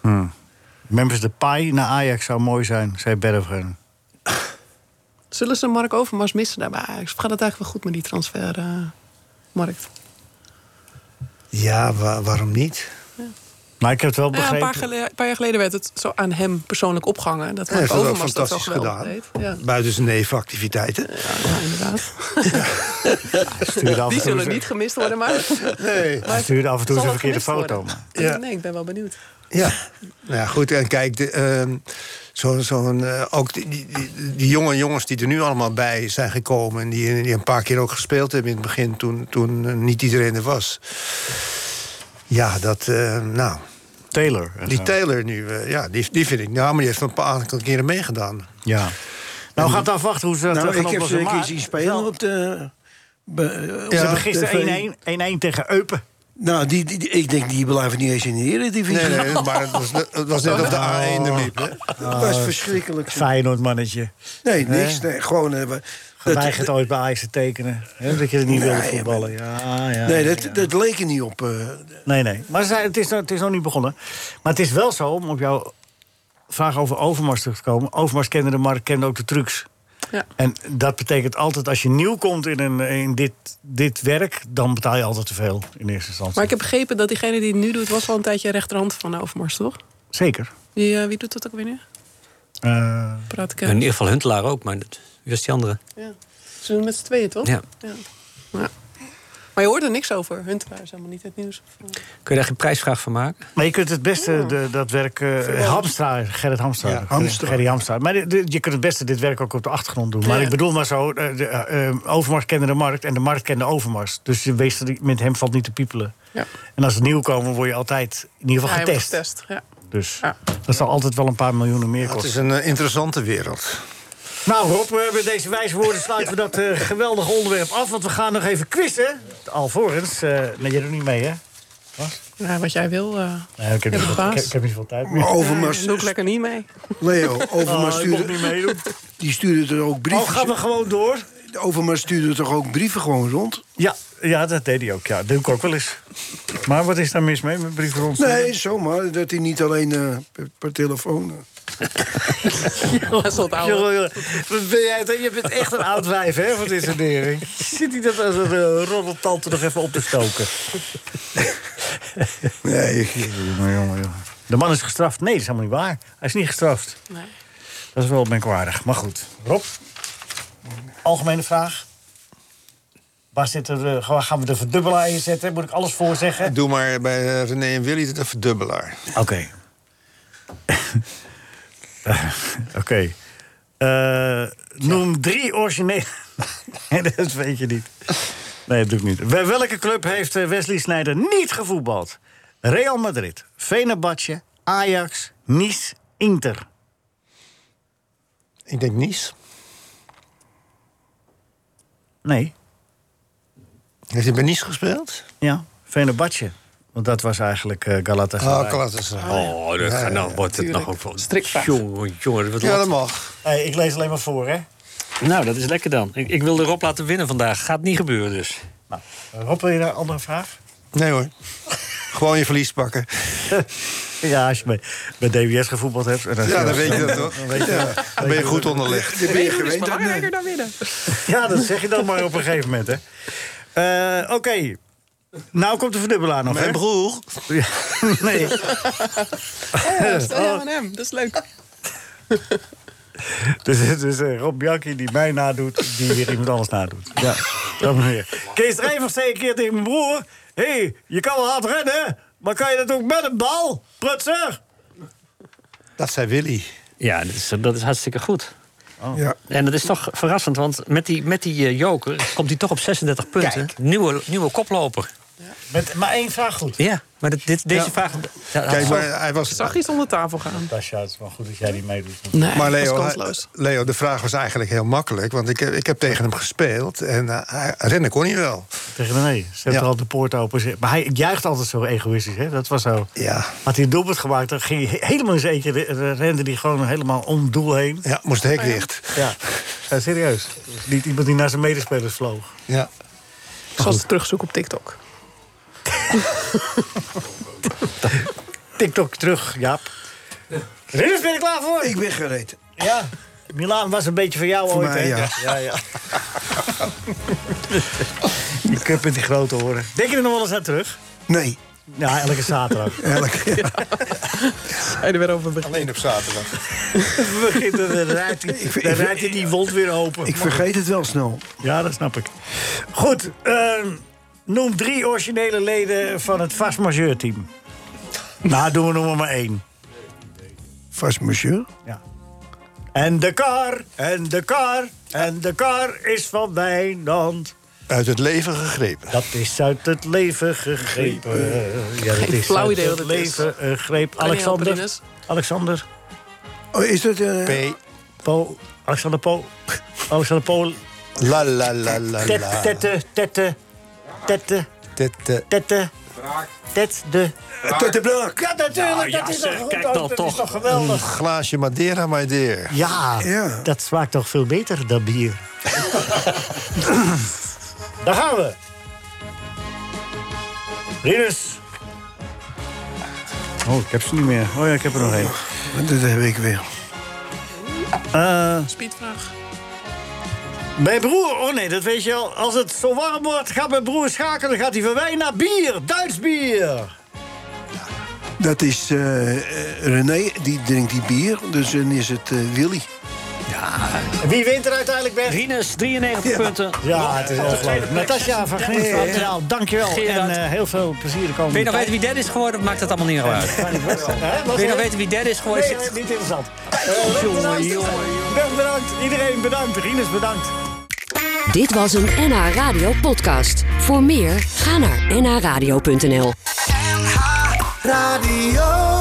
S3: Hm. Memphis Depay naar Ajax zou mooi zijn, zei Bergwijn.
S8: Zullen ze Mark Overmars missen Nou, daarbij Ajax? Of gaat het eigenlijk wel goed met die eh, transfermarkt?
S6: Ja, wa- waarom niet?
S3: Maar ik heb het wel
S8: Ja, een, paar gele- een paar jaar geleden werd het zo aan hem persoonlijk opgehangen. Dat
S6: Hij heeft
S8: Mark
S6: dat ook
S8: Overmars dat zo
S6: fantastisch
S8: geweldig
S6: gedaan.
S8: deed. Ja.
S6: Buiten zijn nevenactiviteiten.
S8: Ja, inderdaad.
S3: Stuurde af en
S8: Die zullen
S3: toe zijn-
S8: niet gemist worden, maar...
S6: Nee.
S3: Hij stuurde af en toe
S8: zal wel
S3: zijn verkeerde
S8: gemist
S3: foto.
S8: worden.
S6: maar. Ja.
S8: Nee, ik ben wel benieuwd.
S6: Ja. Nou ja, goed. En kijk, de, ehm, zo, zo'n, eh, ook die, die, die- die jonge jongens die er nu allemaal bij zijn gekomen... en die, die een paar keer ook gespeeld hebben in het begin... toen, toen eh, niet iedereen er was. Ja, dat... eh, nou...
S3: Taylor.
S6: Die Taylor nu, eh, ja, die, die vind ik... Nou, maar die heeft een paar aantal keren meegedaan.
S3: Ja. Nou, gaat afwachten hoe ze dat
S6: Nou,
S3: gaan
S6: ik heb
S3: oplossen.
S6: ze een
S3: Maar
S6: keer zien
S4: spelen op de... eh,
S3: Ze hebben gisteren 1-1 tegen Eupen.
S4: Nou, die, die- die- ik denk die blijven niet eens in de Eredivisie. Oh.
S6: Nee, nee, maar het was, net- het was net of de A1 er liep. hè. Oh.
S4: Dat was verschrikkelijk.
S3: Feyenoord mannetje.
S4: Nee, niks. Nee, gewoon... eh, we- dat-
S3: Weigert ooit bij Ajax te tekenen. Hè, dat je er niet
S4: Nee,
S3: wilde
S4: maar-
S3: voetballen. Ja, ja,
S4: nee,
S3: ja.
S4: dat, dat leek er niet op. eh.
S3: Nee, nee. Maar ze zei, het, is, nog- het is nog niet begonnen. Maar het is wel zo, om op jouw vraag over Overmars terug te komen. Overmars kende de markt, kende ook de trucs.
S8: Ja.
S3: En dat betekent altijd, als je nieuw komt in, een, in dit, dit werk... dan betaal je altijd te veel in eerste instantie.
S8: Maar ik heb begrepen dat diegene die het nu doet... was al een tijdje rechterhand van Overmars, toch?
S3: Zeker.
S8: Wie, eh, wie doet dat ook weer nu?
S3: Eh,
S8: Praat ik
S5: In ieder geval Huntelaar ook, maar dat, wie was die andere?
S8: Ja. Ze doen het met z'n tweeën, toch?
S5: Ja.
S8: Ja. Maar je hoort er niks over. Huntelaar is helemaal niet het nieuws.
S5: Kun je daar geen prijsvraag van maken?
S3: Maar je kunt het beste de, dat werk... eh Hamstra, Gerrit Hamstra.
S5: Hamstra.
S3: Gerry Hamstra. Maar de- de- je kunt het beste dit werk ook op de achtergrond doen. Maar
S5: Ja.
S3: ik bedoel maar zo, eh, de, eh, eh, Overmars kende de markt... en de markt kende Overmars. Dus je weet dat met hem valt niet te piepelen.
S8: Ja.
S3: En als ze nieuw komen, word je altijd in ieder geval
S8: Ja, hij wordt
S3: getest.
S8: Ja.
S3: Dus dat zal altijd wel een paar miljoenen meer
S6: Het
S3: kosten.
S6: is een eh, interessante wereld.
S3: Nou Rob, eh, met deze wijze woorden sluiten we dat eh, geweldige onderwerp af. Want we gaan nog even quizzen. Alvorens, eh nee, jij doet niet mee hè?
S8: Ja, wat jij wil. eh
S3: Nee, ik heb,
S8: Ja,
S3: niet veel,
S8: baas.
S3: ik heb, ik heb niet veel tijd meer.
S4: Maar Overmars-
S8: Doe ik lekker niet mee.
S4: Leo, Overmars
S3: Oh, ik mocht
S4: stuurde...
S3: niet meedoen.
S4: Die stuurde er ook brieven.
S3: Oh, gaan we gewoon door?
S4: Overmars stuurde toch ook brieven gewoon rond?
S3: Ja, ja, dat deed hij ook. Ja, dat doe ik ook wel eens. Maar wat is daar mis mee met brieven rond?
S4: Nee, zomaar. Dat hij niet alleen eh, per, per telefoon... eh.
S3: Jongen, jongen. Wat ben jij, toch? je bent echt een oud wijf, hè, van deze nering. Zit hij dat als een uh, roddeltante nog even op te stoken?
S4: Nee, ik-
S3: jongen, jongen, jongen. De man is gestraft. Nee, dat is helemaal niet waar. Hij is niet gestraft.
S8: Nee.
S3: Dat is wel merkwaardig. Maar goed, Rob, algemene vraag. Waar zitten we, gaan we de verdubbelaar in zetten? Moet ik alles voor zeggen?
S6: Doe maar bij eh, René en Willy de verdubbelaar.
S3: Oké. Oké. Eh, noem drie originele... Nee, dat weet je niet. Nee, dat doe ik niet. Bij welke club heeft eh, Wesley Sneijder niet gevoetbald? Real Madrid, Venerbahce, Ajax, Nice, Inter.
S6: Ik denk Nice.
S3: Nee.
S6: Heeft hij bij Nice gespeeld?
S3: Ja, Venerbahce. Want dat was eigenlijk eh, Galatasaray.
S6: Oh, Galatasaray.
S5: Oh, dat gaat- nou wordt het nog een
S3: Strikvraag.
S5: Jongen, jongen, wat
S3: Ja, dat
S6: mag.
S3: Hey, ik lees alleen maar voor, hè?
S5: Nou, dat is lekker dan. Ik, ik wilde Rob laten winnen vandaag. Gaat niet gebeuren dus.
S3: Rob, wil je daar een andere vraag?
S6: Nee hoor. Gewoon je verlies pakken.
S3: ja, als je bij, bij DWS gevoetbald hebt... dan-
S6: Ja, dan weet je dat toch?
S3: Dan weet je
S6: Ja,
S3: dat.
S6: dan ben je goed onderlegd. Dan ben je gewend
S8: is belangrijker dan winnen.
S3: Ja, dat zeg je dan maar op een gegeven moment, hè. Eh, Oké. Nou komt de verdubbelaar nog,
S6: Mijn
S3: hè?
S6: broer.
S3: Ja, nee.
S8: Ja, stel je aan hem. Dat is leuk.
S3: Dus, dus eh, Rob Bianchi die mij nadoet, die weer iemand anders nadoet. Ja, dat manier. Kees Drijvers zei een keer tegen mijn broer... Hé, hey, je kan wel hard rennen, maar kan je dat ook met een bal? Prutser!
S6: Dat zei Willy.
S5: Ja, dat is, dat is hartstikke goed.
S6: Ja.
S5: En dat is toch verrassend, want met die, met die eh, joker komt hij toch op 36 punten. Nieuwe, nieuwe koploper.
S3: Met maar één vraag goed.
S5: Ja, maar dit, dit- deze
S3: Ja.
S5: vraag...
S6: Kijk, maar hij was...
S8: Zag iets onder tafel gaan.
S3: Tasja, het is wel goed dat jij die meedoet.
S6: maar Leo,
S8: was
S6: hij- Leo, de vraag was eigenlijk heel makkelijk. Want ik, heb- ik heb tegen hem gespeeld en eh, hij rennen kon hij wel.
S3: Tegen nee, ze heeft
S6: Ja.
S3: er al de poort open. Maar hij juicht altijd zo egoïstisch, hè? Dat was zo.
S6: Ja.
S3: Had hij een doelpunt gemaakt, dan ging hij helemaal in zijn eentje... re- rende hij gewoon helemaal om doel heen.
S6: Ja, moest het hek
S8: Oh
S6: dicht.
S3: Ja, Ja, serieus. Niet iemand die naar zijn medespelers vloog.
S6: Ja.
S8: Ik zal ze terugzoeken op TikTok.
S3: TikTok terug, Jaap. Rinus, ben je er klaar voor? Ik
S6: ben gereed.
S3: Ja, Milaan was een beetje van jou
S6: Voor
S3: ooit,
S6: mij,
S3: hè?
S6: ja.
S3: ja, ja. Je kunt met die grote horen. Denk je er nog wel eens aan terug?
S6: Nee.
S3: Ja, elke zaterdag.
S6: Elke.
S8: er weer over
S6: Alleen op zaterdag.
S3: We beginnen, dan rijdt hij-
S6: Ik- ik-
S3: dan rijdt hij die wond weer open.
S4: Ik vergeet het wel snel.
S3: Ja, dat snap ik. Goed, ehm, noem drie originele leden van het vast majeurteam. Nou, doen we nummer maar één.
S4: Vast monsieur.
S3: En de kar, en de kar, en de kar is van Wijnand.
S6: Uit het leven gegrepen.
S3: Dat is uit het leven gegrepen. Ja, dat
S8: Geen
S3: is
S8: flauw
S3: uit
S8: idee
S3: het
S8: wat het is.
S3: leven gegrepen.
S8: Kan je helpen,
S3: Alexander.
S8: Rinus?
S3: Alexander.
S4: Oh, is dat...
S3: eh,
S6: P.
S3: Po. Alexander Po. Alexander Po.
S6: La la la la
S3: Tet,
S6: la.
S3: tette, tette, tette,
S6: Tette.
S3: tette. Tet de.
S6: Tet de Braak.
S3: Ah, Nou Ja, natuurlijk. dat is toch goed. dat is toch
S6: Een
S3: geweldig.
S6: glaasje Madeira, my dear.
S3: Ja, dat smaakt toch veel beter dan bier. Daar gaan we. Rinus. Oh, ik heb ze niet meer. Oh ja, ik heb er nog één.
S4: Oh, Dat heb ik weer.
S3: Eh,
S8: Speedvraag.
S3: Mijn broer, oh nee, dat weet je al. Als het zo warm wordt, gaat mijn broer schakelen. Dan gaat hij van wijn naar bier. Duits bier.
S4: Dat is eh, eh, René, die drinkt die bier. Dus dan is het eh, Willy.
S3: Wie wint er uiteindelijk, Ben?
S5: Rinus, 93 punten.
S3: Ja, het is ongelooflijk. Natasja van Grinsveld,
S5: Ja, ja.
S3: nou, dankjewel.
S5: Gerard.
S3: En eh, heel veel plezier de komende
S5: Wil je nog
S3: tijd.
S5: weten wie derde is geworden? Maakt dat allemaal niet nog uit. Wil je nog weten wie derde is geworden?
S3: Nee, niet interessant. Eh, bedankt. Berg bedankt, iedereen bedankt, Rinus bedankt.
S1: Dit was een NH Radio podcast. Voor meer, ga naar nhradio.nl.
S21: Radio.